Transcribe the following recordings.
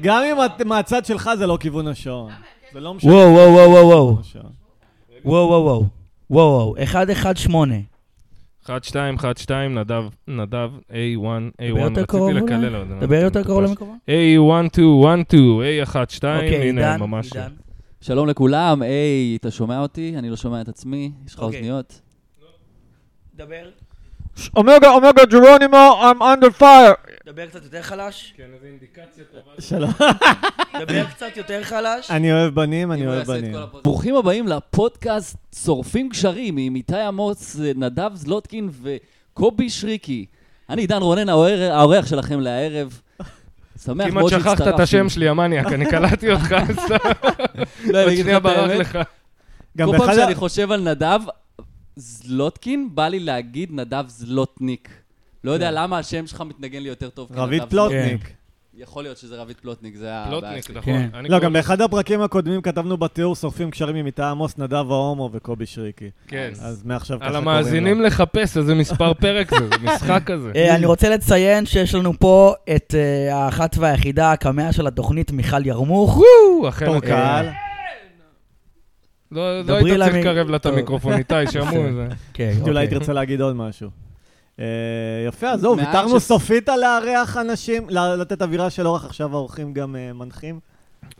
גם אם את- מהצד שלך זה לא כיוון השעון. זה לא משנה. וואו, וואו, וואו, וואו, וואו. כיוון השעון. וואו, וואו, וואו. וואו, וואו. 118. 1-2, 1-2, נדב, נדב, A1, דבר A1, יותר קרוב רציתי אולי? לקלל, לא אבל... דבר יותר קרוב למקומה. A1, 2, 1, 2, A1, 2, אוקיי, אה, הנה, עידן, ממש. לא. עידן. שלום לכולם, היי, אתה שומע אותי? אני לא שומע את עצמי, יש לך אוקיי. אוזניות? דבר, אומגה, אומגה ג'רונימו, I'm under fire. דבר קצת יותר חלש. כן, איזו אינדיקציה טובה. שלום. דבר קצת יותר חלש. אני אוהב בנים, אני אם הוא אוהב יעשה את בנים. כל הפודקאסט. ברוכים הבאים לפודקאסט שורפים גשרים עם איתי עמוס, נדב זלוטקין וקובי שריקי. אני עידן רונן, האור- האורח שלכם להערב. שמח כמעט מאוד שהצטרפתם. שכחת את השם שלי, המניאק, אני קלטתי אותך, אז לא, אני עוד אגיד שנייה לך את ברח האמת. לך. גם כל באחד פעם ה- שאני חושב על נדב זלוטקין, בא לי להגיד נדב זלוטניק. לא כן. יודע למה השם שלך מתנגן לי יותר טוב. כנדב רביד זלוט- פלוטניק. יכול להיות שזה רביד פלוטניק, זה ה... פלוטניק, הבעיה. נכון. כן. לא, אני קורא- גם באחד הפרקים הקודמים כתבנו בתיאור שורפים קשרים עם איתי עמוס, נדב ההומו וקובי שריקי. כן. אז מעכשיו ככה על קוראים המאזינים לו. לחפש איזה מספר פרק זה, זה משחק כזה. אה, אני רוצה לציין שיש לנו פה את אה, האחת והיחידה, הקמע של התוכנית, מיכל ירמוך. וואו, אכן, בתור אה, קהל. לא לא דברי היית צריך למי- לקרב לה את טוב. המיקרופון, איתי, שמעו את זה. כן, חשבתי אולי אוקיי. תרצה להגיד עוד משהו. אה, יפה, אז זהו, מעט ויתרנו ש- סופית על לארח אנשים, ל- לתת אווירה של אורח, עכשיו האורחים גם אה, מנחים.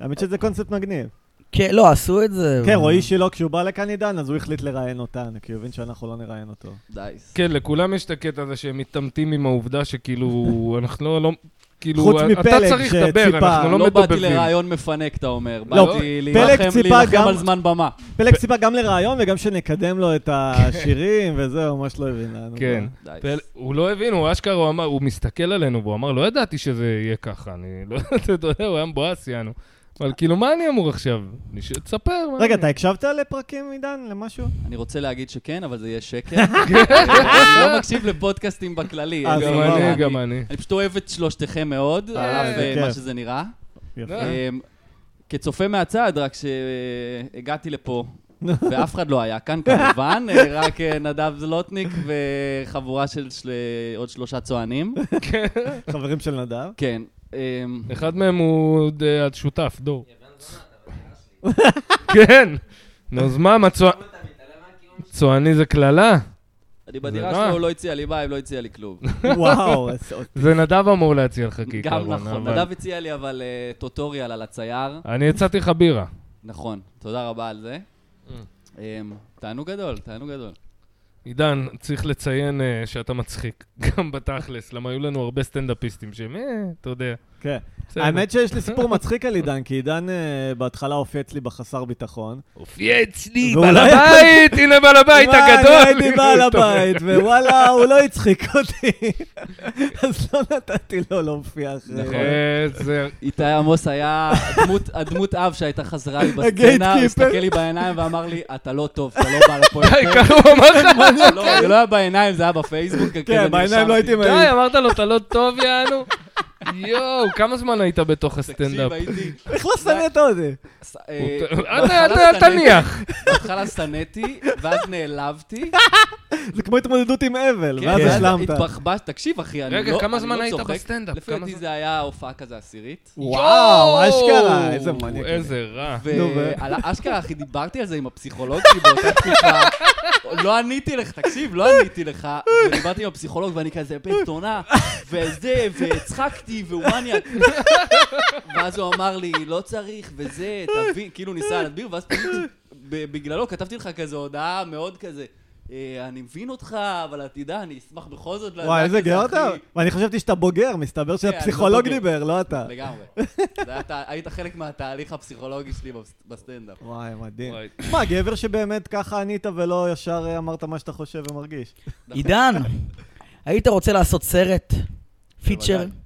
האמת שזה קונספט מגניב. כן, לא, עשו את זה. כן, רועי שילה, כשהוא בא לכאן עידן, אז הוא החליט לראיין אותנו, כי הוא הבין שאנחנו לא נראיין אותו. דייס. כן, לכולם יש את הקטע הזה שהם מתעמתים עם העובדה שכאילו, אנחנו לא- לא... כאילו, חוץ אתה מפלג צריך שציפה, לדבר, אנחנו לא לא באתי מדובבים. לרעיון מפנק, אתה אומר. לא, באתי פלג להילחם- ציפה גם- להילחם על זמן במה. פלג סיפה גם לראיון וגם שנקדם לו את השירים, וזהו, ממש לא הבין לנו. כן. דייס. פל- הוא לא הבין, הוא אשכרה, הוא אמר, הוא מסתכל עלינו, והוא אמר, לא ידעתי שזה יהיה ככה, אני לא יודעת, אתה יודע, הוא היה מבואס, יענו. אבל כאילו, מה אני אמור עכשיו? אני ש- תספר, מה... רגע, אני- אתה הקשבת לפרקים, עידן? למשהו? אני רוצה להגיד שכן, אבל זה יהיה שקר. אני לא מקשיב לפודקאסטים בכללי. אה, אין לי גם סבבה. בעיה. אני, גם אני. אני פשוט אוהב את שלושתכם מאוד, אה, על אף אה, בכיף. מה שזה נראה. יפה. אה. אמ, כצופה מהצד, רק שהגעתי לפה, ואף אחד לא היה כאן כמובן, אה, רק אה, נדב זלוטניק וחבורה של של- עוד שלושה צוענים. לא. חברים של נדב? כן. אמ, אחד מהם הוא עוד, אה, שותף, דור. כן. נו, אז מה, מה, צוע- צועני זה קללה? אני בדירה רע. שלו, הוא לא הציע לי ביי, לא הציע לי כלום. וואו, אז- זה נדב אמור להציע לך כעיקרון. גם נכון. אבל- נדב הציע לי אבל אה, טוטוריאל על הצייר. אני הצעתי לך בירה. נכון, תודה רבה על זה. אמ, תענוג גדול, תענוג גדול. עידן, צריך לציין אה, שאתה מצחיק, גם בתכלס, למה היו לנו הרבה סטנדאפיסטים שהם, אה, אתה יודע. כן. בסדר. האמת שיש לי סיפור מצחיק על עידן, כי עידן אה, בהתחלה הופיע אצלי בחסר ביטחון. הופיע אצלי, ואולי- בעל הבית, הנה בעל הבית וואי, הגדול. אני לא הייתי בעל הבית, ווואלה, הוא לא הצחיק אותי. אז לא נתתי לו להופיע נכון. אחרי. איזה... איתי עמוס היה הדמות- הדמות אב שהייתה חזרה לי בסצנה, הגייטקיפר. הסתכל לי בעיניים ואמר לי, אתה לא טוב, אתה לא בא לפה די, יותר. ככה הוא אמר לך. לא, זה לא היה בעיניים, זה היה בפייסבוק. כזה כן, בעיניים נרשמתי. לא הייתי מעיד. די, אמרת לו, אתה לא טוב, יענו. יואו, כמה זמן היית בתוך תקשיב, הסטנדאפ? הייתי... איך לא שנאת אותי? ס- אה, הוא- אל ת- אל ת- אל תניח. בהתחלה שנאתי, ואז נעלבתי. זה כמו התמודדות עם אבל, כן, ואז ואז השלמת. התבחבש, תקשיב אחי, אני לא רגע, כמה אני זמן לא היית צוחק. בסטנדאפ? לפי כמה דעתי זמן? זה היה הופעה כזה עשירית. וואו, יואו, אשכרה, איזה מניאק. איזה רע. נו, ו- ועל האשכרה, אחי, דיברתי על זה עם הפסיכולוג שלי באותה תקופה. לא עניתי לך, תקשיב, לא עניתי לך. ודיברתי עם הפסיכולוג ואני כזה בן תונה, וזה, והצחקתי, והוא מניאק. ואז הוא אמר לי, לא צריך, וזה, תבין, כאילו ניסה להדביר, ואז פשוט ב- בגללו כתבתי לך כזה הודעה מאוד כזה. "אה, אני מבין אותך, אבל אתה יודע, אני אשמח בכל זאת לדעת וואי, איזה שזה, גאה אחי." אתה. ואני חשבתי שאתה בוגר, מסתבר אני לא שהפסיכולוג בוגר. דיבר, לא אתה. לגמרי. זה היה ת- היית חלק מהתהליך הפסיכולוגי שלי בס- בסטנדאפ. וואי, מדהים. וואי. מה, גבר שבאמת ככה ענית ולא ישר אה, אמרת מה שאתה חושב ומרגיש. עידן, היית רוצה לעשות סרט? פיצ'ר? בוודאי.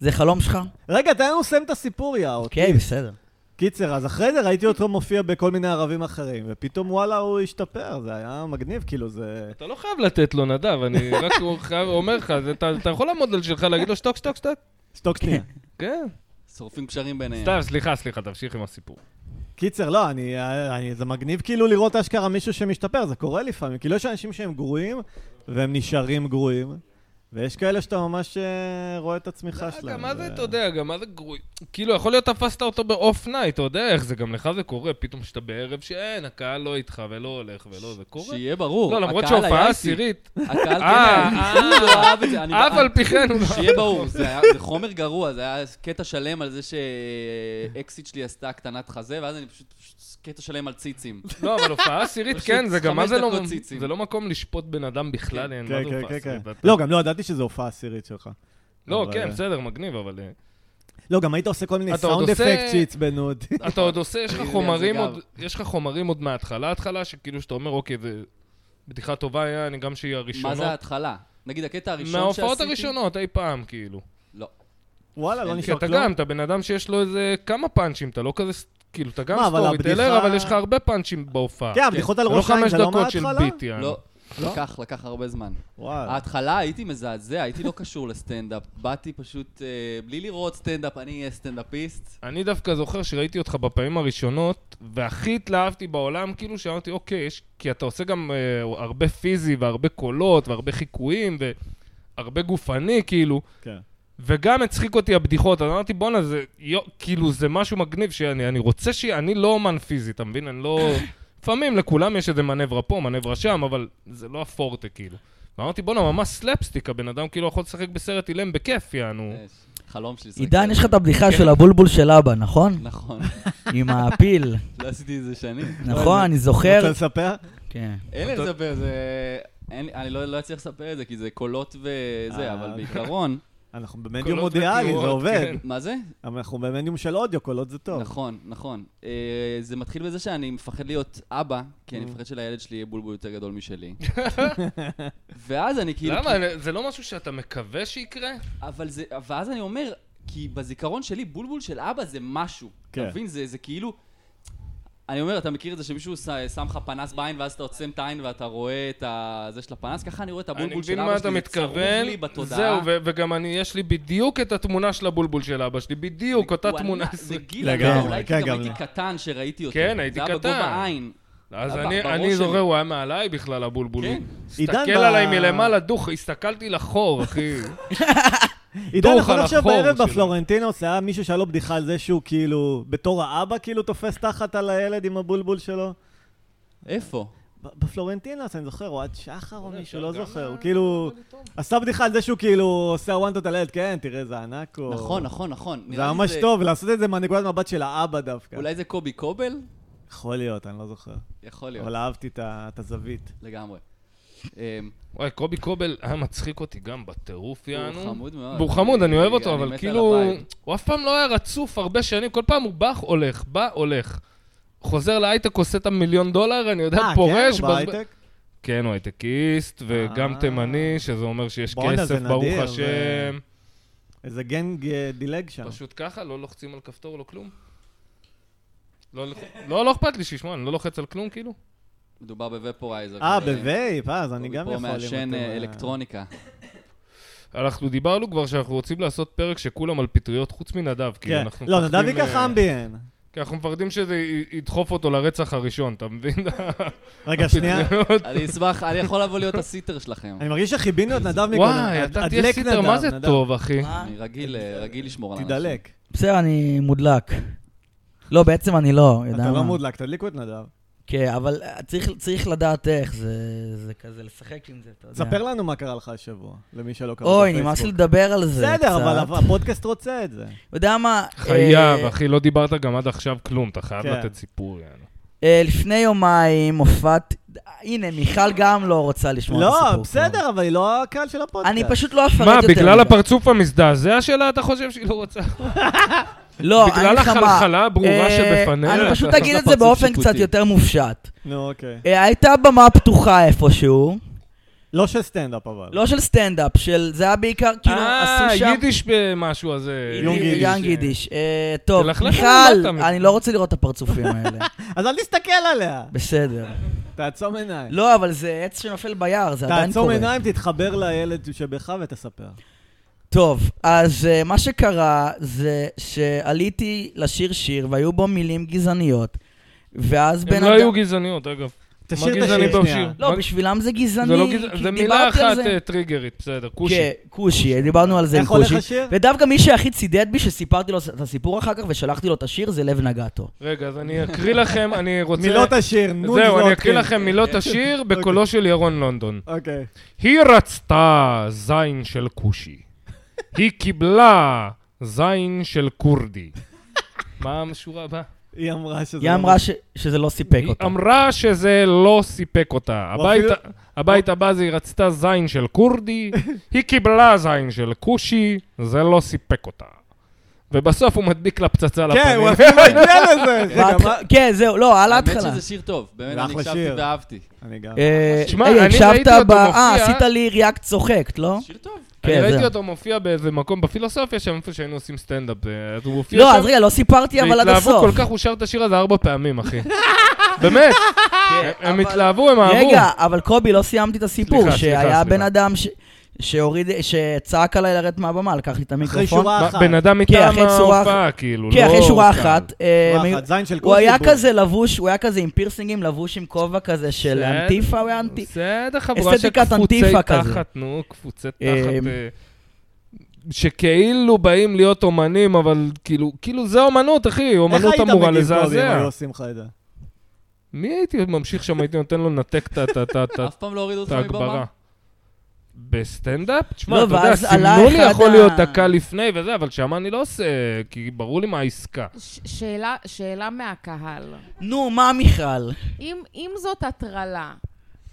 זה חלום שלך? רגע, תן לנו לסיים את הסיפור, יא אותי. אוקיי, בסדר. קיצר, אז אחרי זה ראיתי אותו מופיע בכל מיני ערבים אחרים, ופתאום וואלה, הוא השתפר, זה היה מגניב, כאילו זה... אתה לא חייב לתת לו, נדב, אני רק חייב- אומר לך, זה- אתה אתה יכול לעמוד על שלך, להגיד לו שתוק, שתוק, שתוק. שתוק שנייה. כן. שורפים קשרים ביניהם. סתם, סליחה, סליחה, תמשיך עם הסיפור. קיצר, לא, אני, אני, זה מגניב כאילו לראות לא אשכרה מישהו שמשתפר, זה קורה לפעמים. כאילו יש אנשים שהם גרועים, והם נשארים גרועים, ויש כאלה שאתה ממש אה, רואה את הצמיחה שלהם. לא, גם מה זה, אתה יודע, גם מה זה גרוי. כאילו, יכול להיות תפסת אותו באוף נייט, אתה יודע איך זה, גם לך זה קורה, פתאום שאתה בערב שאין, הקהל לא איתך ולא הולך ולא, זה קורה. שיהיה ברור. לא, למרות הקהל היה שהופעה איתי. עשירית, הקהל אה, כן, היה- הוא לא אהב את זה. אני- אף על פי כן, הוא לא- שיהיה ברור, זה היה- זה חומר גרוע, זה היה קטע שלם על זה שאקסיט שלי עשתה הקטנת חזה, ואז אני פשוט, פשוט קטע שלם על ציצים. לא, אבל הופעה עשירית, פשוט כן, זה גם מה חמש זה לא... דקות ציצים. זה לא מקום לשפוט בן אדם בכלל, אין, מה כן, זה כן, הופעה כן, כן. עשירית? אתה- לא, גם לא ידעתי שזו הופעה עשירית שלך. לא, אבל- כן, בסדר, מגניב, אבל... אה, לא, גם היית עושה כל מיני אתה עוד סאונד עושה- אפקט שעצבנו אותי. אתה עוד עושה, יש לך אני יודע, חומרים זה גב. עוד, יש לך חומרים עוד מההתחלה, התחלה, שכאילו שאתה אומר, אוקיי, זה בדיחה טובה היה, אני גם שהיא מה הראשונות. זה ההתחלה? נגיד הקטע הראשון שעשיתי... מההופעות הראשונות אי פעם, כאילו. לא. וואלה, לא כי כי נשאר כן, אתה כלום. גם, אתה בן אדם שיש לו איזה כמה פאנצ'ים, אתה לא כזה, ס- כאילו, אתה גם מה, אבל סטורי טלר, הבדיחה- אבל יש לך הרבה פאנצ'ים בהופעה. כן, הבדיחות על זה לא ראש העין, חמש זה לא דקות של מההתחלה? ביט, יענו. לא. לא? לקח, לקח הרבה זמן. וואלה. ההתחלה הייתי מזעזע, הייתי לא קשור לסטנדאפ. באתי פשוט, אה, בלי לראות סטנדאפ, אני אהיה סטנדאפיסט. אני דווקא זוכר שראיתי אותך בפעמים הראשונות, והכי התלהבתי בעולם, כאילו שאמרתי, אוקיי, יש... כי אתה עושה גם אה, הרבה פיזי והרבה קולות והרבה חיקויים והרבה גופני, כאילו, כן. וגם הצחיק אותי הבדיחות, אז אמרתי, בואנה, זה, יו, כאילו, זה משהו מגניב שאני אני רוצה ש... אני לא אומן פיזי, אתה מבין? אני לא... לפעמים לכולם יש איזה מנברה פה, מנברה שם, אבל זה לא הפורטה, כאילו. ואמרתי, בואנה, ממש סלפסטיק, הבן אדם כאילו יכול לשחק בסרט אילם בכיף, יענו. אה? יש, אה, חלום שלי. לשחק עידן, יש לך את סטנדאפ. הבדיחה של הבולבול של אבא, נכון? נכון, עם הפיל. לא עשיתי את זה שנים. נכון, אני זוכר. רוצה לספר? כן. אין לי אותו- לספר, זה... אין לי- אני לא לא אצליח לספר את זה, כי זה קולות וזה, אה, אבל אוקיי. בעיקרון... אנחנו במדיום קולות אודיאלי, זה ותנועות, עובד. כן. מה זה? אנחנו במדיום של אודיו, כל עוד זה טוב. נכון, נכון. אה, זה מתחיל בזה שאני מפחד להיות אבא, כי Mm. אני מפחד שלילד שלי יהיה בולבול יותר גדול משלי. ואז אני כאילו... למה? זה לא משהו שאתה מקווה שיקרה? אבל זה... ואז אני אומר, כי בזיכרון שלי, בולבול של אבא זה משהו. כן. אתה מבין? זה זה כאילו... אני אומר, אתה מכיר את זה שמישהו ש- שם לך פנס בעין, ואז אתה עוצם את העין ואתה רואה את ה- זה של הפנס? ככה אני רואה את אני הבולבול של מבין אבא מה שלי, אתה זה צרוב מתכוון. לי בתודעה. זהו, ו- וגם אני, יש לי בדיוק את התמונה של הבולבול של אבא שלי, בדיוק אותה הוא תמונה. ענק, זה גיל, לגמרי, אבל אולי כן, כי גם גם הייתי קטן שראיתי אותו. כן, הייתי זה היה קטן. בגובה העין. אז אה, ב- אני, בראש אני שלי. זוכר, הוא היה מעליי בכלל, הבולבול. כן. הסתכל עידן, ב- עליי מלמעלה, דוך, הסתכלתי לחור, אחי. עידן, דוח נכון על עכשיו החור בערב שלו. בפלורנטינוס היה מישהו שהיה לו בדיחה על זה שהוא כאילו, בתור האבא כאילו תופס תחת על הילד עם הבולבול שלו? איפה? ב- בפלורנטינוס, אני זוכר, אוהד שחר או מישהו, לא זוכר. הוא כאילו, עשה בדיחה על זה שהוא כאילו עושה וואנטות על הילד, כן, תראה, איזה ענק הוא. נכון, נכון, נכון. זה נראה לי ממש טוב, לעשות את זה מהנקודת מבט של האבא דווקא. אולי זה קובי קובל? יכול להיות, אני לא זוכר. יכול להיות, אבל אהבתי את ה- את הזווית. לגמרי. אמ, וואי, קובי קובל היה מצחיק אותי גם בטירוף, יענו. אה, הוא חמוד מאוד. והוא חמוד, אני אוהב אותו, אני אבל מת כאילו... על הווייב. הוא אף פעם לא היה רצוף הרבה שנים, כל פעם הוא בא, הולך, בא, הולך. חוזר להייטק, עושה את המיליון דולר, אני יודע, אה, כן, פורש. הוא בז- בהייטק? כן, הוא הייטקיסט, וגם אה. תימני, שזה אומר שיש בואנה, כסף, זה ברוך נדיר, השם. איזה גנג אה, דילג שם. פשוט ככה, לא לוחצים על כפתור, לא כלום. לא, לא, לא אכפת לי שישמעו, אני לא לוחץ על כלום, כאילו. מדובר בוופורייזר. אה, חברים. בווייפ, אה, אז אני קובי גם פה יכול. אם מעשן אתם, אה, אה, אלקטרוניקה. אנחנו דיברנו כבר שאנחנו רוצים לעשות פרק שכולם על פטריות חוץ מנדב, כאילו כן. אנחנו... לא, נדב מפחדים, ייקח אה, אמביאן. כי אנחנו מפחדים שזה י- ידחוף אותו לרצח הראשון, אתה מבין? רגע, שנייה. הפטריות. אני אשמח, אני יכול לבוא להיות הסיטר שלכם. אני מרגיש שכיבינו את נדב מקודם. וואי, אתה הדלק תהיה סיטר, מה נדב, זה נדב. טוב, אחי? אני רגיל, אה, רגיל לשמור על אנשים. תדלק. בסדר, אני מודלק. לא, בעצם אני לא. יודע אתה מה. לא מודלק, תדליקו את נדב. כן, אבל אה, צריך- צריך לדעת איך, זה- זה כזה לשחק עם זה, אתה יודע. ספר לנו מה קרה לך השבוע, למי שלא קרא אוקיי. אוי, בפייסבוק. נמאס לי לדבר על זה קצת. בסדר, אבל הפודקאסט רוצה את זה. אתה יודע מה? חייב, אה, אחי, לא דיברת גם עד עכשיו כלום, אתה חייב כן. לתת סיפור, יאללה. אה, לפני יומיים הופעת... הנה, מיכל גם לא רוצה לשמוע את הסיפור. לא, כבר. בסדר, אבל היא לא הקהל של הפודקאסט. אני פשוט לא אפרט מה, יותר. כאילו, בגלל מדי. הפרצוף המזדעזע שלה אתה חושב שהיא לא רוצה? לא, אני בגלל אגיד לך מה, החלחלה הברורה אה, שבפניה? אני פשוט אתה- אגיד את עושה זה פרצוף באופן שיפוטי. קצת יותר מופשט. נו, אוקיי. אה, הייתה במה פתוחה איפשהו, לא של סטנדאפ, אבל. לא של סטנדאפ, של... זה היה בעיקר, כאילו, אה, עשו שם... יידיש במשהו הזה. יונג יידיש. יונג יידיש. אה, טוב, תלכלך על מיכל, המטה. אני לא רוצה לראות את הפרצופים האלה. אז אל תסתכל עליה. בסדר. תעצום עיניים. לא, אבל זה עץ שנופל ביער, זה עדיין תעצום קורה. עיניים, תתחבר לילד שבך ותספר. טוב, אז אה, מה שקרה זה שעליתי לשיר שיר והיו בו מילים גזעניות, ואז בן הן אדם... לא היו לא גזעניות, אגב. תשאיר מה את גזעני השיר שנייה. בשיר? לא, מה- בשבילם זה גזעני. זה לא גזע- כי זה מילה דיברתי על אחת זה. אה, טריגרית, בסדר, כושי. כן, כושי, דיברנו על זה עם איך הולך כושי. השיר? ודווקא מי שהכי צידד בי, שסיפרתי לו את הסיפור אחר כך ושלחתי לו את השיר, זה לב נגטו. רגע, אז אני אקריא לכם, אני רוצה... מילות השיר, נו זהו, אני זרוק, אקריא כן. לכם מילות השיר אוקיי. בקולו של ירון לונדון. אוקיי. היא רצתה זין של כושי. היא קיבלה זין של כורדי. מה השורה הבאה? היא אמרה שזה... היא לא- אמרה ש- שזה לא סיפק היא אותה. אמרה שזה לא סיפק אותה. הוא הבית- אפילו- הבית הבא זה היא רצתה זין של כורדי, היא קיבלה זין של כושי, זה לא סיפק אותה. ובסוף הוא מדביק לה פצצה כן, לפנים. הוא אפילו הגיע לזה. רגע, בהתח- מה... כן, זהו, לא, על האמת ההתחלה. שזה שיר טוב, באמת, אני אחלה הקשבתי שיר. ואהבתי. אני גם... אה, שמע, היי, אני הקשבת ראיתי אותו ב- אה, מופיע- עשית לי ריאקט צוחקת, לא? שיר טוב. אני כן, ראיתי זהו. אותו מופיע באיזה מקום בפילוסופיה שם, איפה שהיינו עושים סטנדאפ. אה, אז הוא הופיע לא, שם. אז רגע, לא סיפרתי אבל עד הסוף. והתלהבו כל כך, הוא שר את השיר הזה ארבע פעמים, אחי. באמת. כן, הם התלהבו, הם אהבו. רגע, אבל קובי, לא סיימתי את הסיפור, סליחה, סליחה, שהיה סליחה. בן אדם ש- שהוריד, שצעק עליי לרדת מהבמה, לקח לי את אחרי המיקרופון. שורה ב- אחת. בן אדם כן, מטעם אחרי שורה ההופעה, כאילו, לא... כן, אחרי שורה קהל. אחת. אה, שורה מ- אחת, זין של כושי. הוא היה בוא. כזה לבוש, הוא היה כזה עם פירסינגים, לבוש עם כובע כזה של בסדר. אנטיפה, הוא היה אנטיפה. בסדר, חבורה של אסתטיקת קפוצי אנטיפה כזה. תחת, נו, קפוצי תחת. אמ, אה, שכאילו באים להיות אומנים, אבל כאילו, כאילו זה אומנות, אחי, אומנות אמורה איך היית מגיב קודם, לזעזע. היו עושים לך את זה? מי הייתי ממשיך שם, הייתי נותן לו לנתק את ה- את ה- את ה- את ה- אף פעם לא הורידו את אותך ההגברה. מבמה? בסטנדאפ? תשמע, לא, אתה יודע, ואז עלה סימנו לי אחד יכול ה- להיות דקה לפני וזה, אבל שם אני לא עושה, כי ברור לי מה העסקה. ש- שאלה, שאלה מהקהל. נו, מה מיכל? אם, אם זאת הטרלה,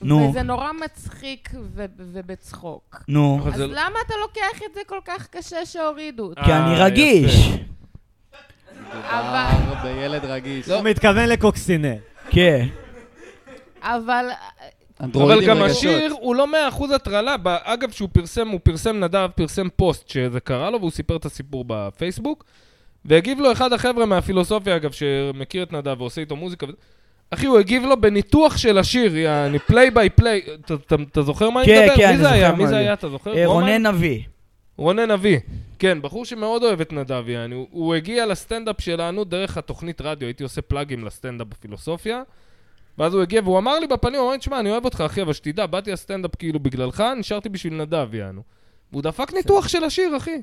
נו. וזה נורא מצחיק ו- ובצחוק, נו, אבל אז זה- לא- למה אתה לוקח את זה כל כך קשה שהורידו אותי? כי אה, אני יפה. רגיש. מדובר בילד רגיש. הוא מתכוון לקוקסינל. כן. אה. אבל אה, אבל אנדרואידים גם רגשות. השיר הוא לא מאה אחוז הטרלה. ב- אגב, שהוא פרסם, הוא פרסם נדב, פרסם פוסט שזה קרה לו, והוא סיפר את הסיפור בפייסבוק. והגיב לו אחד החבר'ה מהפילוסופיה, אגב, שמכיר את נדב ועושה איתו מוזיקה. וזה. אחי, הוא הגיב לו בניתוח של השיר, יעני, פליי ביי פליי. אתה זוכר מה אני כן, מדבר? כן, מי אני זה זוכר היה? מה מי זה אני- היה? אתה זוכר? אה, רומן? רונן נביא. רונן אבי. כן, בחור שמאוד אוהב את נדב, יעני. הוא, הוא הגיע לסטנדאפ שלנו דרך התוכנית רדיו, הייתי עושה פלאגים לסטנדאפ בפילוסופיה. ואז הוא הגיע והוא אמר לי בפנים, הוא אמר לי, תשמע, אני אוהב אותך, אחי, אבל שתדע, באתי לסטנדאפ כאילו בגללך, נשארתי בשביל נדב, יענו. והוא דפק ניתוח של השיר, אחי.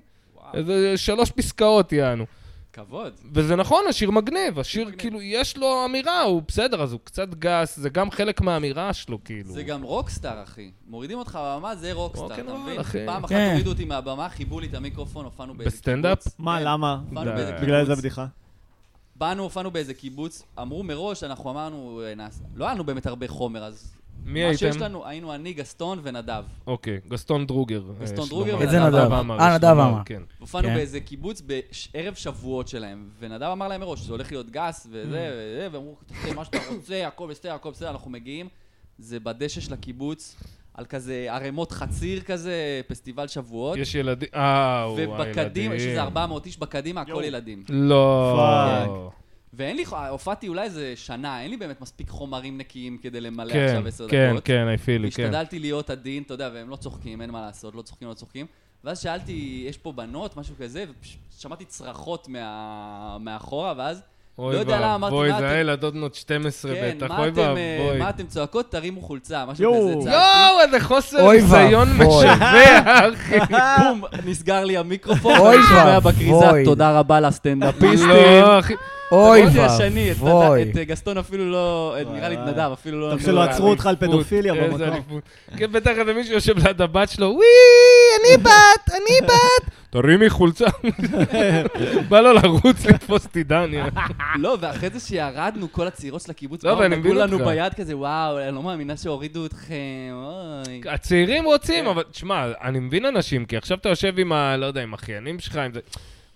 איזה שלוש פסקאות, יענו. כבוד. וזה נכון, השיר מגניב, השיר כאילו, יש לו אמירה, הוא בסדר, אז הוא קצת גס, זה גם חלק מהאמירה שלו, כאילו. זה גם רוקסטאר, אחי. מורידים אותך מהבמה, זה רוקסטאר, אתה רוקנרול, מבין? אחי. פעם אחת כן. הורידו אותי מהבמה, חיבו לי את המיקרופון, הופענו באיזה קיבוץ. בסטנדאפ? מה, כן. למה? הופענו די. באיזה קיבוץ. בגלל איזה בדיחה? באנו, הופענו באיזה קיבוץ, אמרו מראש, אנחנו אמרנו, אה, נעשה- לא היה לנו באמת הרבה חומר, אז... מי מה שיש הייתם? לנו, היינו אני, גסטון ונדב. אוקיי, גסטון דרוגר. אה, גסטון יש דרוגר לומר. איזה נדב? אה, יש נדב לומר, אמר. כן. הופענו כן. באיזה קיבוץ בערב שבועות שלהם, ונדב אמר להם מראש, זה הולך להיות גס, Mm. וזה, וזה, ואמרו, תעשה מה שאתה רוצה, הכל בסדר, הכל בסדר, אנחנו מגיעים. זה בדשא של הקיבוץ, על כזה ערימות חציר כזה, פסטיבל שבועות. יש ילדים, אה, וואי, ילדים. ובקדימה, יש איזה 400 איש בקדימה, הכל ילדים. לא. ואין לי, הופעתי אולי איזה שנה, אין לי באמת מספיק חומרים נקיים כדי למלא כן, עכשיו עשר דקות. כן, כן, I feel it, כן. השתדלתי להיות עדין, אתה יודע, והם לא צוחקים, אין מה לעשות, לא צוחקים, לא צוחקים. ואז שאלתי, יש פה בנות, משהו כזה, ושמעתי צרחות מה... מאחורה, ואז אוי לא יודע למה, אמרתי, ואבוי, מה זה אתם- היה ילדות בנות 12 כן, בטח, מה אוי אתם, אה, ואבוי. מה אתם צועקות? תרימו חולצה, משהו יואו. כזה. צעקתי, יואו, איזה חוסר אוי ניסיון ואבוי. לא, משווע, אחי. בום, נסגר לי המיקרופון, אוי ואני שומע ואבוי. בכריזה, תודה רבה לסטנדאפיסטים. לא, אחי. אוי מאוד ישני, את נדב- ואבוי. את אה, גסטון אפילו לא, את- נראה לי את נדב אפילו לא... טוב נתנו שלא לו עצרו אותך על אליפות, פדופיליה איזה במקום. אליפות. כן, בטח איזה מישהו יושב ליד הבת שלו, וואי, אני בת, אני בת. תרימי חולצה. בא לו לרוץ לתפוס טידניה. לא, ואחרי זה שירדנו, כל הצעירות של הקיבוץ, לא, באו, אבל אני נגעו מבין לנו אותך. ביד כזה, וואו, אני לא מאמינה שהורידו אתכם, אוי. הצעירים רוצים, כן. אבל תשמע, אני מבין אנשים, כי עכשיו אתה יושב עם ה... לא יודע, עם אחיינים שלך, עם זה...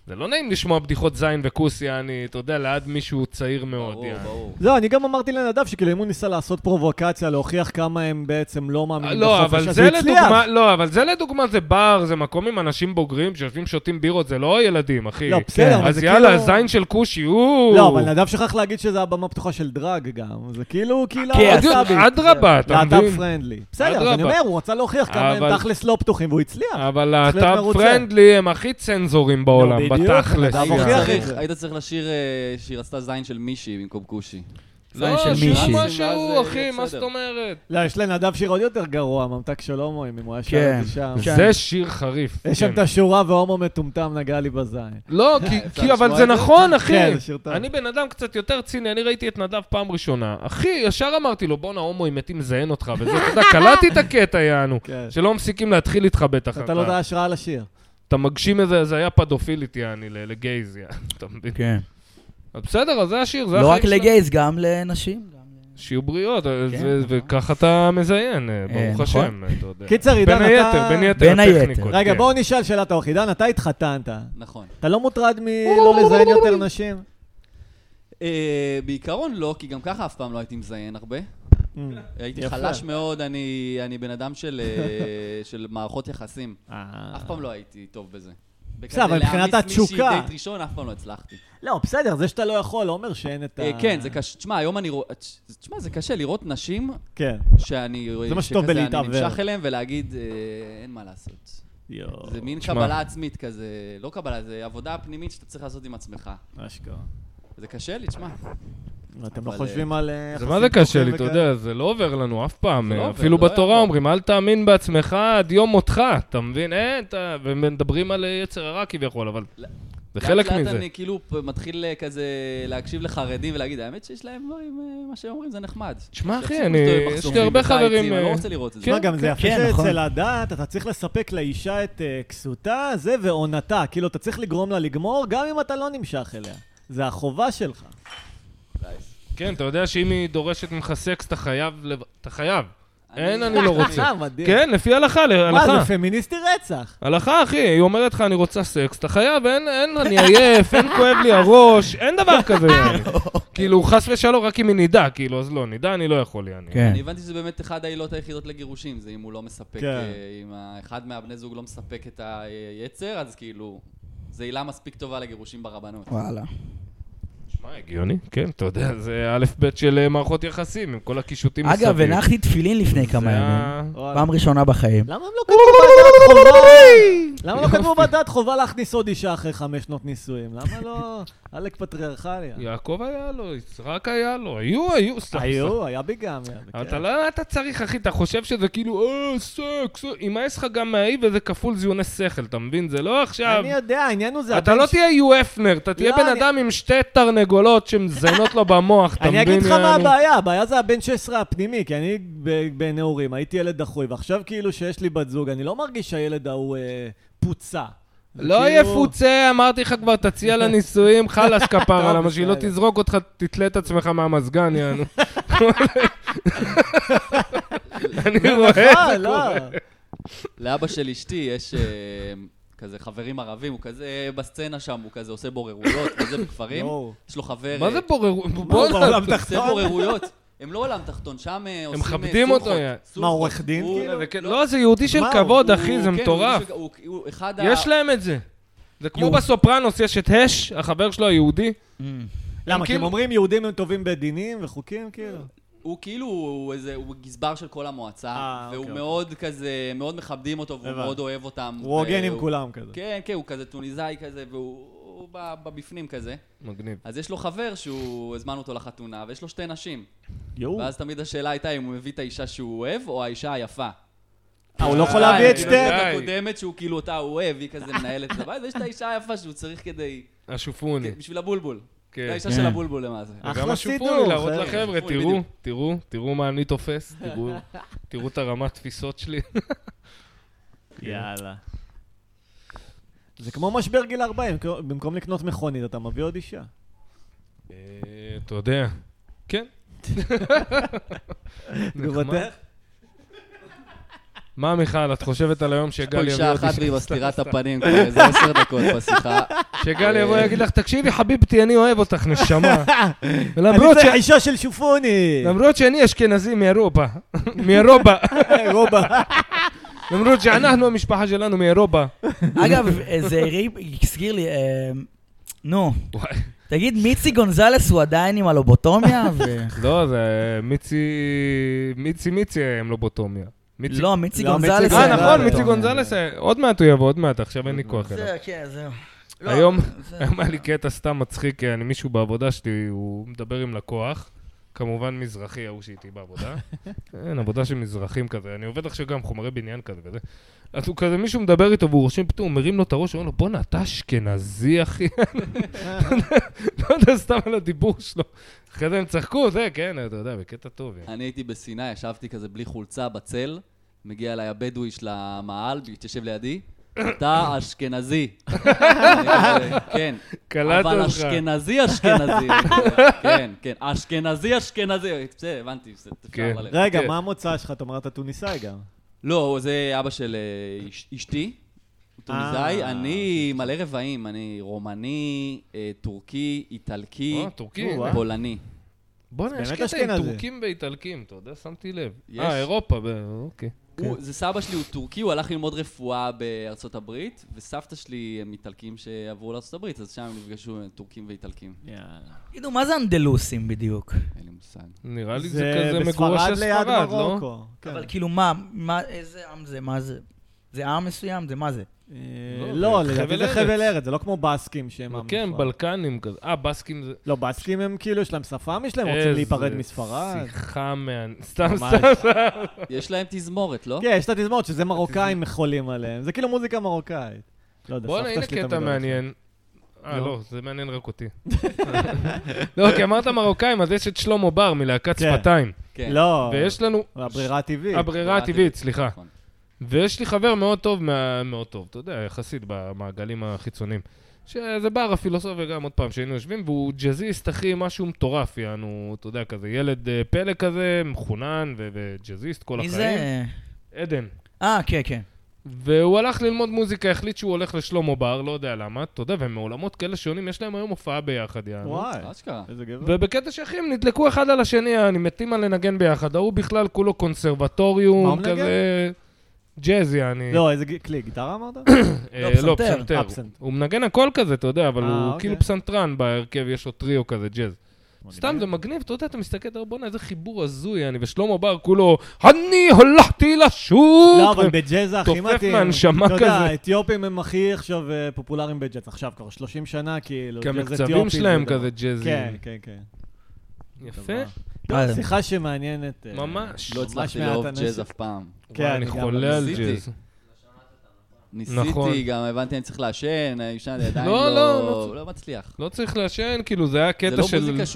זה לא נעים לשמוע בדיחות זין וכוס, יעני, אתה יודע, ליד מישהו צעיר מאוד, ברור, יעני. ברור. לא, אני גם אמרתי לנדב שכאילו אם הוא ניסה לעשות פרובוקציה, להוכיח כמה הם בעצם לא מאמינים לא, בחופש, אבל אז הוא זה הצליח. לדוגמה, לא, אבל זה לדוגמה, זה בר, זה מקום עם אנשים בוגרים שיושבים שותים בירות, זה לא ילדים, אחי. לא, בסדר, אבל אז זה יאללה, כאילו- זין של כושי, אוו. לא, אבל נדב שכח להגיד שזה הבמה פתוחה של דרג גם. זה כאילו קהילה כן, עוד יותר, להט"בית. אדרבה, אתה להט"ב מבין? פרנדלי. בסדר, אז אני אדרבה. אומר, הוא רצה להוכיח כמה אבל- אה. הם תכלס לא פתוחים, והוא הצליח. אבל להיות להט"ב מרוצה. פרנדלי הם הכי צנזורים בעולם, לא, בדיוק, בתכלס. אתה היית מוכיח יעני. את צריך- זה. היית צריך לשיר אה, שהיא רצתה זין של מישהי במקום כושי. זין של לא, שירו מישהי. משהו, ואז, אחי, אה, מה בסדר. זאת אומרת? לא, יש לנדב שיר עוד יותר גרוע, ממתק של הומואים, אם הוא היה שר כן. את זה שם. כן. זה שיר חריף. יש שם כן. את השורה והומו מטומטם נגע לי בזין. לא, כי- אפשר כי, אבל לשמוע זה את זה? נכון, אחי. כן, זה שיר טוב. אני בן אדם קצת יותר ציני, אני ראיתי את נדב פעם ראשונה. אחי, ישר אמרתי לו, בואנה, הומואים מתים לזיין אותך, וזה, אתה יודע, קלטתי את הקטע, יענו. כן. שלא מפסיקים להתחיל איתך בטח. אתה לא יודע השראה לשיר. אתה מגשים איזה הזיה פדופילית, יעני, ל- לגייז, יעני, אתה מבין? כן. אז בסדר, אז זה השיר, זה לא החיים רק שלנו. לגייז, גם לנשים. גם ל- שיהיו בריאות, אז- כן, ו- נכון. וככה אתה מזיין, אה, אה, ברוך נכון. השם, אתה יודע. קיצר, עידן, בין אתה- היתר, בין יתר בין היתר. הטכניקות. רגע, כן. בואו נשאל שאלת אורך. עידן, אתה התחתנת. נכון. אתה לא מוטרד מלא לזיין יותר נשים? אה, בעיקרון לא, כי גם ככה אף פעם לא הייתי מזיין הרבה. הייתי יפה. חלש מאוד, אני אני בן אדם של, אה, של מערכות יחסים. אה. אף פעם לא הייתי טוב בזה. בסדר, אבל בכזה מבחינת להעמיס מישהי התשוקה. דייט ראשון אף פעם לא הצלחתי. לא, בסדר, זה שאתה לא יכול, לא אומר שאין את ה... אה, כן, זה קשה, תשמע, היום אני רואה, תשמע, זה קשה לראות נשים כן. שאני, זה מה שטוב שכזה בלהתעוור. אני נמשך אליהם ולהגיד, אה, אין מה לעשות. יואו, זה מין תשמע. קבלה עצמית כזה, לא קבלה, זה עבודה פנימית שאתה צריך לעשות עם עצמך. אשכרה. זה קשה לי, תשמע. אתם לא אבל, חושבים על... אה, זה יחסים מה זה קשה פתוחים לי, אתה וכאלה? יודע, זה לא עובר לנו אף פעם. זה לא אה, עובר, אפילו זה לא בתורה יכול. אומרים, אל תאמין בעצמך עד יום מותך, אתה מבין? אין, אתה... ומדברים על אה, יצר הרע כביכול, אבל לא- זה חלק לאט לאט מזה. אני כאילו פ- מתחיל אה, כזה להקשיב לחרדים ולהגיד, האמת שיש להם דברים, אה, מה שהם אומרים זה נחמד. תשמע, אחי, שיפסיקו אני- להסתובב יש לי בחצופים הרבה ובטייצים, חברים, אני לא אה, רוצה לראות את זה. תשמע, גם זה כן, יפה כן, נכון. שאצל הדת אתה צריך לספק לאישה את אה, כסותה, זה ועונתה. כאילו, אתה צריך לגרום לה לגמור, גם אם אתה לא נמשך אליה. זה החובה שלך. כן, אתה יודע שאם היא דורשת ממך סקס, אתה חייב... לב- אתה חייב. אני- אין, אני לא רוצה. אה, מדהים. כן, לפי הלכה, ל- מה, הלכה. זה פמיניסטי רצח. הלכה, אחי, היא אומרת לך, אני רוצה סקס, אתה חייב, אין, אין, אני עייף, אין כואב לי הראש, אין דבר כזה, יעני. כאילו, חס ושלום, רק אם היא נידה, כאילו, אז לא, נידה אני לא יכול, יעני. כן. אני הבנתי שזה באמת אחת העילות היחידות לגירושים, זה אם הוא לא מספק, כן. אה, אם ה- אחד מהבני זוג לא מספק את היצר, אז כאילו, זו עילה מספיק טובה לגירושים ברבנות. וואלה. שמע, הגיוני, כן, אתה יודע, זה א' ב' של אה, מערכות יחסים, עם כל הקישוטים אגב, הנחתי תפילין לפני כמה זה ימים. ה- וואלה. פעם ראשונה בחיים. למה הם לא כתבו בדת חובה? למה לא כתבו בדת חובה להכניס עוד אישה אחרי חמש שנות נישואים? למה לא... עלק פטריארכליה. יעקב היה לו, יצחק היה לו, היו, היו, סתם, סתם. היו, כן. היה ביגמיה. אבל אתה לא, אתה צריך, אחי, אתה חושב שזה כאילו, אה, סקס, אה, יימאס לך גם מהאי וזה כפול זיוני שכל, אתה מבין? זה לא עכשיו... אני יודע, העניין הוא זה... אתה הבן לא ש- תהיה יואפנר, אתה תהיה לא, בן אני- אדם עם שתי תרנגולות שמזיינות לו במוח, אתה מבין? אני אגיד לך מה יעני? הבעיה, הבעיה זה הבן 16 הפנימי, כי אני ב- בנעורים הייתי ילד דחוי, ועכשיו כאילו שיש לי בת זוג, אני לא מרגיש שהילד ההוא אה, פוצע. זה לא כאילו- יפוצה, אמרתי לך כבר, תציע לה נישואים, חלאס כפרה, טוב, למה שהיא לא בסדר. תזרוק אותך, תתלה את עצמך מהמזגן, יענו. אני רואה את אה, זה. לא. לאבא של אשתי יש אה, כזה חברים ערבים, הוא כזה אה, בסצנה שם, הוא כזה עושה בוררויות וזה בכפרים. יואו. יש לו חבר... מה אה, זה בוררות? הוא בעולם הוא עושה תחתון? בוררויות. הם לא עולם תחתון, שם אה, עושים... אה, מכבדים אותו, סולחות. יעני. מה, הוא סולחות. עורך דין הוא- כאילו? לא, זה יהודי של מה, הוא- כבוד, הוא- אחי, זה כן, הוא מטורף. מישהו- הוא- הוא אחד ה... יש להם את זה. זה כמו יהודי. בסופרנוס, יש את הש, החבר שלו היהודי. למה, כי הם כאילו- אה, אומרים יהודים הם טובים בדינים וחוקים, כאילו? הוא כאילו, הוא איזה, הוא גזבר של כל המועצה, אה, והוא אוקיי, מאוד כזה, מאוד מכבדים אותו, והוא הבנתי. מאוד אוהב אותם. הוא הוגן עם והוא- כולם כזה. כן, כן, הוא כזה טוניסאי כזה, והוא הוא ב- בבפנים כזה. מגניב. אז יש לו חבר שהוא, הזמנו אותו לחתונה, ויש לו שתי נשים. יואו. ואז תמיד השאלה הייתה אם הוא מביא את האישה שהוא אוהב, או האישה היפה. אה, הוא לא יכול להביא את די, שתיהן? די. הקודמת שהוא כאילו אותה אוהב, היא כזה מנהלת את הבית, ויש את האישה היפה שהוא צריך כדי... השופוני. בשביל הבולבול. כן. אה, זה האישה כן. של הבולבול למעשה. גם אחלה השופוני, סידור. להראות חבר'ה. לחבר'ה, שופוני, תראו, בדיוק. תראו, תראו מה אני תופס, תראו, תראו את הרמת תפיסות שלי. יאללה. זה כמו משבר גיל 40, כאילו, במקום לקנות מכונית אתה מביא עוד אישה. אה, אתה יודע, כן. נחמד. תגובתך? מה, מיכל, את חושבת על היום פה שגל יבוא אה, אישה עוד אחת והיא אישה? מסתירה את הפנים כבר איזה עשר דקות בשיחה. שגל יבוא ויגיד לך, תקשיבי, חביבתי, אני אוהב אותך, נשמה. אני ולמרות צריך ש- אישה של שופוני! למרות שאני אשכנזי מאירופה, מאירופה, אה, רובה. למרות שאנחנו, המשפחה שלנו מאירופה. אגב, אה, זה הרי- הזכיר לי, אה, נו, וואי. תגיד, מיצי גונזלס הוא עדיין עם הלובוטומיה? ו- לא, זה מיצי, מיצי מיצי היה עם לובוטומיה. מיצי- לא, מיצי לא, גונזלס... מיצי היה עם אה, נכון, גונזלס. מיצי הלובוטומיה. גונזלס, היה- עוד מעט הוא יבוא, עוד מעט, עכשיו אין לי כוח אליו. זה, כן, זהו. לא, היום זה- אה, היום היה לי קטע סתם מצחיק, אני מישהו בעבודה שלי, הוא מדבר עם לקוח, כמובן מזרחי, ההוא שאיתי בעבודה. כן, עבודה של מזרחים כזה. אני עובד עכשיו גם חומרי בניין כזה וזה. אז הוא כזה, מישהו מדבר איתו והוא רושם פתאום, הוא מרים לו את הראש, הוא אומר לו, בואנה, אתה אשכנזי, אחי. לא יודע, סתם על הדיבור שלו. אחרי זה הם צחקו, זה, כן, אתה יודע, בקטע טוב. יא. אני הייתי בסיני, ישבתי כזה בלי חולצה בצל, מגיע אליי הבדואי של המאהל, התיישב לידי, אתה אשכנזי. אני כזה, כן. קלט אבל אותך. אשכנזי אשכנזי. כן, כן. אשכנזי אשכנזי. בסדר, הבנתי, בסדר, כן. תפשר ללב. רגע, כן. מה המוצא שלך? אתה אומר, אתה טוניסאי גם. לא, זה אבא של אה, אש- אשתי. הוא טוניסאי, אה. אני מלא רבעים, אני רומני, אה, טורקי, איטלקי, אה, טורקי. או, אה. פולני. בואנה, יש באמת קטע עם אשכנזי. טורקים ואיטלקים, אתה יודע, שמתי לב. יש. אה, אירופה, ב- אוקיי. כן. הוא- זה סבא שלי, הוא טורקי, הוא הלך ללמוד רפואה בארצות הברית, וסבתא שלי הם איטלקים שעברו לארצות הברית, אז שם הם נפגשו אה, טורקים ואיטלקים. תגידו, מה זה אנדלוסים בדיוק? אין לי מושג. נראה לי זה כזה מגורש בספרד ליד לספרד, לא? מרוקו. כן. אבל כאילו, מה, מה, איזה עם זה, מה זה? זה עם מסוים? זה מה זה? אה, לא, לא, זה לדעתי חבל זה ארץ. חבל ארץ, זה לא כמו בסקים שהם... עם כן, נפרד. בלקנים כזה. אה, בסקים זה... לא, בסקים הם כאילו, יש להם שפה משלהם, רוצים איזה להיפרד מספרד. שיחה מעניינת. סתם, ממש. סתם, סתם. יש להם תזמורת, לא? כן, יש את התזמורת שזה מרוקאים חולים עליהם. זה כאילו מוזיקה מרוקאית. לא יודע, בואנה, סבתא הנה שלי תמיד קטע אומרת. מעניין. אה, נו. לא, זה מעניין רק אותי. לא, כי אמרת מרוקאים, אז יש את שלמה בר מלהקת כן. אה, שפתיים. כן. לא, ויש לנו... הברירה הטבעית. הברירה הטבעית, סליחה. נכון. ויש לי חבר מאוד טוב, מה- מאוד טוב, אתה יודע, יחסית במעגלים החיצוניים. שזה בר הפילוסוף וגם עוד פעם, שהיינו יושבים, והוא ג'אזיסט, אחי, משהו מטורף, יענו, אתה יודע, כזה ילד אה, פלא כזה, מחונן ו- וג'אזיסט כל מי החיים. זה? עדן. אה, כן, כן. והוא הלך ללמוד מוזיקה, החליט שהוא הולך לשלמה בר, לא יודע למה, אתה יודע, והם מעולמות כאלה שונים, יש להם היום הופעה ביחד, יענו. וואי, אשכרה. איזה גבר. ובקטע שאחי, הם נדלקו אחד על השני, אני מתים על לנגן ביחד. ההוא בכלל כולו מה הוא קונסרבטוריום, מנגן? כזה... ג'אז, יעני. לא, איזה ג- כלי, גיטרה אמרת? אה, לא, לא, פסנתר. פסנתר. אה, פסנתר. הוא מנגן הכל כזה, אתה יודע, אבל אה, הוא אוקיי. כאילו פסנתרן בהרכב, יש לו טריו כזה, ג'אז. סתם, מגניב. זה מגניב, אתה יודע, אתה מסתכל, אתה אומר, בואנה, איזה חיבור הזוי, אני, ושלמה בר כולו, אני הלכתי לשוק! לא, אבל בג'אז הכי מתאים. תופף מהנשמה אתה יודע, כזה. האתיופים הם הכי עכשיו אה, פופולריים בג'אז. עכשיו כבר 30 שנה, כאילו. גם ג'אז הקצבים אתיופי שלהם זה דבר. כזה ג'אזיים. כן, כן, כן. יפה. מה טוב, זה? שיחה שמעניינת. אה, ממש. לא ממש הצלחתי מעט לאהוב אנשים. ג'אז אף פעם. כן, וואי, אני אני גם חולה על ניסיתי. ג'אז. נכון. ניסיתי, גם הבנתי, אני צריך לעשן, אני עדיין לא, לא... לא, לא צריך. לא מצליח. לא צריך לעשן, כאילו, זה היה זה קטע לא של... מוזיקה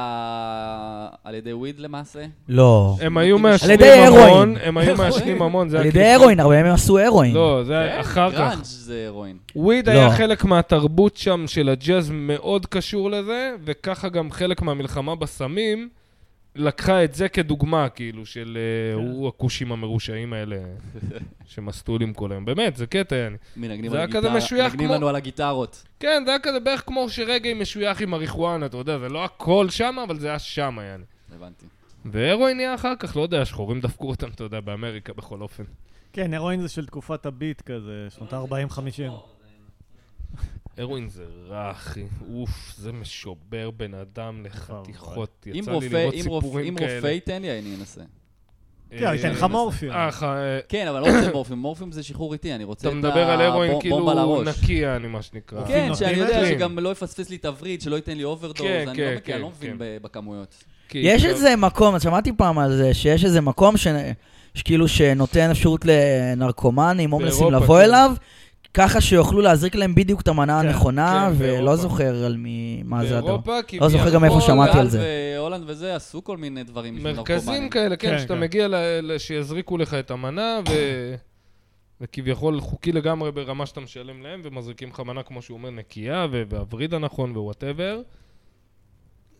שהומצאה על ידי וויד למעשה? אה, לא. הם היו מעשנים על ידי המון, הרואין. הם היו מעשנים המון, זה על היה ידי כאילו... הרואין, כן, הרבה מהם עשו הרואין. לא, זה היה אחר כך. כן, גראנג' זה הרואין. וויד לא. היה חלק מהתרבות שם של הג'אז מאוד קשור לזה, וככה גם חלק מהמלחמה בסמים לקחה את זה כדוגמה, כאילו, של אה, כן. הוא הכושים המרושעים האלה שמסטולים כל היום. באמת, זה קטע, יעני. מנגנים זה היה על כזה הגיטרה- משוייך מנגנים כמו- לנו על הגיטרות. כן, זה היה כזה בערך כמו שרגע משוייך עם הריחואנה, אתה יודע, זה לא הכל שמה, אבל זה היה שמה, יעני. הבנתי. והרואין נהיה אחר כך, לא יודע, השחורים דפקו אותם, אתה יודע, באמריקה בכל אופן. כן, הרואין זה של תקופת הביט כזה, שנות ה-40-50. אה, הרואין זה רע, אחי. אוף, זה משובר בן אדם לחתיכות. נכון, אם יצא לי רופא- לראות אם רופא- סיפורים אם כאלה. רופא ייתן לי, אני אנסה. כן, הוא ייתן לך מורפיום. אה, ח- אה, כן, אבל אני לא רוצה מורפים, מורפים זה שחרור איטי, אני רוצה אתה את מדבר על הרואין הבומ- בומבה כאילו לראש. נקי, אני מה שנקרא. כן, אוקיי. נותנים שאני יודע נותנים. שגם לא יפספס לי תווריד, שלא ייתן לי אוברדוז, כן, כן, אני לא מכיר, אני כן, לא מבין כן. ב- בכמויות. כי- כאילו, יש איזה מקום, אז שמעתי פעם על זה, שיש איזה מקום ש... שכאילו שנותן אפשרות לנרקומנים, הומלסים באירופה, לבוא כן. אליו, ככה שיוכלו להזריק להם בדיוק את המנה כן, הנכונה, כן, באירופה. ולא זוכר על מי... מה זה הדבר. באירופה, כי... לא זוכר גם איפה הולנד שמעתי על זה. והולנד וזה עשו כל מיני דברים לא בשביל מרכזים נרקומנים. כאלה, כן, כן, שאתה כן. מגיע ל... ל- שיזריקו לך את המנה, ו... וכביכול חוקי לגמרי ברמה שאתה משלם להם, ומזריקים לך מנה, כמו שהוא אומר, נקייה, ו- והווריד הנכון ווואטאבר.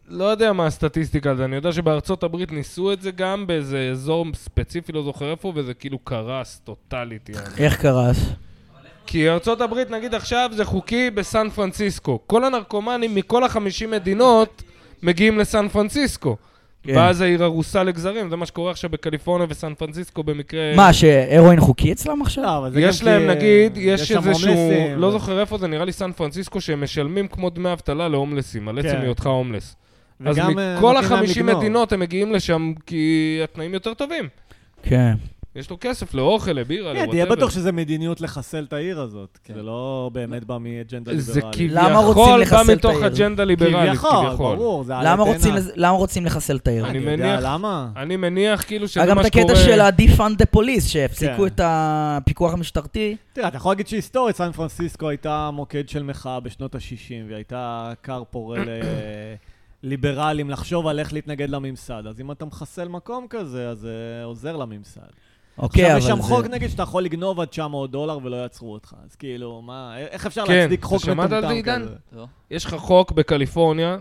לא יודע מה הסטטיסטיקה על זה, אני יודע שבארצות הברית ניסו את זה גם באיזה אזור ספציפי, לא זוכר איפה, וזה כאילו קרס לא טוטאלית. יעני. איך קרס? כי ארצות הברית, נגיד עכשיו, זה חוקי בסן פרנסיסקו. כל הנרקומנים מכל החמישים מדינות מגיעים לסן פרנסיסקו. כן. ואז העיר הרוסה לגזרים, זה מה שקורה עכשיו בקליפורניה וסן פרנסיסקו במקרה... מה, שהרואין חוקי אצלם עכשיו? לא, אבל זה גם יש להם, כי, נגיד, אה, יש שם איזשהו... הומלסים. לא זוכר איפה זה, נראה לי סן פרנסיסקו, שהם משלמים כמו דמי אבטלה להומלסים, על עצם כן. היותך הומלס. אז וגם, אה, מכל נותנים להם החמישים לגנוב. מדינות הם מגיעים לשם כי התנאים יותר טובים. כן. יש לו כסף לאוכל, לבירה, כן, לוואטאבר. תהיה בטוח שזה מדיניות לחסל את העיר הזאת. כן. זה לא באמת בא מאג'נדה זה ליברלית. למה רוצים כביכול בא לחסל את מתוך העיר? אג'נדה ליברלית, כביכול, כביכול. ברור, זה למה עלה רוצים תאנה. לז- למה רוצים לחסל את העיר? אני אני יודע מניח- למה. אני מניח כאילו שזה היה מה שקורה... גם את הקטע של ה-defund the police, שהפסיקו כן. את הפיקוח המשטרתי. תראה, אתה יכול להגיד שהיסטורית, סן פרנסיסקו הייתה מוקד של מחאה בשנות ה-60, והיא הייתה כר פורה לליברלים לחשוב על איך להתנגד לממסד. אז אם אתה מחסל מקום כזה, אז זה עוזר לממסד. אוקיי, עכשיו, אבל יש זה... שם חוק נגיד שאתה יכול לגנוב עד 900 דולר ולא יעצרו אותך. אז כאילו, מה, איך אפשר כן, להצדיק אתה חוק שמעת על זה, מטומטם עידן? כזה? לא. יש לך חוק בקליפורניה,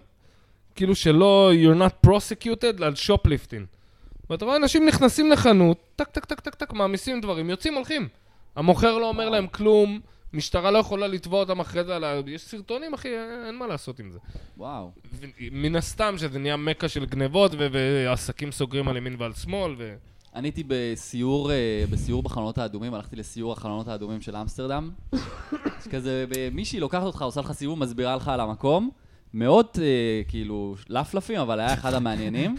כאילו שלא, you're not prosecuted על שופליפטין. ואתה רואה אנשים נכנסים לחנות, טק, טק, טק, טק, טק, מעמיסים דברים, יוצאים, הולכים. המוכר לא אומר להם כלום, משטרה לא יכולה לתבוע אותם אחרי זה, על ה- יש סרטונים, אחי, אין- אין מה לעשות עם זה. וואו. ו- מן הסתם שזה נהיה מכה של גנבות, ו- ועסקים סוגרים על ימין ועל שמאל, ו... אני הייתי בסיור, אה, בסיור בחלונות האדומים, הלכתי לסיור החלונות האדומים של אמסטרדם. אז כזה, ב- מישהי לוקחת אותך, עושה לך סיבוב, מסבירה לך על המקום. מאוד, אה, כאילו, לפלפים, אבל היה אחד המעניינים.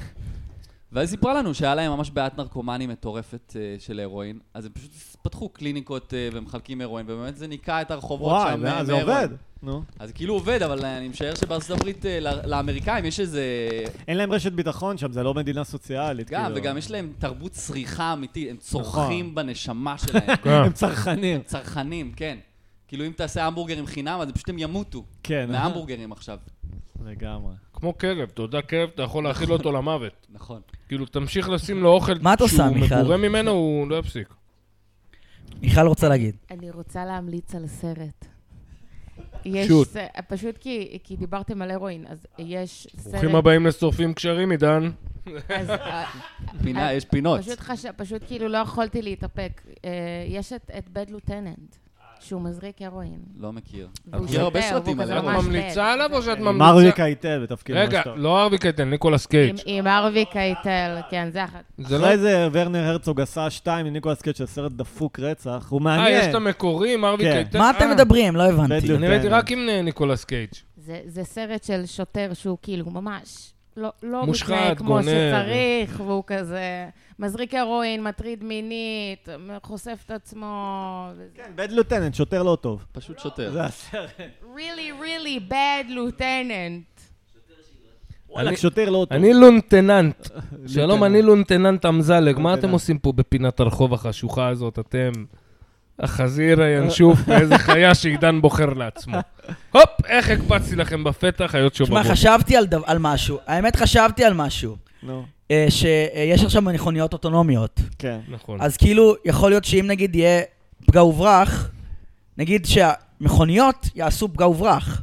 ואז היא סיפרה לנו שהיה להם ממש בעיית נרקומנים מטורפת אה, של הרואין. אז הם פשוט פתחו קליניקות אה, ומחלקים הרואין, ובאמת זה ניקה את הרחובות וואי, שם. אה, מה, זה מהרואין. עובד. נו. אז זה כאילו עובד, אבל אני משער שבארצות הברית אה, לא- לאמריקאים יש איזה אין להם רשת ביטחון שם, זה לא מדינה סוציאלית. גם, כאילו. וגם יש להם תרבות צריכה אמיתית, הם צורכים בנשמה שלהם. אה. הם צרכנים. צרכנים, כן. כאילו אם תעשה המבורגרים חינם, אז פשוט הם ימותו. כן. מהמבורגרים עכשיו. לגמרי. כמו כלב, אתה יודע, כלב, אתה יכול להאכיל אותו למוות. נכון. כאילו, תמשיך לשים לו אוכל מה את עושה, שהוא מיכל? מגורה ממנו, הוא לא יפסיק. מיכל רוצה להגיד. אני רוצה להמליץ על סרט. יש, שוט. ס- אה, פשוט כי, כי דיברתם על הרואין, אז יש סרט... ברוכים הבאים לשורפים קשרים, עידן. אז, אה, פינה, אה, יש פינות. פשוט, חש... פשוט כאילו לא יכולתי להתאפק. אה, יש את, את בד לוטננט, שהוא מזריק הרואין. לא מכיר. והוא מכיר הרבה שוטר, והוא סרטים על כזה את הרואין. ממש ממליצה בד. עליו או שאת ממליצה? אה, מרוויק הייטב בתפקיד ממש רגע, טוב. לא ארווי קייטן, ניקולס קייג'. עם- עם ארווי קייטל, כן, זה אחת. זה לא... אחרי זה ורנר הרצוג עשה שתיים עם ניקולס קייט של סרט דפוק רצח, הוא מעניין. אה, יש את המקורי עם ארווי כן. קייטן? מה אתם אה, מדברים? לא הבנתי. בדיוק. אני ראיתי רק עם אה, ניקולס קייג'. זה, זה סרט של שוטר שהוא כאילו ממש לא, לא מושחת, מתנהג כמו גונב. שצריך, והוא כזה מזריק הרואין, מטריד מינית, חושף את עצמו. וזה- כן, בד לוטננט, שוטר לא טוב. פשוט שוטר. זה הסרט. really, really bad lieutenant. וואלה, אה, שוטר לא טוב. אני לונטננט. שלום, אני לונטננט אמזלג. מה אתם עושים פה בפינת הרחוב החשוכה הזאת? אתם החזיר אה. הינשוף באיזה חיה שעידן בוחר לעצמו. הופ, איך הקפצתי לכם בפתח, היות תשמע, שובבות. חשבתי על דב- על משהו. האמת, חשבתי על משהו. לא- נו, אה, שיש עכשיו מכוניות אוטונומיות. כן. נכון. אז כאילו, יכול להיות שאם נגיד יהיה פגע וברח, נגיד שהמכוניות יעשו פגע וברח,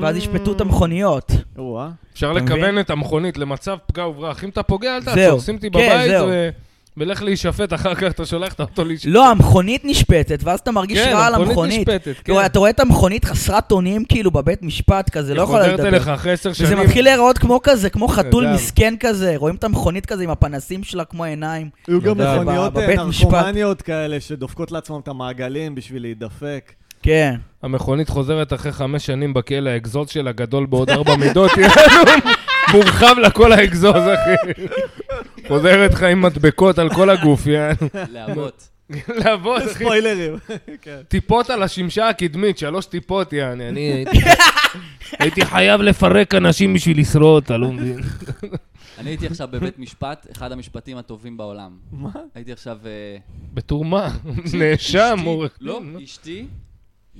ואז ישפטו Mm. את המכוניות. או-אה. אפשר אתה מבין? לכוון את המכונית למצב פגע וברח. אם אתה פוגע, אל זהו. תעצור, שים אותי כן, בבית זהו. ו- ולך להישפט, אחר כך אתה שולח את האוטו להישפט. לא, המכונית נשפטת, ואז אתה מרגיש כן, רע על המכונית המכונית. נשפטת, כאילו, כן. אתה רואה את המכונית חסרת אונים כאילו בבית משפט כזה, לא יכולה חוזרת אליך לדבר. אחרי עשר וזה שנים. כן, מתחיל להיראות כמו כזה, כמו חתול נהדר. מסכן כזה, רואים את המכונית כזה עם הפנסים שלה כמו עיניים. היו גם יודע, מכוניות אה, בבית משפט. נרקומניות כאלה שדופקות לעצמם את המעגלים בשביל להידפק. כן. המכונית חוזרת אחרי חמש שנים בכלא, האגזוז שלה גדול בעוד ארבע מידות, יהיה לנו מורחב לה כל האגזוז, אחי. חוזרת לך עם מדבקות על כל הגוף, יענו. להבות. לעבוד, אחי. ספוילרים. כן. טיפות על השמשה הקדמית, שלוש טיפות, יעני. אני הייתי- הייתי חייב לפרק אנשים בשביל לשרוד, אתה לא מבין. אני הייתי עכשיו בבית משפט, אחד המשפטים הטובים בעולם. מה? הייתי עכשיו... אה, בתור מה? נאשם, אשתי- עורך דין, לא, לא? אשתי...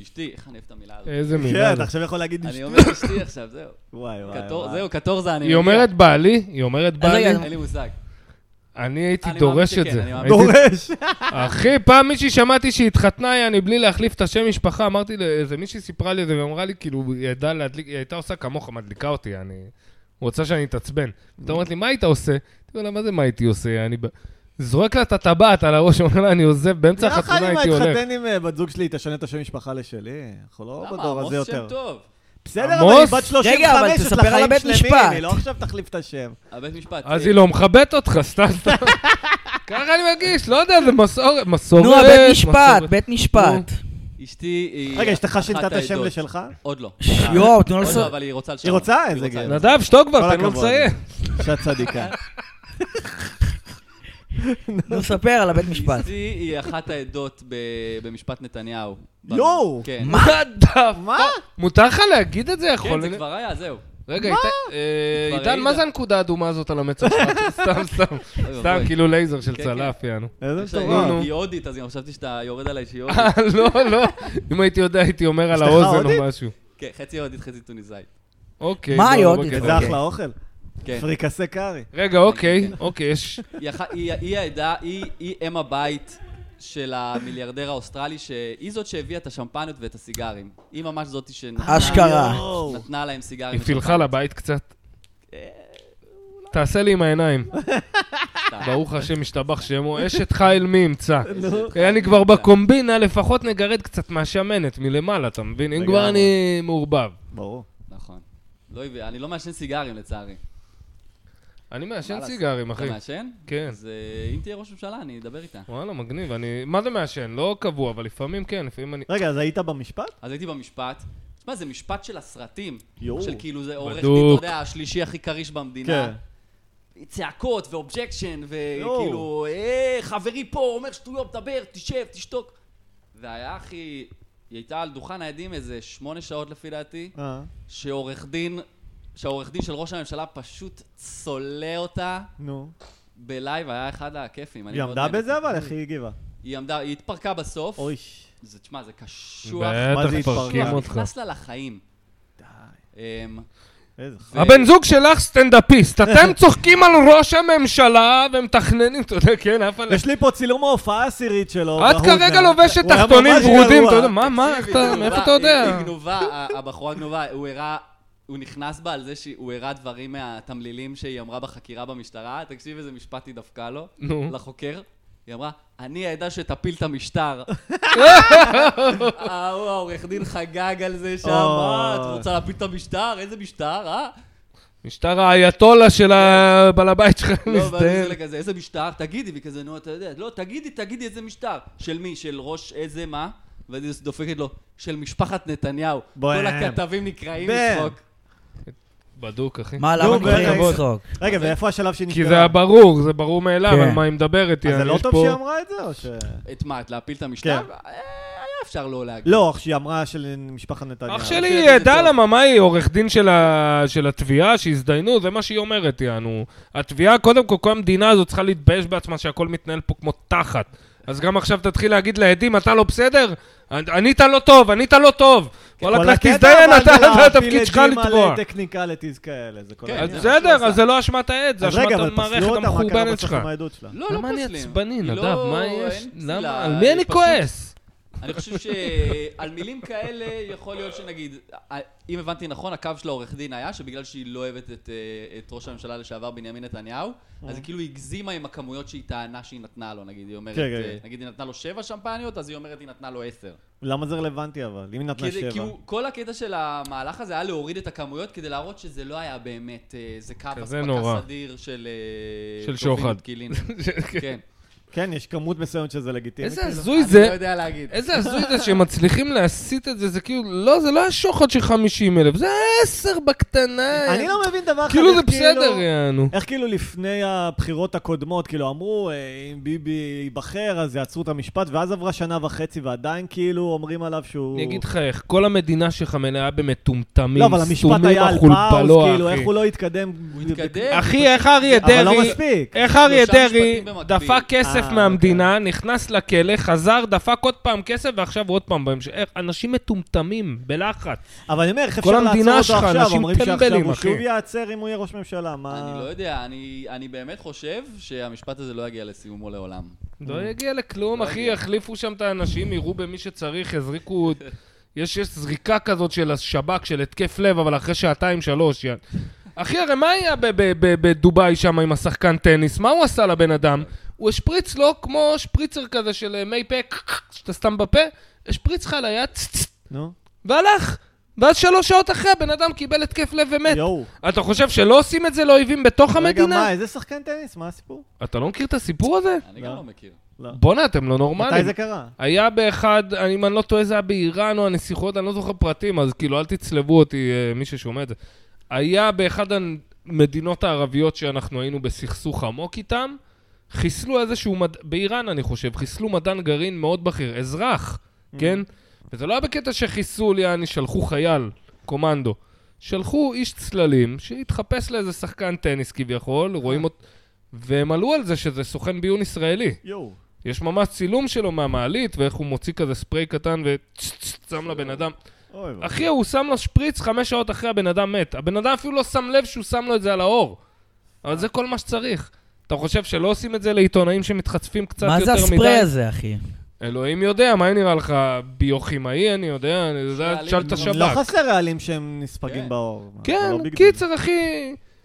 אשתי, איך אני אוהב את המילה הזאת? איזה מילה. לא- כן, זאת. אתה עכשיו יכול להגיד... אני "שט-". אומר אשתי עכשיו, זהו. וואי, וואי, קטור- וואי. זהו, קטורזה אני... היא מגיע. אומרת בעלי, היא אומרת בעלי. רגע, אין לי מושג. אני הייתי אה, אני מאמין דורש שכן, את זה. אני מאמין. הייתי- דורש. אחי, פעם מישהי שמעתי שהתחתנה, יעני, בלי להחליף את השם משפחה, אמרתי לאיזה מישהי סיפרה לי את זה, והיא אמרה לי, כאילו, היא ידעה להדליק, היא הייתה עושה כמוך, מדליקה אותי, אני... רוצה שאני אתעצבן. אתה אומרת לי, מה היית עושה? תראו לה, מה זה מה הייתי עושה? אני ב- זורק לה את הטבעת על הראש, אומר לה, אני עוזב, באמצע לא, נראה לך החתונה אני הייתי הולך. מתחתן עם אה, בת זוג שלי, היא תשנה את השם משפחה לשלי. אנחנו לא למה? בדור הזה עמוס שם יותר. טוב. בסדר, אבל עמוס? היא בת 35, רגע, אבל יש לה תספר על חיים הבית שלמים, משפט. היא לא עכשיו תחליף את השם. הבית משפט. אז אה, היא לא מכבדת אותך, סתם סתם. ככה אני מרגיש, לא יודע, זה מסורת, מסורת. נו, הבית משפט, מסורת. בית משפט. אה, אשתי היא... רגע, אשתך אחת שינתה את השם העדות. לשלך? עוד לא. ש- יואו, תנו עוד לה לא, לעשות... אבל היא רוצה לשנות. היא רוצה כן. איזה גבר. לשנות. נדב, שתוק כל כבר, תן לו הכבוד. לציין. אישה צדיקה. נו, ספר על הבית משפט. אשתי היא אחת העדות ב- במשפט נתניהו. יואו! כן. מה? מה דה? מה? מותר לך להגיד את זה? כן, יכול... זה כבר היה, זהו. רגע, איתן- אה, כבר עידן, מה העידה. זה הנקודה האדומה הזאת על המצח שלך? סתם, סתם. סתם, אוי ואבוי. כאילו לייזר של כן, צלף, יענו. איזה עכשיו, מטורף. נו, נו. היא הודית, אז גם חשבתי שאתה יורד עליי שהיא הודית. אה, לא, לא. אם הייתי יודע, הייתי אומר על אשתך האוזן הודית? או משהו. כן, חצי הודית, חצי טוניסאית. אוקיי. מה לא, היא לא הודית? בקטע. איזה אוקיי. אחלה אוכל. כן. פריקסה קארי. רגע, אוקיי, אוקיי, יש... היא אח- היא היא העדה, היא היא אם הבית של המיליארדר האוסטרלי, שהיא זאת שהביאה את השמפניות ואת הסיגרים. היא ממש זאתי שנתנה אשכרה. יואו. נתנה להם סיגרים. היא פילחה לבית קצת. אה, תעשה לי עם העיניים. ברוך השם, משתבח שמו, אשת חיל מי ימצא. אוקיי. אוקיי. אני כבר בקומבינה, לפחות נגרד קצת מהשמנת מלמעלה, אתה מבין? אם כבר לגמרי. אני מעורבב. ברור. נכון. לא הביא- אני לא מעשן סיגרים לצערי. אני מה מעשן לעשות? סיגרים, אתה אחי. מעשן? כן. אז אה, אם תהיה ראש ממשלה, אני אדבר איתה. וואלה, מגניב. אני... מה זה מעשן? לא קבוע, אבל לפעמים כן, לפעמים אני... רגע, אז היית במשפט? אז הייתי במשפט. תשמע, זה משפט של הסרטים. יואו. של כאילו זה עורך דין, בדוק. אתה יודע, השלישי הכי כריש במדינה. כן. צעקות ואובג'קשן, יואו. וכאילו, אה, חברי פה אומר שטויות, דבר, תשב, תשתוק. והיה הכי... היא הייתה על דוכן העדים איזה שמונה שעות לפי דעתי, אה. שעורך דין, שהעורך דין של ראש הממשלה פשוט צולע אותה נו. בלייב, היה אחד הכיפים. אני לא היא מאוד עמדה נהניתי. בזה אבל, איך היא הגיבה? היא עמדה, היא התפרקה בסוף. אוי. זה, תשמע, זה קשוח. מה זה בטח, התפרקה? פרקים מה, אותך. נכנס לה לחיים. אמ, איזה ח... ו- הבן זוג שלך סטנדאפיסט, אתם צוחקים על ראש הממשלה ומתכננים, אתה יודע, כן, אף אחד... יש לי פה צילום ההופעה העשירית שלו. את והוא כרגע גם- לובשת הוא היה תחתונים ממש ורודים, גרוע. אתה יודע, מה, מה, איך היא אתה, גנובה, מאיפה אתה היא יודע? היא גנובה, ה- הבחורה גנובה, הוא הראה, הוא נכנס בה על זה שהוא הראה דברים מהתמלילים שהיא אמרה בחקירה במשטרה, תקשיב איזה משפט היא דפקה לו, נו. לחוקר. היא אמרה, אני העדה שתפיל את המשטר. אה, הוא העורך דין חגג על זה שם, אה, את רוצה להפיל את המשטר? איזה משטר, אה? משטר האייתולה של הבעל הבית שלך לא, ואז מזדיין. זה כזה, איזה משטר? תגידי, והיא כזה, נו, אתה יודע, לא, תגידי, תגידי איזה משטר. של מי? של ראש איזה מה? ואז היא דופקת לו, של משפחת נתניהו. בואם. כל הכתבים נקראים בם. לצחוק. בדוק, אחי. מה, נו, למה נתחיל בכבוד. לצחוק? רגע, ואיפה השלב שהיא כי נשברה? זה היה ברור, זה ברור מאליו, כן. על מה היא מדברת. אז יעני, זה לא יש טוב פה- שהיא אמרה את זה, או ש... את מה, את להפיל את המשטר? כן. אה, היה אפשר לא להגיד. לא, אך שהיא אמרה של משפחת נתניהו. אח שלי לפי הדין זה ידע טוב. למה, מה היא עורך דין של ה- של התביעה, שהזדיינו, זה מה שהיא אומרת, יענו. התביעה, קודם כל, כל המדינה הזאת צריכה להתבייש בעצמה שהכל מתנהל פה כמו תחת. אז גם עכשיו תתחיל להגיד לעדים, אתה לא בסדר? ענית לא טוב, ענית לא טוב. וואלה, לך תזדיין, אתה, זה התפקיד שלך לתבוע. על טכניקליטיז כאלה, זה כל כן, העניין. זה- בסדר, אז זה לא אשמת העד, זה אז אשמת רגע, אבל המערכת פסלו אותה, מה קרה המחורבנת בסוף שלך. עם העדות שלה? לא, לא למה אני פוסלים. עצבני, היא נדב? לא- מה אין יש? פסילה, למה? על מי היא אני פשוט- כועס? אני חושב שעל מילים כאלה יכול להיות שנגיד, אה, אם הבנתי נכון, הקו של העורך דין היה שבגלל שהיא לא אוהבת את, אה, את ראש הממשלה לשעבר בנימין נתניהו, אז אה. היא כאילו הגזימה עם הכמויות שהיא טענה שהיא נתנה לו, נגיד, היא אומרת, כן, כן, אה, כן. נגיד היא נתנה לו שבע שמפניות, אז היא אומרת היא נתנה לו עשר. למה זה רלוונטי אבל? אם היא נתנה כדי- כי שבע. הוא- כל הקטע של המהלך הזה היה להוריד את הכמויות כדי להראות שזה לא היה באמת, אה, זה קו כזה נורא. אספקה סדיר של... אה, של טובין שוחד. ודקילין. כן. כן, יש כמות מסוימת שזה לגיטימי. איזה כאילו. הזוי אני לא זה, יודע להגיד. איזה הזוי זה שהם מצליחים להסיט את זה, זה כאילו, לא, זה לא היה שוחד של 50 אלף, זה היה 10 בקטנה. אני לא מבין דבר אחד. כאילו זה איך בסדר, יענו. איך כאילו לפני הבחירות הקודמות, כאילו אמרו, אה, אם ביבי ייבחר אז יעצרו את המשפט, ואז עברה שנה וחצי ועדיין כאילו אומרים עליו שהוא... אני אגיד לך איך, כל המדינה שלך מלאה במטומטמים, לא, אבל המשפט סתומים היה על פאוס, החולפלוע, כאילו, אחי. איך הוא לא התקדם? הוא התקדם. אחי, איך אריה אבל לא דרעי, מספיק. איך אריה שלושה דרעי משפטים במקביל. דפק כסף אה, מהמדינה, נכנס לכלא, חזר, דפק עוד פעם כסף, ועכשיו עוד פעם בהמשך. איך- אנשים מטומטמים, בלחץ. אבל אני אומר, איך כל אפשר לעצור המדינה אותו שלך, עכשיו? אנשים אומרים שעכשיו טמבלים, הוא אחי. שוב ייעצר אם הוא יהיה ראש ממשלה, מה... אני לא יודע, אני, אני באמת חושב שהמשפט הזה לא יגיע לסיומו לעולם. לא יגיע לכלום, לא אחי, יגיע. יחליפו שם את האנשים, יירו במי שצריך, יזריקו... יש, יש זריקה כזאת של השב"כ, של התקף לב, אבל אחרי שעתיים, שלוש. יא- אחי, הרי מה היה ב- ב- ב- בדובאי שם עם השחקן טניס? מה הוא עשה לבן אדם? הוא השפריץ לו כמו שפריצר כזה של אה, מי פה, שאתה שם בפה, השפריץ לך ליד, צ- צ- נו, והלך. ואז שלוש שעות אחרי, הבן אדם קיבל התקף לב ומת. יואו. אתה חושב שלא עושים את זה לאויבים בתוך רגע, המדינה? מה, איזה שחקן טניס? מה הסיפור? אתה לא מכיר את הסיפור הזה? אני גם לא. לא מכיר. לא. בואנה, אתם לא נורמלים. מתי זה קרה? היה באחד, אני- אם אני לא טועה, זה היה באיראן או הנסיכות, אני לא זוכר פרטים, אז כאילו, אל תצלבו אותי, אה, מי ששומע את זה. היה באחד המדינות הערביות שאנחנו היינו בסכסוך עמוק איתם, חיסלו איזשהו, מד... באיראן אני חושב, חיסלו מדען גרעין מאוד בכיר, אזרח, כן? וזה לא היה בקטע שחיסול, יעני, שלחו חייל, קומנדו. שלחו איש צללים שהתחפש לאיזה שחקן טניס כביכול, רואים אותו... והם עלו על זה שזה סוכן ביון ישראלי. יואו. יש ממש צילום שלו מהמעלית, ואיך הוא מוציא כזה ספרי קטן ושם לבן אדם. אוי ואבוי. אחי, הוא שם לו שפריץ חמש שעות אחרי הבן אדם מת. הבן אדם אפילו לא שם לב שהוא שם לו את זה על האור. אבל זה כל מה שצריך. אתה חושב שלא עושים את זה לעיתונאים שמתחצפים קצת יותר מה מדי? זה הספרי הזה, אחי? אלוהים יודע, מה נראה לך? ביוכימאי, אני יודע, אני יודע, שאלים. תשאל את לא לא השב"כ. חסר רעלים שהם נספגים כן. באור. מה, זה כן, לא ביג דיל. קיצר, אחי,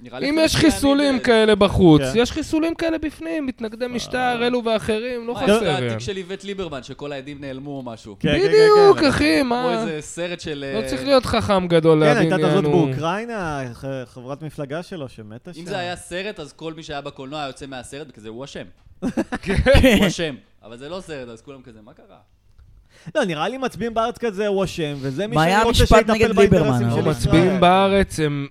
נראה לי אם שזה יש שאני- חיסולים כאלה בחוץ, כן. אה. יש חיסולים כאלה בפנים, מתנגדי משטר, אלו ואחרים, לא מה, יש את חסר. התיק של איווט ליברמן, שכל העדים נעלמו או משהו. כן, כן, כן, בדיוק, כן. אחי, כמו מה? איזה סרט של... לא אה, צריך להיות חכם גדול כן, להבין, הייתה את הזאת יענו. באוקראינה, ח- חברת מפלגה שלו שמתה שם. אם זה היה סרט, אז כל מי שהיה בקולנוע היה יוצא מהסרט, וכזה, הוא אשם. כן. הוא אשם. אבל זה לא סרט, אז כולם כזה, מה קרה? לא, נראה לי מצביעים בארץ כזה, הוא אשם, וזה מי מה, היה שאני רוצה המשפט שיטפל נגד ליברמן, באינטרסים לא? של ישראל. מצביעים בארץ, הם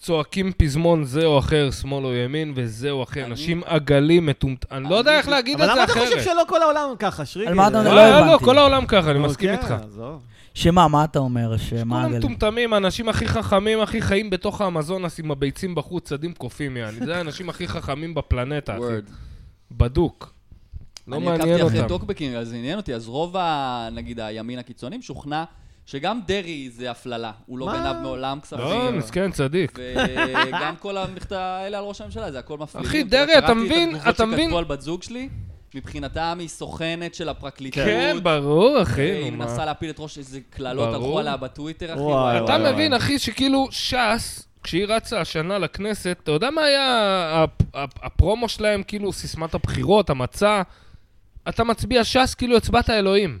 צועקים פזמון זה או אחר, שמאל או ימין, וזה או אחר. אני- אנשים עגלים, מטומטמים. אני לא יודע איך להגיד אבל את למה אתה זה חושב אחרת. שלא כל העולם ככה, שריקי? על מה אתה זה- מדבר? לא, לא, לא, הבנתי. כל העולם ככה, אני נו, מסכים כן, איתך. עזוב. שמה, מה אתה אומר? שמה כולם הגל? מטומטמים, האנשים הכי חכמים, הכי חיים בתוך האמזונס עם הביצים בחוץ, צדים קופים, יעני. זה האנשים הכי חכמים בפלנטה, אחי. Word. בדוק. לא אני מעניין עקבתי אחרי אותם. טוקבקים, אז עניין אותי. אז רוב, ה- נגיד, הימין הקיצוני משוכנע שגם דרעי זה הפללה. הוא לא מה? גנב מעולם כספים. לא, מסכן, צדיק. וגם כל המכתב האלה על ראש הממשלה, זה הכל מפלילים. אחי, אתה דרעי, יודע, אתה קראתי מבין? את אתה התגובות מבין? שכתבו על בת זוג שלי, מבחינתם היא סוכנת של הפרקליטות. כן, ברור, אה, אחי. היא נו, מה. מנסה להפיל את ראש, איזה קללות ברור. הלכו עליה בטוויטר, אחי. וואי, וואי, וואי. אתה מבין, אחי, שכאילו ש"ס, כשהיא רצה השנה לכנסת, אתה יודע מה היה הפ- הפ- הפרומו שלהם, כאילו סיסמת הבחירות, המצע? אתה מצביע ש"ס כאילו הצבעת אלוהים.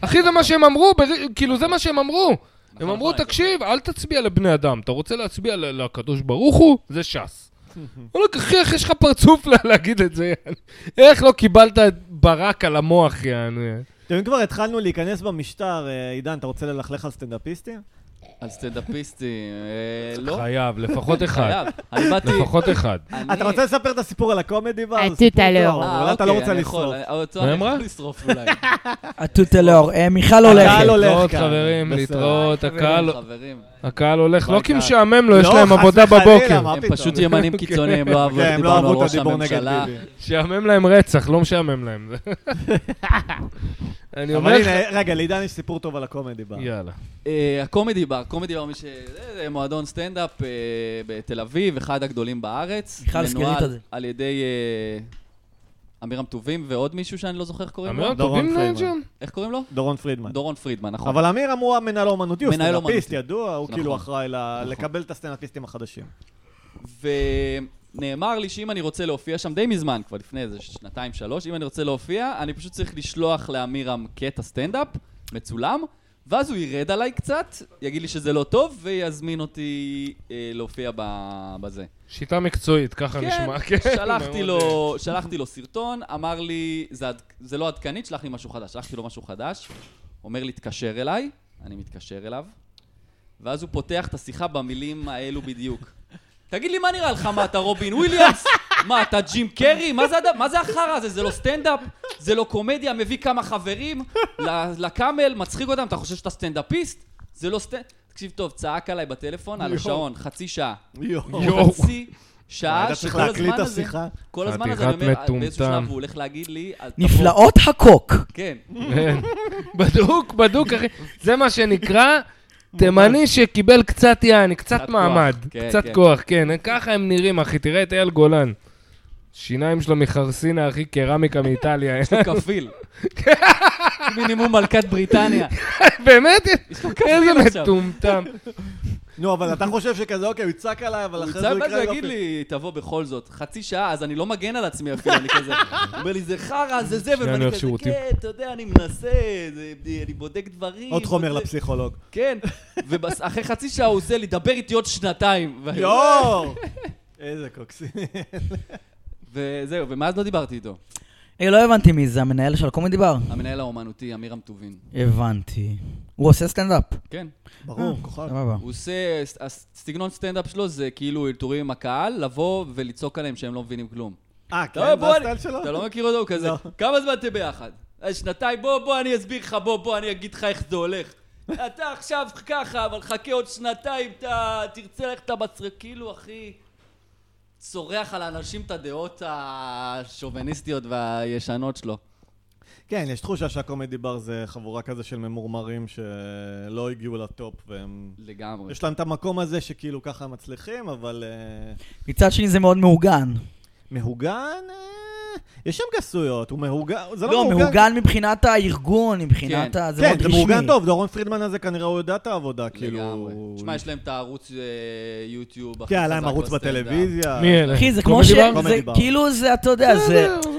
אחי, זה מה שהם אמרו, בר- כאילו זה מה שהם אמרו. הם נכון, אמרו, נכון. תקשיב, אל תצביע לבני אדם, אתה רוצה להצביע ל- לקדוש ברוך הוא? זה ש"ס. וואלכ, אחי, איך יש לך פרצוף לה- להגיד את זה? יעני? איך לא קיבלת את ברק על המוח, יעני? אתם יודעים, כבר התחלנו להיכנס במשטר, אה, עידן, אתה רוצה ללכלך על סטנדאפיסטים? על סטנדאפיסטים, אה, לא? חייב, לפחות אחד. חייב. אני באתי... לפחות אחד. אני- אתה רוצה לספר את הסיפור על הקומדי בר? אה, סיפור תותה טוב, לאור. אבל אתה לא אוקיי, רוצה אני יכול, לשרוף. אה, אותו מה אני אמרה? יכול לשרוף אולי. הטוטלור. אה, מיכל הקהל הולכת. הולך להתראות, כאן. לא, חברים, בסדר. להתראות, הקהל- חברים. הקהל הולך, ביי, לא כי קהל. משעמם לו, יש לא, להם חס עבודה וחלילה, בבוקר. מה הם פתאום? פשוט ימנים קיצוניים, לא אהבו כן, את הם לא דיברנו על אהבו את ראש הדיבור נגד הממשלה. ביבי. משעמם להם רצח, לא משעמם להם. אני אבל אומר לך... הנה, רגע, לעידן יש סיפור טוב על הקומדי בר. יאללה. אה, הקומדי בר, קומדי בר, מי ש... זה- זה מועדון סטנדאפ אה, בתל אביב, אחד הגדולים בארץ. מיכל, סגנית על מנוהל זה. על ידי אה, עמירם טובים ועוד מישהו שאני לא זוכר איך קוראים לו. אמירם, דורון טובים להם שם? פרידמן. איך קוראים לו? דורון פרידמן. דורון פרידמן, נכון. אבל אמיר אמור המנהל האומנותי, הוא מנהל סטנדאפיסט אומנותי. ידוע, הוא נכון. כאילו אחראי ל- לקבל את הסטנדאפיסטים החדשים. ונאמר לי שאם אני רוצה להופיע שם די מזמן, כבר לפני איזה שנתיים, שלוש, אם אני רוצה להופיע, אני פשוט צריך לשלוח לאמירם קטע סטנדאפ, מצולם, ואז הוא ירד עליי קצת, יגיד לי שזה לא טוב, ויזמין אותי אה, להופיע ב- בזה. שיטה מקצועית, ככה נשמע. כן, שלחתי, מאוד. אה. לו, שלחתי לו סרטון, אמר לי, זה, עד- זה לא עדכנית, שלח לי משהו חדש. שלחתי לו משהו חדש, אומר לי, תתקשר אליי, אני מתקשר אליו, ואז הוא פותח את השיחה במילים האלו בדיוק. תגיד לי, מה נראה לך? מה, אתה רובין וויליאמס? מה, אתה ג'ים קרי? מה זה, הד... מה זה החרא הזה? זה לא סטנדאפ? זה לא קומדיה? מביא כמה חברים ל- לקאמל, מצחיק אותם, אתה חושב שאתה סטנדאפיסט? זה לא סטנדאפ... תקשיב טוב, צעק עליי בטלפון על השעון, חצי שעה. יואו. יואו. חצי שעה היית צריך שכל הזמן להקליט את הזה, השיחה. כל הזמן הזה, אני חתיכת אומר, באיזשהו מטומטם. שלב הוא הולך להגיד לי, "אל תבוא". נפלאות הקוק. כן. כן. בדוק, בדוק, אחי. זה מה שנקרא תימני שקיבל קצת יעני, קצת קצת מעמד, כוח, כן, קצת כן. כוח, כן. ככה הם נראים, אחי. תראה את אייל גולן. שיניים שלו מחרסינה, אחי, קרמיקה מאיטליה. יש לו כפיל. מינימום מלכת בריטניה. באמת? כפיל איזה עכשיו. מטומטם. נו, אבל אתה חושב שכזה, אוקיי, הוא יצעק עליי, אבל הוא אחרי זה יצא הוא בגלל יקרא זה יגיד לי... לי, תבוא בכל זאת. חצי שעה, אז אני לא מגן על עצמי אפילו, אני כזה. הוא אומר לי, זה חרא, זה זה, אני ואני אוהב כזה, שירותים. כן, אתה יודע, אני מנסה, זה- אני בודק דברים. עוד חומר בודק." לפסיכולוג. כן, ואחרי חצי שעה הוא עושה לי, דבר איתי עוד שנתיים. ואני- יואו! איזה קוקסי. וזהו, ומאז לא דיברתי איתו. רגע, לא הבנתי מי זה, המנהל של קומדי בר. המנהל האומנותי, אמירם טובין. הבנתי. הוא עושה סטנדאפ. כן. ברור, כוכב. סבבה. הוא עושה, הס- הסגנון סטנדאפ שלו זה כאילו אלתורים עם הקהל, לבוא ולצעוק עליהם שהם לא מבינים כלום. אה, אתה רואה, כן, זה בוא, אני- הסטייל שלו? אתה לא מכיר אותו? הוא כזה, לא. כמה זמן אתם ביחד? "אה, שנתיים, בוא, בוא, אני אסביר לך, בוא, בוא, אני אגיד לך איך זה הולך. אתה עכשיו ככה, אבל חכה עוד שנתיים, אתה תרצה ללכת למצרים. כאילו, אחי, צורח על האנשים את הדעות השוביניסטיות והישנות שלו. כן, יש תחושה שהקומדי בר זה חבורה כזה של ממורמרים שלא הגיעו לטופ, והם... לגמרי. יש להם את המקום הזה שכאילו ככה הם מצליחים, אבל... אה, מצד שני זה מאוד מאורגן. מהוגן? אה, יש שם גסויות, הוא מהוגן... זה לא, מאורגן מבחינת הארגון, מבחינת כן. ה... זה מאוד כן, זה רשמי. מאורגן טוב, דורון פרידמן הזה כנראה הוא יודע את העבודה, כאילו... לגמרי. הוא- תשמע, יש להם את הערוץ אה, יוטיוב. הכי כן, היה להם חזק ערוץ בסטנדאפ. אה, בטלוויזיה. מי אלה? אחי, זה קומדי כמו ש... בר? קומדי זה בר. לא, כאילו זה, אתה יודע, זה... בסדר, אז מה?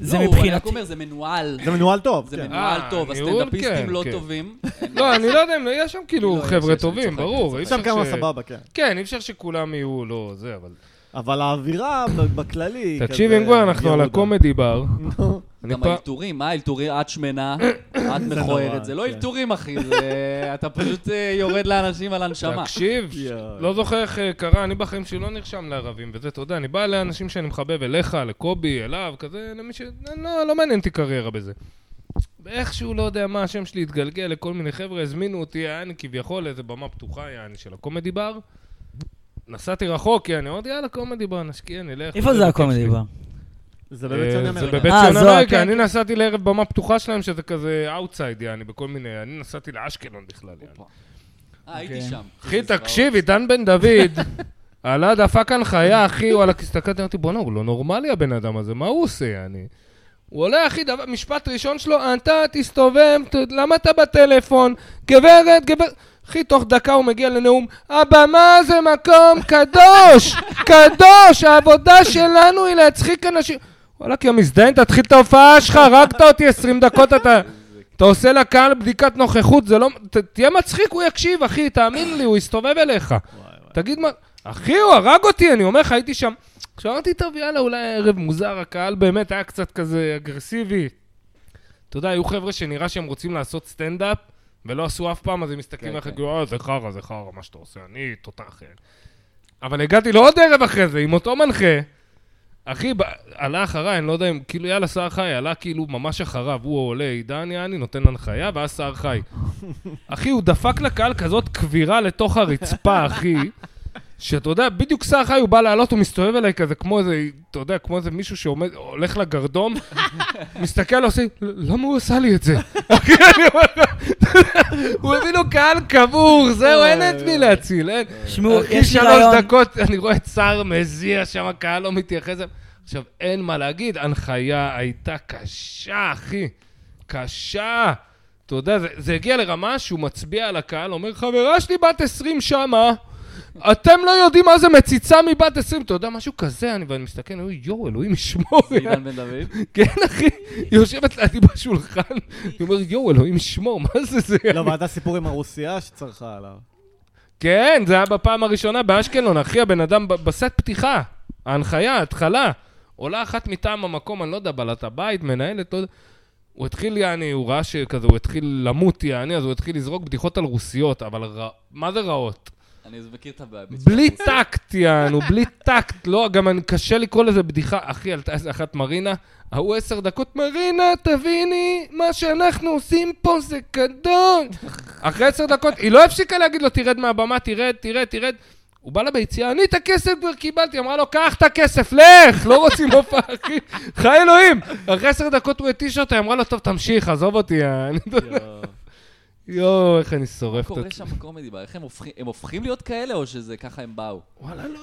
זה לא, הוא, אני רק מבחינתי... אומר, זה מנוהל. זה מנוהל טוב, זה כן. מנוהל אה, טוב, ניהול, הסטנדאפיסטים כן, לא כן. טובים. לא, אני לא יודע אם יש שם כאילו לא, יש, חבר'ה יש, טובים, אני צוחק, ברור. אני אי יש אפשר שם כמה ש- סבבה, כן. כן, אי אפשר שכולם יהיו, לא, זה, אבל... אבל האווירה ב- בכללי... היא תקשיב, כזה אם כבר אנחנו על ירודה. הקומדי בר, נו, אני גם פעם- האלתורים, מה האלתורים? את שמנה, את מכוערת. זה לא כן. אלתורים, אחי, זה... אתה פשוט אה, יורד לאנשים על הנשמה. תקשיב, יואו. לא זוכר איך אה, קרה, אני בחיים שלי לא נרשם לערבים וזה, אתה יודע, אני בא לאנשים שאני מחבב, אליך, לקובי, אליו, כזה, למי ש... לא, לא מעניין אותי קריירה בזה. ואיכשהו, לא יודע מה, השם שלי התגלגל לכל מיני חבר'ה, הזמינו אותי, יעני, כביכול, איזה במה פתוחה, יעני, של הקומדי בר. נסעתי רחוק, יעני, אמרתי, יאללה, קומדי בר, נשקיע, נלך. איפה זה הקומדי בר? זה אה, באמת שונה זה אמריקה. בבית אה, ציון זו, אמריקה, כן, אני נסעתי לערב במה פתוחה שלהם, שזה כזה אאוטסייד, יעני, בכל מיני, אני נסעתי לאשקלון בכלל, יעני. אה, הייתי שם. אחי, תקשיב, עידן בן דוד, עלה דפק הנחיה, אחי, וואלה, הסתכלתי, אמרתי, בואנה, הוא לא נורמלי הבן אדם הזה, מה הוא עושה, אני? הוא עולה, אחי, דבר, משפט ראשון שלו, אתה תסתובב, ת- למה אתה בטלפון? גברת, גברת... אחי, תוך דקה הוא מגיע לנאום, הבמה זה מקום קדוש! קדוש! העבודה שלנו היא להצחיק אנשים... וואלה, כי המזדיין, תתחיל את ההופעה שלך, הרגת אותי 20 דקות, אתה... אתה עושה לקהל בדיקת נוכחות, זה לא... ת, תהיה מצחיק, הוא יקשיב, אחי, תאמין לי, הוא יסתובב אליך. תגיד מה... אחי, הוא הרג אותי, אני אומר לך, הייתי שם. עכשיו אמרתי, טוב, יאללה, אולי ערב מוזר, הקהל באמת היה קצת כזה אגרסיבי. אתה יודע, היו חבר'ה שנראה שהם רוצים לעשות סטנדאפ, ולא עשו אף פעם, אז הם מסתכלים כן, עליך, כן. כאילו, אה, זה חרא, זה חרא, מה שאתה עושה, אני תותח. אה." אבל הגעתי לעוד ערב אחרי זה, עם אותו מנחה. אחי, ב- עלה אחריי, אני לא יודע אם, כאילו, יאללה, סער חי, עלה כאילו ממש אחריו, הוא עולה, עידן יעני, נותן הנחיה, ואז סער חי. אחי, הוא דפק לקהל כזאת כבירה לתוך הרצפה, אחי, שאתה יודע, בדיוק סער חי, הוא בא לעלות, הוא מסתובב אליי כזה, כמו איזה, אתה יודע, כמו איזה מישהו שעומד, הולך לגרדום, מסתכל, עושה, למה הוא עשה לי את זה? אחי, אני אומר לך, הוא הביא לו קהל קבור, זהו, אין את מי להציל, אין. תשמעו, אחי, אה, יש לי שלוש רעיון. דקות, אני רואה את סער מזיע שם, הקהל לא מתייחס. אליו. עכשיו, אין מה להגיד, הנחיה הייתה קשה, אחי. קשה. אתה יודע, זה, זה הגיע לרמה שהוא מצביע על הקהל, אומר, חברה שלי בת 20 שמה, אתם לא יודעים מה זה מציצה מבת 20. אתה יודע, משהו כזה, אני, ואני מסתכל, אני אומר, יואו, אלוהים ישמור. לא עידן בן דוד? כן, אחי, היא יושבת לידי בשולחן, אני אומר, יואו, אלוהים ישמור, מה זה זה? לא, אבל אתה סיפור עם הרוסיה שצרחה עליו. כן, זה היה בפעם הראשונה באשקלון, אחי, הבן אדם ב- בסט פתיחה, ההנחיה, ההתחלה. עולה אחת מטעם המקום, אני לא יודע, בעלת הבית, מנהלת, לא יודע. הוא התחיל, יעני, הוא ראה שכזה, הוא התחיל למות, יעני, אז הוא התחיל לזרוק בדיחות על רוסיות, אבל רע... מה זה רעות? אני מכיר את הבעיה. בלי טקט, יענו, בלי טקט. לא, גם אני, קשה לקרוא לזה בדיחה. אחי, עלתה איזה אחת מרינה, ההוא עשר דקות, מרינה, תביני, מה שאנחנו עושים פה זה קדוש. אחרי עשר דקות, היא לא הפסיקה להגיד לו, תרד מהבמה, תרד, תרד, תרד. הוא בא לה ביציאה, אני את הכסף כבר קיבלתי, אמרה לו, קח את הכסף, לך, לא רוצים הופעה, אחי, חיי אלוהים. אחרי עשר דקות הוא התיש אותה, היא אמרה לו, טוב, תמשיך, עזוב אותי, אני... יואו, איך אני מה שורף את קורה עצמי. שם בקומדי בר? איך הם הופכים- הם הופכים להיות כאלה, או שזה ככה הם באו?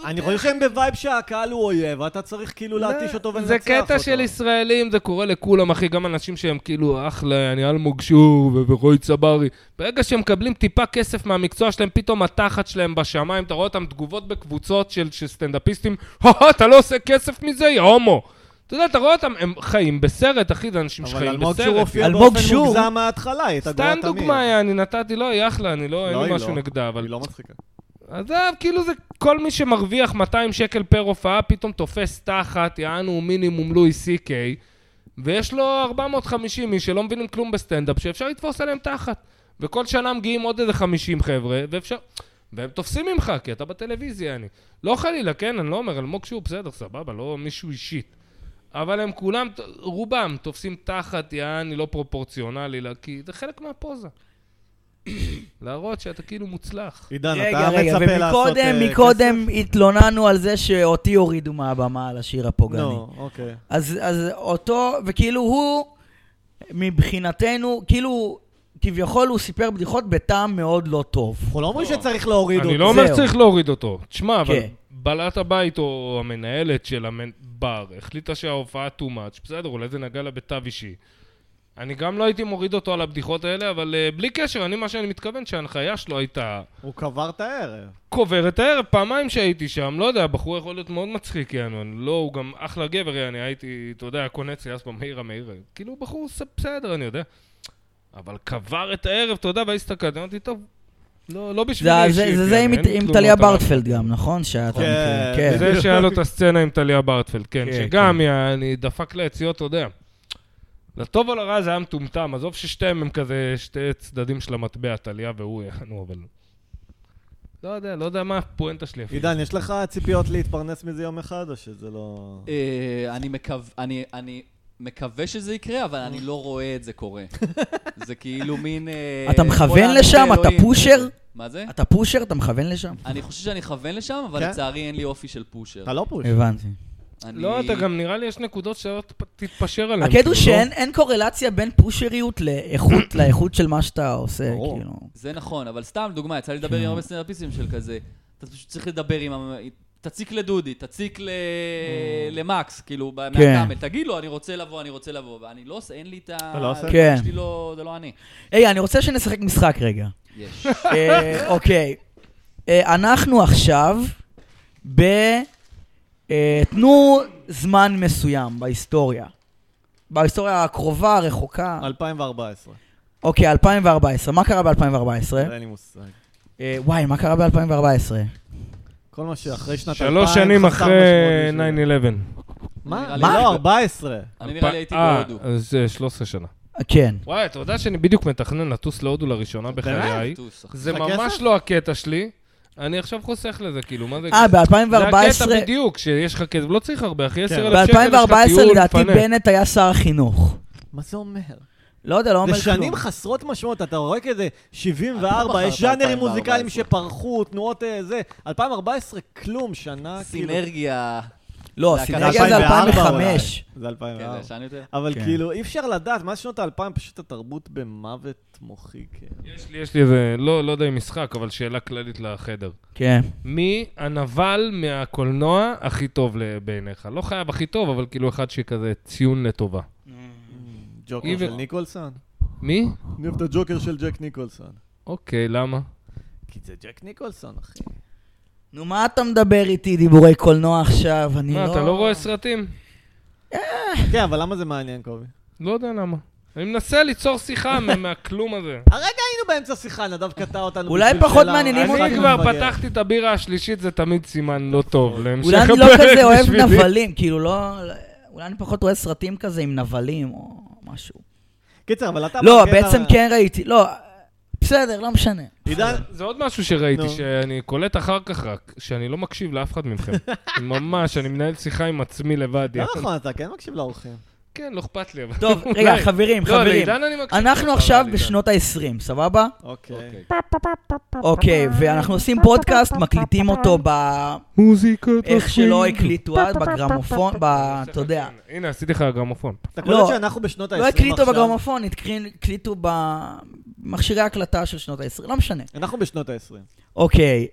אני חושב שהם בווייב שהקהל הוא אויב, ואתה צריך כאילו להתיש אותו ולנצח לא, זה אותו. קטע של ישראלים, זה קורה לכולם, אחי, גם אנשים שהם כאילו, אחלה, אני אלמוג שור ו- ורועי צברי. ברגע שהם מקבלים טיפה כסף מהמקצוע שלהם, פתאום התחת שלהם בשמיים, אתה רואה אותם תגובות בקבוצות של של סטנדאפיסטים, "הא, אתה לא עושה כסף מזה, יא הומו. אתה יודע, אתה רואה אותם, הם חיים בסרט, אחי, זה אנשים אבל שחיים אלמוג שור בסרט. הופיע אלמוג באופן שור. מוגזם מההתחלה, היא הייתה גרועה סתם תמיד. דוגמה, יא, אני נתתי, לא, היא אחלה, אני לא, אין לא, לי היא משהו לא. נגדה, אבל... היא לא מצחיקה. עזוב, כאילו זה כל מי שמרוויח 200 שקל פר הופעה, פתאום תופס תחת, יענו מינימום לואי סי-קיי, ויש לו 450 איש שלא מבינים כלום בסטנדאפ, שאפשר לתפוס עליהם תחת. וכל שנה מגיעים עוד איזה 50 חבר'ה, ואפשר... והם תופסים ממך, כי אתה בטלוויזיה, אני. לא חלילה, כן, אני לא אומר, אלמוג שהוא בסדר, סבבה, לא מישהו אישית. אבל הם כולם, רובם, תופסים תחת יעני לא פרופורציונלי, לה- כי זה חלק מהפוזה. להראות שאתה כאילו מוצלח. עידן, רגע, אתה רגע, מצפה לעשות... ומקודם, אה, מקודם התלוננו על זה שאותי הורידו מהבמה על השיר כסף? הפוגעני. נו, אוקיי. אז, אז אותו, וכאילו הוא, מבחינתנו, כאילו, כביכול הוא סיפר בדיחות בטעם מאוד לא טוב. אנחנו לא אומרים שצריך להוריד אותו. אני לא אומר זהו. שצריך להוריד אותו. תשמע, אבל כן. בעלת הבית או המנהלת של הבר החליטה שההופעה too much, בסדר, אולי זה נגע לה בתו אישי. אני גם לא הייתי מוריד אותו על הבדיחות האלה, אבל אה, בלי קשר, אני, מה שאני מתכוון, שההנחיה שלו הייתה הוא קבר את הערב. קובר את הערב, פעמיים שהייתי שם, לא יודע, הבחור יכול להיות מאוד מצחיק, יענו, אני לא, הוא גם אחלה גבר, יעני, הייתי, אתה יודע, קונה אצלי אז במהיר המהיר, כאילו, בחור ס- בסדר, אני יודע. אבל קבר את הערב, אתה יודע, ואז הסתכלתי, אמרתי, טוב, לא, לא בשבילי זה אישית. זה- זה- זה יעני, עם- אין עם תלונות טליה עליו. ברטפלד גם, נכון? שהיה את כן, המקרה, כן. זה שהיה לו את הסצנה עם טליה ברטפלד, כן, כן, שגם אני דפק ליציאות, אתה יודע. לטוב או לרע זה היה מטומטם, עזוב ששתיהם הם כזה שתי צדדים של המטבע, טליה והוא, נו, אבל... לא יודע, לא יודע מה הפואנטה שלי אפילו. עידן, יש לך ציפיות להתפרנס מזה יום אחד, או שזה לא... אה, אני מקו- אני- אני מקווה שזה יקרה, אבל אני לא רואה את זה קורה. זה כאילו מין... אה, אתה כל מכוון העננים לשם? אתה באלוהים. פושר? מה זה? כן. אתה פושר? אתה מכוון לשם? אני חושב שאני אכוון לשם, אבל כן? לצערי אין לי אופי של פושר. אתה לא פוש. הבנתי. אני- לא, אתה גם נראה לי יש נקודות שתתפשר עליהן. הקטע הוא כאילו, שאין אין קורלציה בין פושריות לאיכות, לאיכות של מה שאתה עושה, ברור. כאילו. זה נכון, אבל סתם דוגמה, יצא לי כן. לדבר עם הרבה סטנדאפיסטים של כזה. אתה פשוט צריך לדבר עם... ה- תציק לדודי, תציק ל... Mm. למקס, כאילו, ב- כן. מהקאמל, תגיד לו, אני רוצה לבוא, אני רוצה לבוא, ואני לא עושה, אין לי את ה... אתה לא עושה? כן. שלי לא- זה לא אני. היי, אני רוצה שנשחק משחק רגע. יש. אה, אוקיי. אה, אנחנו עכשיו ב... אה, תנו זמן מסוים בהיסטוריה. בהיסטוריה הקרובה, הרחוקה. 2014. אוקיי, 2014. מה קרה ב-2014? אין לי מושג. אה, וואי, מה קרה ב-2014? כל מה שאחרי שנת 2000... שלוש שנים חסר אחרי משמעות בשבילי. 9-11. מה? מה? לא, 14. אני נראה לי הייתי אה, בהודו. אז אה, 13 שנה. כן. וואי, אתה יודע שאני בדיוק מתכנן לטוס להודו לראשונה בחיי. טוס, אחי. זה לך ממש כסף? לא הקטע שלי. אני עכשיו חוסך לזה, כאילו, מה זה... אה, זה ב-2014... כן. הקטע בדיוק, שיש לך כסף, לא צריך הרבה, אחי, 10,000 שקל, יש לך ב-2014 טיול, לדעתי תפנה. בנט היה שר החינוך. מה זה אומר? לא יודע, לא אומר זה כלום. שנים חסרות משמעות, אתה רואה כזה אתה לא 74, יש בחרת ז'אנרים 2014. מוזיקליים שפרחו, תנועות אה, זה. 2014, כלום, שנה כאילו... סינרגיה. לא, זה סינרגיה זה 2004 2005. אולי. זה כן, 2004. זה ישן יותר. אבל כן. כאילו, אי אפשר לדעת, מאז שנות האלפיים פשוט התרבות במוות מוחי, כן. יש לי- יש לי איזה, לא לא יודע אם משחק, אבל שאלה כללית לחדר. כן. מי הנבל מהקולנוע הכי טוב ל- בעיניך? לא חייב הכי טוב, אבל כאילו אחד שכזה ציון לטובה. ג'וקר איוויל. של ניקולסון? מי? אני אוהב את הג'וקר של ג'ק ניקולסון. אוקיי, למה? כי זה ג'ק ניקולסון, אחי. נו, מה אתה מדבר איתי דיבורי קולנוע עכשיו? אני לא... מה, אתה לא רואה סרטים? כן, אבל למה זה מעניין, קובי? לא יודע למה. אני מנסה ליצור שיחה מה- מהכלום הזה. הרגע היינו באמצע שיחה, נדב קטע אותנו. אולי בשביל פחות שאלה. מעניינים לימוד אני אותנו. כבר פתחתי את הבירה השלישית, זה תמיד סימן לא טוב להמשך אולי הפרק אני לא כזה אוהב בשבילי. נבלים, כאילו לא... אולי אני פחות רואה סרטים כזה עם נבלים או משהו. קיצר, אבל אתה... לא, בקטע- בעצם כן ראיתי. לא, בסדר, לא משנה. עידן, זה עוד משהו שראיתי, נו. שאני קולט אחר כך רק, שאני לא מקשיב לאף אחד מכם. ממש, אני מנהל שיחה עם עצמי לבד. לא יענו. נכון, אתה כן מקשיב לאורחים. כן, לא אכפת לי, אבל... טוב, רגע, אולי. חברים, לא, חברים. לעידן אני מקשיב. אנחנו אבל עכשיו לעידן. בשנות ה-20, סבבה? אוקיי. אוקיי. אוקיי, ואנחנו עושים פודקאסט, מקליטים אותו ב... מוזיקה... איך שלא הקליטו אז, בגרמופון, ב... אתה יודע. אה, כן, הנה, עשיתי לך גרמופון. אתה לא. קולט שאנחנו בשנות ה-20 לא עכשיו... הקליטו בגרמופון, התקרין- הקליטו במכשירי הקלטה של שנות ה-20, לא משנה. אנחנו בשנות ה-20, אוקיי,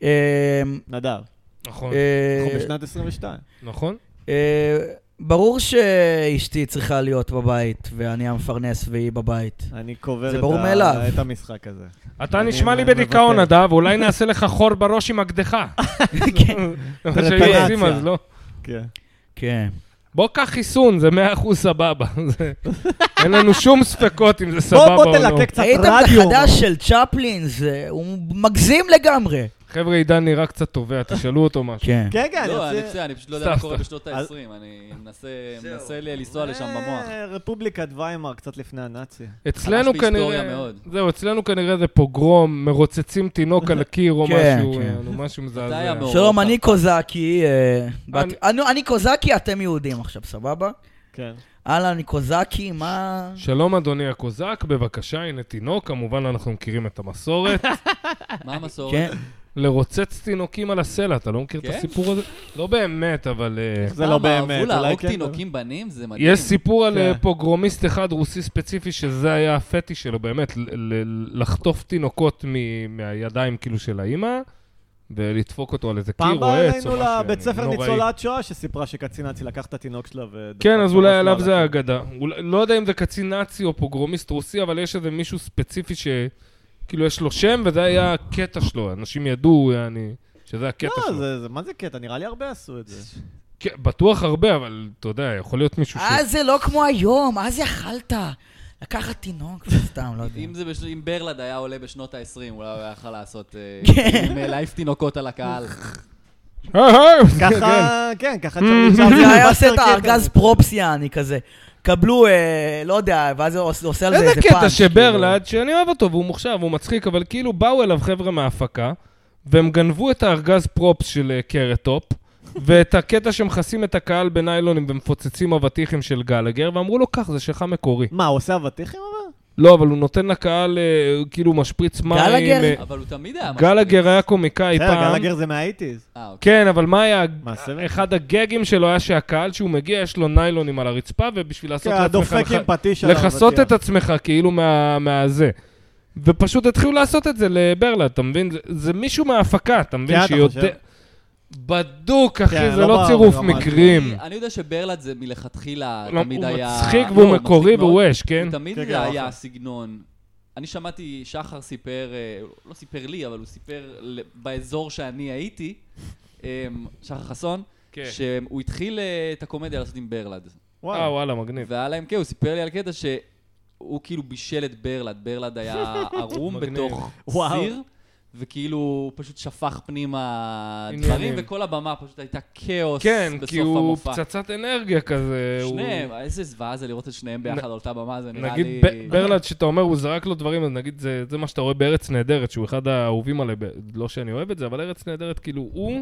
אמ, נדב. נכון, אה, אנחנו בשנת 22. נכון. אה, ברור שאשתי צריכה להיות בבית, ואני המפרנס והיא בבית. אני קובר זה את ברור ה- מאליו. את המשחק הזה. אתה אני נשמע לי מוותר. בדיכאון, נדב, אולי נעשה לך חור בראש עם אקדחה. כן. מה טרפנציה. שהיו עושים אז לא. כן. כן. בוא קח חיסון, זה 100% סבבה. זה- אין לנו שום ספקות אם זה בוא- סבבה או בוא לא. תלקק קצת ראיתם את רדיו. החדש של צ'פלין, זה... הוא מגזים לגמרי. חבר'ה, עידן נראה קצת תובע, תשאלו אותו משהו. כן. כן, כן, לא, אני אני בסדר, אני פשוט לא יודע סתם, מה קורה סתם. בשנות ה-20, אני מנסה מנסה ל- לנסוע לא לשם במוח. אה. רפובליקת ויימאר, קצת לפני הנאצי. אצלנו בהיסטוריה כנראה... מאוד. זהו, אצלנו כנראה זה פוגרום, מרוצצים תינוק על הקיר או כן, משהו, כן. יענו, משהו זה היה מזעזע. מאוד. שלום, אני קוזקי. אה, בת- אני- אני- אני קוזקי, אתם יהודים עכשיו, סבבה? כן. אהלן, אני קוזקי, מה... שלום, אדוני הקוזק, בבקשה, הנה תינוק, כמובן אנחנו מכירים את המסורת. מה המסורת? כן. לרוצץ תינוקים על הסלע, אתה לא מכיר את כן? הסיפור הזה? לא באמת, אבל... אה, זה לא למה, באמת, אהבו אולי להרוג כן. תינוקים בנים? זה מדהים. יש סיפור על אה, כן. פוגרומיסט אחד רוסי ספציפי, שזה היה הפטיש שלו, באמת, ל- ל- לחטוף תינוקות מ- מהידיים כאילו של האימא, ולדפוק אותו על איזה קיר פעם או באה עץ או אלינו משהו. לא לבית ספר נוראי. ניצולת שואה שסיפרה שקצין נאצי לקח את התינוק שלה ו... כן, אז אולי עליו זה היה... האגדה. אולי- לא יודע אם זה קצין נאצי או פוגרומיסט רוסי, אבל יש איזה מישהו ספציפי ש... כאילו, יש לו שם, וזה היה הקטע שלו. אנשים ידעו, אני... שזה הקטע לא, שלו. זה- זה- מה זה קטע? נראה לי הרבה עשו את זה. כן, בטוח הרבה, אבל אתה יודע, יכול להיות מישהו ש... אז זה לא כמו היום, אז יכלת. לקחת תינוק, סתם, לא יודע. אם זה בש- אם ברלד היה עולה בשנות ה-20, אולי הוא היה יכול לעשות... אה, כן. עם, אה, להעיף תינוקות על הקהל. היי, היי! ככה, כן, Mm. ככה צ'רלי צ'פלין. זה היה עושה בסטר את קטע. הארגז פרופסיה, אני כזה. קבלו, אה, לא יודע, ואז הוא עושה עושה על זה איזה איזה פאנץ'. קטע לא כאילו. שברלד, שאני אוהב אותו והוא מוכשר והוא מצחיק, אבל כאילו באו אליו חבר'ה מההפקה, והם גנבו את הארגז פרופס של אה, קרטופ, ואת הקטע שמכסים את הקהל בניילונים ומפוצצים אבטיחים של גלגר, ואמרו לו, קח, זה שלך מקורי. מה, הוא עושה אבטיחים אבל? לא, אבל הוא נותן לקהל, אה, הוא כאילו משפריץ מים. גלגר? אה, אבל הוא תמיד היה... משהו. גלגר היה קומיקאי בסדר, פעם. גלגר זה מהאיטיז. אה, אוקיי. כן, אבל מה היה... מה, סבב? אחד הגגים שלו היה שהקהל, שהוא מגיע, יש לו ניילונים על הרצפה, ובשביל לעשות כן, לעצמך... הדופק מח- עם פטיש עליו. לכסות אבטיח. את עצמך כאילו מה- מהזה. ופשוט התחילו לעשות את זה לברלה, אתה מבין? זה, זה מישהו מההפקה, אתה מבין? כן, אתה שיודע... חושב? בדוק, אחי, כן, זה לא לא בא- צירוף לא בא- מקרים. אני יודע שברלד זה מלכתחילה Mm. לא, תמיד הוא היה... מצחיק לא, והוא הוא מקורי מצחיק מאוד. והוא אש, כן? הוא תמיד כן, כן, זה היה אחלה. הסגנון. אני שמעתי, שחר סיפר, אה, הוא לא סיפר לי, אבל הוא סיפר ל- באזור שאני הייתי, אה, שחר חסון, כן. שהוא התחיל אה, את הקומדיה לעשות עם ברלד. וואו. אה, וואלה, מגניב. והיה להם, כן, הוא סיפר לי על קטע שהוא כאילו בישל את ברלד, ברלד היה ערום מגניב. בתוך וואו. סיר, וכאילו הוא פשוט שפך פנימה עניינים. דברים, וכל הבמה פשוט הייתה כאוס כן, בסוף כי הוא המופע. פצצת אנרגיה כזה. הוא- שניהם, איזה זוועה זה לראות את שניהם ביחד על אותה במה, זה נראה נגיד לי... ב- ברלד, שאתה אומר, הוא זרק לו דברים, אז נגיד זה זה מה שאתה רואה בארץ נהדרת, שהוא אחד האהובים עליי, ב- לא שאני אוהב את זה, אבל ארץ נהדרת, כאילו, הוא...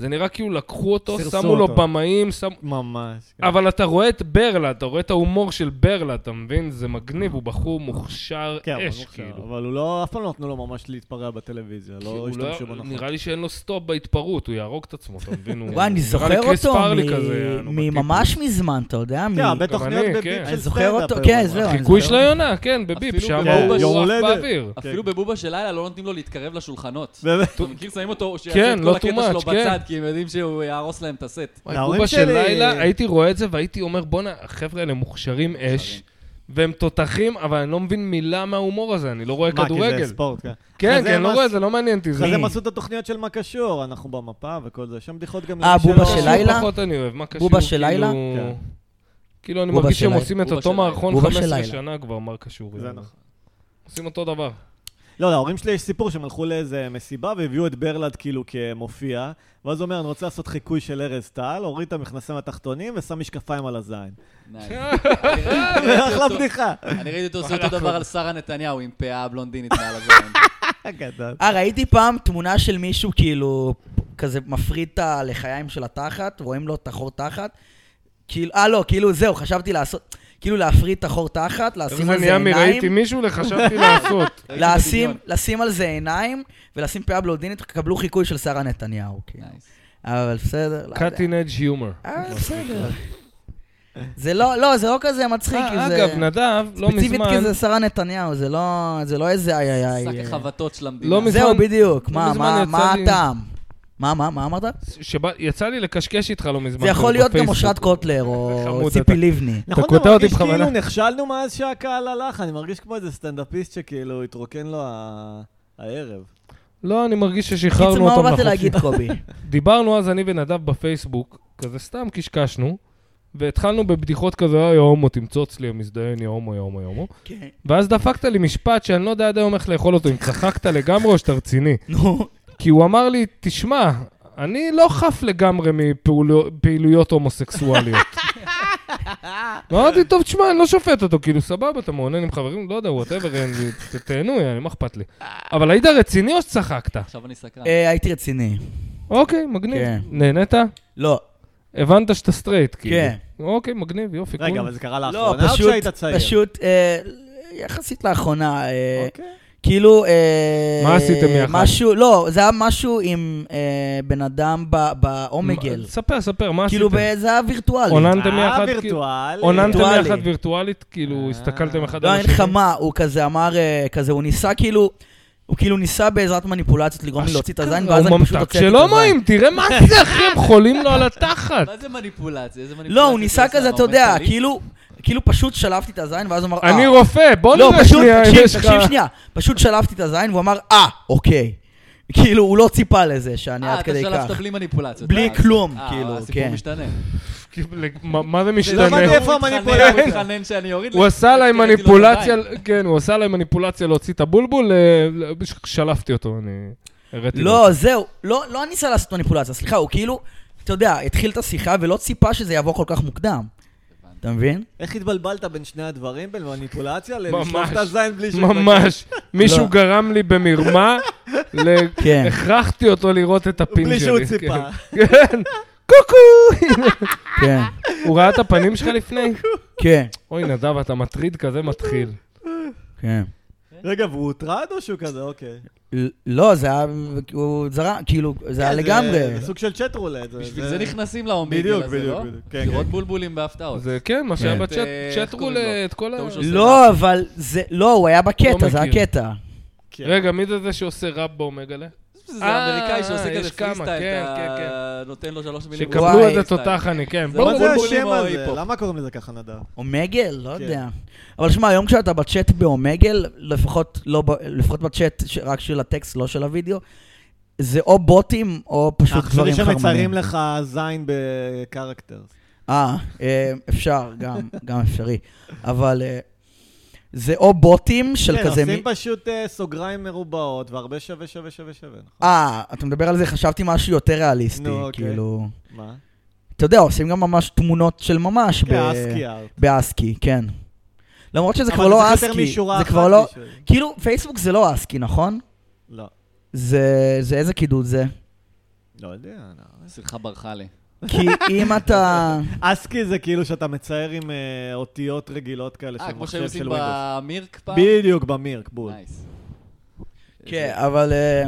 זה נראה כאילו לקחו אותו, סירסו שמו לו אותו. במאים, שמו... ממש. כן. אבל אתה רואה את ברלה, אתה רואה את ההומור של ברלה, אתה מבין? זה מגניב, הוא בחור מוכשר כן, אבל אש, מוכשר. כאילו. אבל הוא לא, אף פעם לא נתנו לו ממש להתפרע בטלוויזיה, כי הוא לא השתמשו בו נכון. נראה לי שאין לו סטופ בהתפרעות, הוא יהרוג את עצמו, אתה מבין? הוא- וואי, אני נראה לי זוכר קריס אותו פרלי מ- כזה, יענו, בטיפוס. מממש מזמן, אתה יודע? מ- כן, הרבה גם תוכניות אני, בביפ כן. של אני זוכר סטנדאפ. אותו, הוא כן, אמר. זהו. אני חיקוי של זוכר. היונה, כן, בביפ, אפילו שם בבובה הוא יום עף הולדת. באוויר. אפילו בבובה של לילה לא נותנים לו להתקרב לשולחנות. באמת. אתה מכיר, שמים אותו, שיעשה כן, את לא כל too הקטע שלו much, כן. בצד, כי הם יודעים שהוא יהרוס להם את הסט. וואי, להורים בובה של שלי- לילה, הייתי רואה את זה והייתי אומר, בואנה, החבר'ה האלה מוכשרים אש, והם תותחים, אבל אני לא מבין מילה מההומור הזה, אני לא רואה מה, כי כדורגל. זה ספורט, כן. כן, אחרי כן, לא הם רואה את עשו- זה, לא מעניין אותי. זה- אחרי זה הם עשו את התוכניות של מה קשור, אנחנו במפה וכל זה, יש שם בדיחות גם... אה, למי בובה שלא- של קשור לילה? פחות אני אוהב, מה קשור? בובה של לילה? כאילו- כן. כאילו, אני בובה מרגיש של שהם לילה. עושים את בובה אותו של לילה. מערכון בובה של 15 לילה. שנה כבר, מר קשור. זה יאללה. נכון. עושים אותו דבר. לא, להורים שלי יש סיפור שהם הלכו לאיזה מסיבה והביאו את ברלד כאילו כמופיע, ואז הוא אומר, אני רוצה לעשות חיקוי של ארז טל, הוריד את המכנסיים התחתונים ושם משקפיים על הזין. נייס. אני ראיתי אותו- אחלה בדיחה. אני ראיתי אותו עושה אותו דבר על שרה נתניהו עם פאה בלונדינית מעל הזמן. גדול. אה, ראיתי פעם תמונה של מישהו כאילו, כזה מפריד את הלחיים של התחת, רואים לו את החור תחת. כאילו, אה, לא, כאילו, זהו, חשבתי לעשות, כאילו להפריד את החור תחת, איך לשים זה על זה נהיה עיניים. מראיתי מישהו לחשבתי לעשות. לשים, לשים על זה עיניים, ולשים פאה בלודינית, קבלו חיקוי של שרה נתניהו, כאילו. נייס. אבל בסדר, לא יודע. cutting edge humor. אה, בסדר. זה לא, לא, זה לא כזה מצחיק, כי זה... אה, אגב, נדב, לא ספציפית כי מזמן, זה שרה נתניהו, זה לא, זה לא איזה איי איי שק איי. החבטות של לא המדינה. מזמן- לא זהו, בדיוק. מה, מזמן מה, יצא מה לי- הטעם? מה, מה, מה אמרת? שבא- יצא לי לקשקש איתך לא מזמן. זה יכול להיות גם בפייסבוק. אושרת קוטלר חמוד או אתה. ציפי לבני. נכון, קוטע אתה אותי מרגיש בכוונה. כאילו נכשלנו מאז שהקהל הלך, אני מרגיש כמו איזה סטנדאפיסט שכאילו התרוקן לו ה- הערב. לא, אני מרגיש קיצור, ששחררנו מה אותם באת לחופשי. להגיד, קובי? דיברנו אז, אני ונדב בפייסבוק, כזה סתם קשקשנו, והתחלנו בבדיחות כזה, "אה, יא הומו, תמצוץ לי, המזדיין, יא הומו, יא הומו, יא הומו. כן. ואז דפקת לי משפט שאני לא יודע עד היום איך לאכול אותו, אם צחקת לגמרי או שאתה רציני. נו, כי הוא אמר לי, תשמע, אני לא חף לגמרי מפעילויות הומוסקסואליות. אמרתי, טוב, תשמע, אני לא שופט אותו, כאילו, סבבה, אתה מעונן עם חברים, לא יודע, וואטאבר, תהנו, יעני, מה אכפת לי. אבל היית רציני או שצחקת? עכשיו אני סקרן. אה, הייתי אה, רציני. אוקיי, מגניב. כן. נהנית? לא. הבנת שאתה סטרייט, כאילו. כן. אוקיי, מגניב, יופי. רגע, קול. אבל זה קרה לא, לאחרונה או כשהיית פשוט, צעיר? פשוט, אה, יחסית לאחרונה, אה, אוקיי. כאילו... אה, מה עשיתם יחד? משהו, לא, זה היה משהו עם אה, בן אדם ב- באומגל. מה- ספר, ספר, מה כאילו, עשיתם? ב- זה היה וירטואלי. עוננתם אה, יחד? כאילו- וירטואלי. עוננתם וירטואלי. יחד וירטואלית? אה. כאילו, הסתכלתם אחד לא, על אין לך השני? מה, הוא כזה אמר, אה, כזה, הוא ניסה כאילו, הוא כאילו ניסה בעזרת מניפולציות לגרום לי להוציא את הזין, ואז אני אה, הוא פשוט ממתק הוצאתי את שלא הזין. מים, תראה מה זה, אחי, הם חולים לו על התחת. מה זה מניפולציה? איזה מניפולציה? אה, לא, הוא ניסה עושה? כזה, אתה עומד יודע, לי? כאילו, כאילו פשוט שלפתי את הזין, ואז הוא אמר, אה. אני רופא, בוא לא, נראה פשוט, שנייה, אם תקשיב, יש לך... תקשיב שנייה, פשוט שלפתי את הזין, והוא אמר, אה, אוקיי. כאילו, הוא לא ציפה לזה שאני עד כדי אה, אתה כך. שלפת בלי מניפולציות. בלי אה, כלום, אה, כאילו, הסיפור כן. משתנה. לא מה מה זה זה לא משתנה? הבנתי הבנתי איפה המניפולציה. הוא התחנן שאני אוריד הוא לך, עשה עליי תראיתי לו את מניפולציה, הידיים. כן, הוא עשה עליי מניפולציה להוציא את הבולבול, אה, ל- ש- שלפתי אותו, אני הראתי לו. לא, זהו, לא לא ניסה לעשות מניפולציה, סליחה, הוא כאילו, אתה יודע, התחיל את השיחה ולא ציפה שזה יבוא כל כך מוקדם. אתה מבין? איך התבלבלת בין שני הדברים, בין מניפולציה ממש. ללשלוף את הזין בלי שהוא ממש. מישהו לא. גרם לי במרמה, ל- כן. הכרחתי אותו לראות את הפין שלי. בלי שהוא ציפה. כן. כן. קוקו! כן, הוא ראה את הפנים שלך לפני? כן, אוי, נדב, אתה מטריד כזה מתחיל. כן. רגע, והוא הוטרד או שהוא כזה, אוקיי. ל- לא, זה היה, הוא זרם, כאילו, זה היה כן, לגמרי. זה סוג של צ'ט רולט. בשביל זה נכנסים לאומיגל בדיוק, הזה, בדיוק, לא? בדיוק. כן, לראות כן. בולבולים בהפתעות. זה כן, מה שהיה כן. בצ'אט, אה, איך צ'אט קוראים לו? רולט, כל ה... טוב שעושה לא, אבל זה, לא, הוא היה בקטע, לא זה מכיר. הקטע. כן. רגע, מי זה זה שעושה ראפ באומגלה? זה אה, אמריקאי שעושה יש כזה כמה, פריסטייל, כן, אתה כן, נותן לו שלוש מילים. שקבלו וואי. איזה תותח אני, כן. זה בואו, מה לא זה בואו, בואו. השם בולבולים או הזה? היפ-הופ? למה קוראים לזה ככה, נדב? אומגל? לא כן. יודע. אבל שמע, היום כשאתה בצ'אט באומגל, לפחות לא ב- לפחות בצ'אט ש- רק של הטקסט, לא של הוידאו, זה או בוטים או פשוט החברים דברים שמציירים חרמנים. אה, לך זין בקרקטר. אה, אה, אפשר, גם- גם אפשרי. אבל אה, זה או בוטים של כן, כזה... עושים מי- פשוט אה, סוגריים מרובעות, והרבה שווה שווה שווה שווה, נכון? אה, אתה מדבר על זה, חשבתי משהו יותר ריאליסטי, נו, אוקיי. כאילו... מה? אתה יודע, עושים גם ממש תמונות של ממש ב- כן, אסקי ארט. באסקי, כן. למרות שזה אה, כבר אבל לא צריך יותר אסקי, משורה זה אחת כבר לא... בשביל- כאילו, פייסבוק זה לא אסקי, נכון? לא, זה, זה איזה קידוד זה? לא יודע. לא. סליחה ברחה לי. כי אם אתה... אסקי זה כאילו שאתה מצייר עם אה, אותיות רגילות כאלה אה, של כמו מחשב שהיו של עושים ווינדוס. במירק פעם? בדיוק, במירק, בול. נייס. כן, אבל... אה,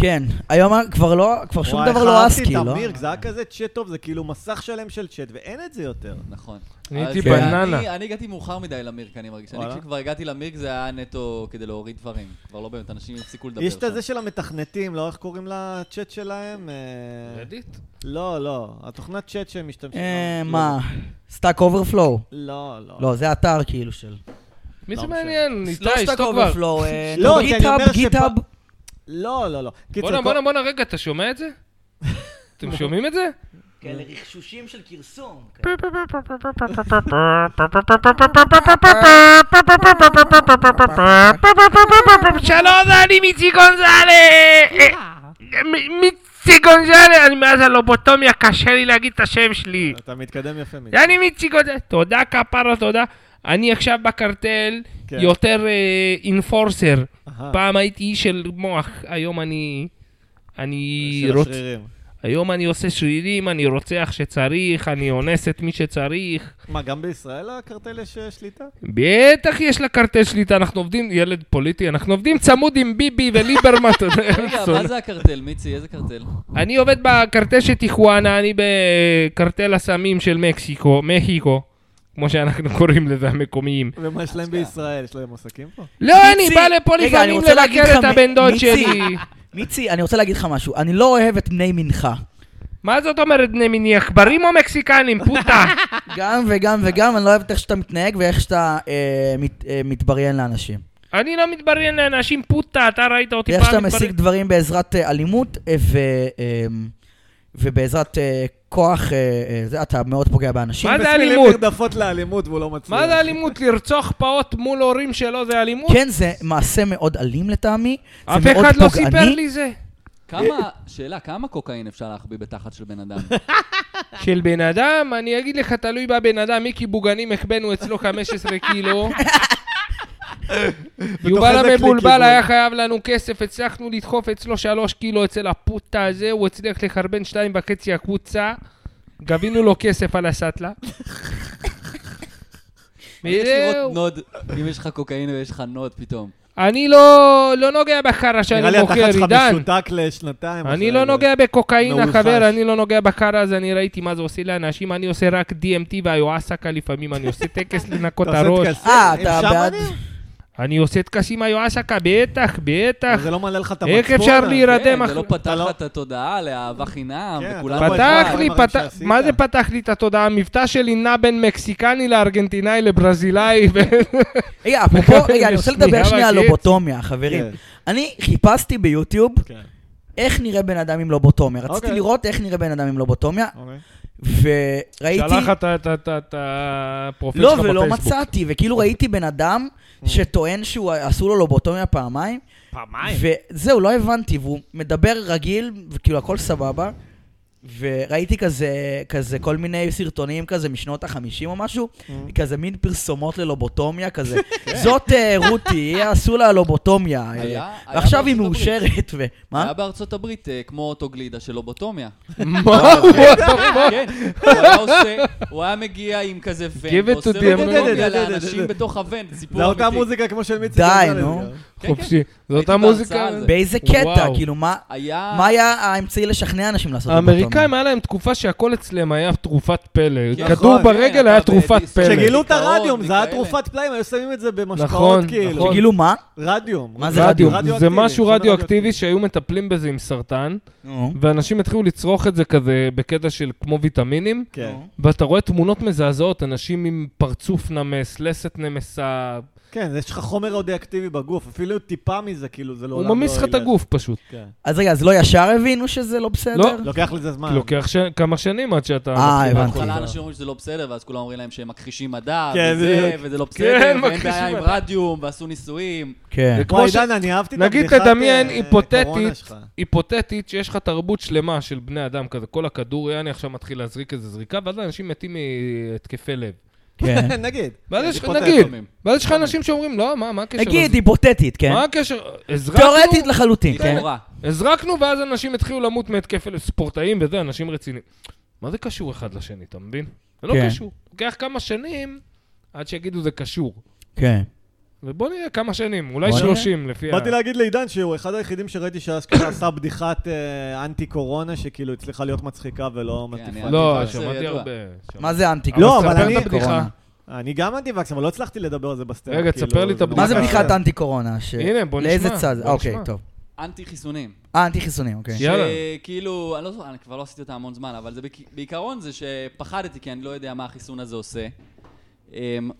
כן, היום כבר לא, כבר שום וואי, דבר לא אסקי, איך לא? אהבתי את המירק, זה היה כזה צ'אט טוב, זה כאילו מסך שלם של צ'אט, ואין את זה יותר. נכון. אני הייתי אז, אה, בננה. אני- אני הגעתי מאוחר מדי למירק, אני מרגיש. אני וואלה. כשכבר הגעתי למירק זה היה נטו כדי להוריד דברים. כבר לא באמת, אנשים הפסיקו לדבר. יש את שם. הזה של המתכנתים, לא איך קוראים לצ'אט שלהם? אה, לא, לא, התוכנת צ'אט שהם משתמשים. אה, בה. מה? סטאק אוברפלואו? לא, לא. לא, זה אתר כאילו של... מי זה לא מעניין? לא איתי, סטאק שתוק כבר. אוברפלואו, אה, לא, נו, כי אני אומר גיטאב, שפ- גיטאב. לא, לא, לא. קיצר, בואנה, כל- בואנה, בואנה, רגע, אתה שומע את זה? אתם שומעים את זה? כאלה רכשושים של כרסום. שלום, לא, זה אני מיצי גונזלה! מיצי גונזלה! אני מאז הלובוטומיה, קשה לי להגיד את השם שלי. אתה מתקדם יפה מדי. אני מיצי גונזלה. תודה, כפרה, תודה. אני עכשיו בקרטל כן. יותר אינפורסר. אהה, פעם הייתי איש של מוח, היום אני... אני של רוצ... השרירים. היום אני עושה שרירים, אני רוצח שצריך, אני אונס את מי שצריך. מה, גם בישראל לקרטל יש אה, שליטה? בטח יש לה קרטל שליטה, אנחנו עובדים, ילד פוליטי, אנחנו עובדים צמוד עם ביבי וליברמן, אתה יודע, רגע, שונא. מה זה הקרטל, מיצי? איזה קרטל? אני עובד בקרטל של טיחואנה, אני בקרטל הסמים של מקסיקו, מהיקו, כמו שאנחנו קוראים לזה, המקומיים. ומה יש להם בישראל? יש להם עסקים פה? לא, אני מיצי, בא לפה רגע, אני לפעמים רוצה להגיד לבקר לך, את מ- הבן דוד מיצי. שלי. מיצי, אני רוצה להגיד לך משהו, אני לא אוהב את בני מנחה. מה זאת אומרת בני מיני, עכברים או מקסיקנים, פוטה? גם וגם וגם, אני לא אוהב את איך שאתה מתנהג ואיך שאתה אה, מת, אה, מתבריין לאנשים. אני לא מתבריין לאנשים, פוטה, אתה ראית אותי אוקיי, פעם ואיך שאתה מתבריין. משיג דברים בעזרת אה, אלימות אה, ו, אה, ובעזרת אה, כוח, אה, אה, זה, אתה מאוד פוגע באנשים. מה זה יש מילים אלימות? נרדפות לאלימות והוא לא מצליח. מה זה אלימות? לרצוח פעוט מול הורים שלו זה אלימות? כן, זה מעשה מאוד אלים לטעמי, זה מאוד פוגעני. אף אחד לא סיפר לי זה. כמה, שאלה, כמה קוקאין אפשר להחביא בתחת של בן אדם? של בן אדם, אני אגיד לך, תלוי בבן אדם, מיקי בוגנים, החבאנו אצלו 15 קילו. יובל איזה כלי המבולבל כיבוי. אה. היה חייב לנו כסף, הצלחנו לדחוף אצלו 3 קילו אצל הפוטה הזה, הוא הצליח לחרבן 2.5 הקבוצה. גבינו לו כסף על הסאטלה. יש לראות וזהו. נוד, אם יש לך קוקאין ויש לך נוד פתאום. אני לא, לא נוגע בחרא נראה שאני לי התחת מוכר, שלך עידן. משותק לשנתיים. אני אחרי לא זה. נוגע בקוקאין, מעולחש. החבר, אני לא נוגע בחרא, אז אני ראיתי מה זה עושה לאנשים, אני עושה רק DMT והיואסקה לפעמים, אני עושה טקס לנקות אתה עושה הראש. טקסים? אה, עם אתה בעד- שמנים? אני עושה טקסים היואסקה, בטח, אבל בטח. זה לא מעלה לך את המצפון. איך אפשר להירדם כן, זה אחרי... לא פתח אתה לא- לך את התודעה לאהבה חינם, כן, אתה וכולנו... לא פתח וואי, לי, דברים פתח... שעשית. מה זה פתח לי את התודעה? המבטא שלי נע בין מקסיקני לארגנטינאי לברזילאי. ו- רגע, אה, אפרופו, רגע, אני רוצה שנייה, לדבר שנייה על רק לובוטומיה, חברים. כן. אני חיפשתי ביוטיוב אוקיי. כן, איך נראה בן אדם עם לובוטומיה. רציתי אוקיי. לראות איך נראה בן אדם עם לובוטומיה, אוקיי. וראיתי... שלח את ה- את ה- את ה- את הפרופיל שלך לא, בפייסבוק. ולא מצאתי, וכאילו אוקיי. ראיתי בן אדם Mm. שטוען שהוא עשו לו לובוטומיה פעמיים, פעמיים. וזהו, לא הבנתי, והוא מדבר רגיל, וכאילו הכל סבבה. וראיתי כזה, כזה כל מיני סרטונים כזה משנות החמישים או משהו, Mm. כזה מין פרסומות ללובוטומיה כזה. זאת אה, רותי, היא עשו לה לובוטומיה. אה, כן. היה- היה ועכשיו היא בארצות הברית. מאושרת, ו... מה? היה בארצות הברית אה, כמו אוטוגלידה של לובוטומיה. מה הוא עשה? כן, הוא היה עושה, הוא היה מגיע עם כזה Give ון, it ועושה to them. לובוטומיה לאנשים בתוך הוון, סיפור זה אמיתי. אותה מוזיקה כמו של מיצי. די, גונזלז נו. גם. כן, כן. חופשי. זו הייתי אותה בהרצאה מוזיקה. על זה. באיזה קטע? וואו. כאילו, מה היה... מה היה האמצעי לשכנע אנשים לעשות לובוטומיה? האמריקאים היה להם תקופה שהכל אצלם היה תרופת פלא. כן, כדור נכון, כן, ברגל היה אתה תרופת בדיסק. פלא. כשגילו את דיכאון, הרדיום, זה היה וכאלה. תרופת פלאים, היו שמים את זה במשקאות נכון, כאילו. נכון. שגילו מה? רדיום. מה זה רדיו, רדיואקטיבי, זה משהו חומר רדיואקטיבי שהיו מטפלים בזה עם סרטן, נו. ואנשים התחילו לצרוך את זה כזה בקטע של כמו ויטמינים, כן, ואתה רואה תמונות מזעזעות, אנשים עם פרצוף נמס, לסת נמסה, כן, יש לך חומר רדיואקטיבי בגוף, אפילו טיפה מזה, כאילו, זה לעולם הוא לא... ממיס לך את ילך. הגוף פשוט. כן. אז רגע, אז לא ישר הבינו שזה לא בסדר? לא. לוקח לזה זמן. לוקח ש- כמה שנים עד שאתה... אה, מתחיל הבנתי. לאכול. בהתחלה אנשים אומרים שזה לא בסדר, ואז כולם אומרים להם שהם מכחישים מדע, כן, וזה, בדיוק. וזה לא כן, בסדר, ואין מכחישים בעיה עם מדע. רדיום, ועשו ניסויים. כן. אה, כמו וואי, ש- דן, אני אהבתי את הבדיחת נגיד תדמיין אה, היפותטית, קורונה שלך. היפותטית שיש לך תרבות שלמה של בני אדם כזה, כל הכדור, יעני עכשיו מתחיל להזריק איזה זריקה, ואז אנשים מתים מהתקפי לב. כן. נגיד. ואז יש לך, היפותטי, נגיד, לפעמים. ואז יש לך אנשים שאומרים, לא, מה, מה הקשר לזה? נגיד, היפותטית, כן? מה הקשר? הזרקנו, תיאורטית לחלוטין, כן? לכאורה. הזרקנו, ואז אנשים התחילו למות מהתקף אלה, ספורטאים וזה, אנשים רציניים. מה זה קשור אחד לשני, אתה מבין? זה לא כן. קשור. לוקח כמה שנים עד שיגידו זה קשור. כן. ובוא נראה כמה שנים, אולי בוא נראה. 30 לפי ה... באתי להגיד לעידן שהוא אחד היחידים שראיתי שאשכרה עשה בדיחת אה, אנטי-קורונה, שכאילו הצליחה להיות מצחיקה ולא כן, מטיפה. אני- לא, זה שמעתי ידוע. הרבה. מה זה אנטי? לא, אבל אבל ספר אני- את הבדיחה. קורונה. אני גם אנטי-וקס, אבל לא הצלחתי לדבר על זה בסטנדאפ. רגע, כאילו, תספר לי את זה הבדיחה. מה זה ממש- בדיחת אנטי קורונה? ש- הנה, בוא נשמע, לאיזה צד? בוא אוקיי, נשמע. טוב. אנטי חיסונים. אה, אנטי חיסונים, אוקיי. יאללה. שכאילו, אני לא זוכר, אני כבר לא עשיתי אותה המון זמן, אבל זה בעיק- בעיקרון זה שפחדתי, כי אני לא יודע מה החיסון הזה עושה. אמ,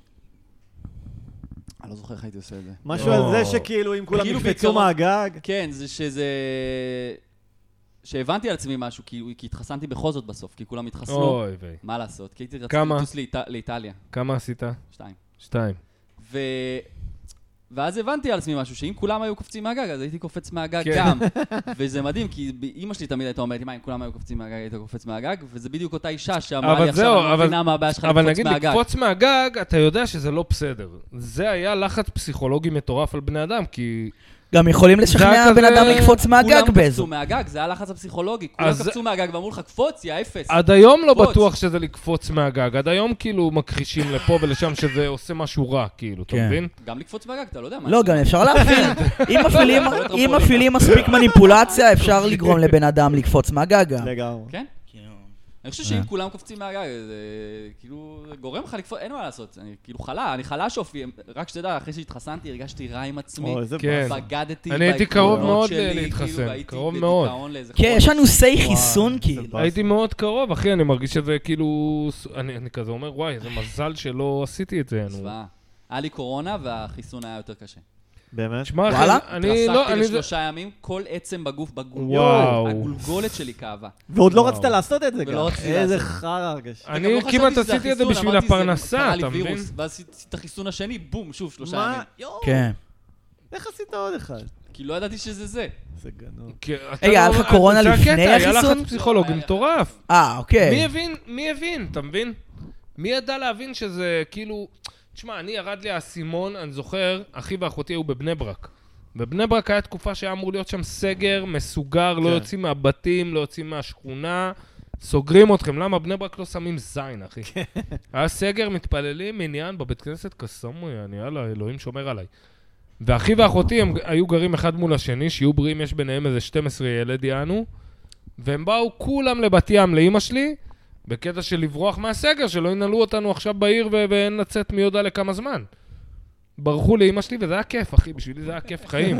אני לא זוכר איך הייתי עושה את זה. משהו על זה שכאילו אם כולם כאילו יקפצו בעיקרון- מהגג. כן, זה שזה... שהבנתי על עצמי משהו, כי, כי התחסנתי בכל זאת בסוף, כי כולם התחסנו. אוי ויי. מה לעשות? כי הייתי רציתי כמה? לטוס לאיטה, לאיטליה, כמה עשית? שתיים. שתיים. ו... ואז הבנתי על עצמי משהו, שאם כולם היו קופצים מהגג, אז הייתי קופץ מהגג כן. גם. וזה מדהים, כי ב- אימא שלי תמיד הייתה אומרת לי, מה, אם כולם היו קופצים מהגג, היית קופץ מהגג? וזה בדיוק אותה אישה שאמרה אבל לי, זהו, עכשיו אני לא אבל- מבינה מה הבעיה שלך אבל לקפוץ נגיד, מהגג. לקפוץ מהגג, אתה יודע שזה לא בסדר. זה היה לחץ פסיכולוגי מטורף על בני אדם, כי... גם יכולים לשכנע זה היה בן כזה- אדם לקפוץ מהגג כולם קפצו באיזו. מהגיא, זה היה לחץ הפסיכולוגי. כולם אז- קפצו מהגג ואמרו לך, קפוץ, יא אפס. עד היום לא קפוץ. בטוח שזה לקפוץ מהגג. עד היום כאילו מכחישים לפה ולשם שזה עושה משהו רע, כאילו, אתה כן. מבין? גם לקפוץ מהגג, אתה לא יודע מה. לא, זה. גם אפשר להפעיל. אם מפעילים- לא, יכול להיות אם טרמפולינה. מפעילים מספיק מניפולציה, אפשר לגרום לבן אדם לקפוץ מהגג גם. לגמרי. כן? אני חושב אה. שאם כולם קופצים מהגג, זה כאילו זה גורם לך לקפוץ, אין מה לעשות. אני כאילו חלה, אני חלש אופי. רק שתדע, אחרי שהתחסנתי הרגשתי רע עם עצמי. אוי, איזה כן. בגדתי אני הייתי קרוב בעקרונות מאוד שלי, ל- כאילו, להתחסן, והייתי קרוב בדיכאון לאיזה כן, חודש. יש לנו סי וואו, חיסון, איזה כאילו. באסה. הייתי מאוד קרוב, אחי, אני מרגיש שזה כאילו... ס- אני אני כזה אומר, וואי, איזה מזל שלא עשיתי את זה. נו." זוועה. היה לי קורונה והחיסון היה יותר קשה. באמת? שמע, אחי, וואלה? אני לא... התרסקתי אני- לשלושה ימים, כל עצם בגוף וואו. בגולגולת, הגולגולת שלי כאבה. ועוד לא וואו. רצית לעשות את זה גם. ולא רציתי איזה לעשות. חרא הרגשה. וגם לא אני חשבתי כמעט שזה עשיתי את זה החיסון, בשביל אמרתי, זה הפרנסה, קרה לי אתה מבין? וירוס. ואז עשיתי את החיסון השני, בום, שוב, שלושה מה? ימים. יואו, כן. איך עשית עוד אחד? כי לא ידעתי שזה זה. זה גנוב. כי אתה רגע, לא- היה לך קורונה זה לפני הקטע, היה החיסון? לחץ פסיכולוגי מטורף. אה, מי אוקיי. הבין? מי הבין? אתה מבין? מי ידע להבין שזה כאילו... תשמע, אני ירד לי האסימון, אני זוכר, אחי ואחותי היו בבני ברק. בבני ברק היה תקופה שהיה אמור להיות שם סגר, מסוגר, לא יוצאים מהבתים, לא יוצאים מהשכונה, סוגרים אתכם, למה בני ברק לא שמים זין, אחי? היה סגר מתפללים מניין בבית כנסת, קסמו, יעני, יאללה, אלוהים שומר עליי. ואחי ואחותי הם היו גרים אחד מול השני, שיהיו בריאים, יש ביניהם איזה 12 ילד יענו, והם באו כולם לבת ים, לאימא שלי, בקטע של לברוח מהסגר, שלא ינעלו אותנו עכשיו בעיר ו- ואין לצאת מי יודע לכמה זמן. ברחו לאימא שלי, וזה היה כיף, אחי, בשבילי זה היה כיף חיים.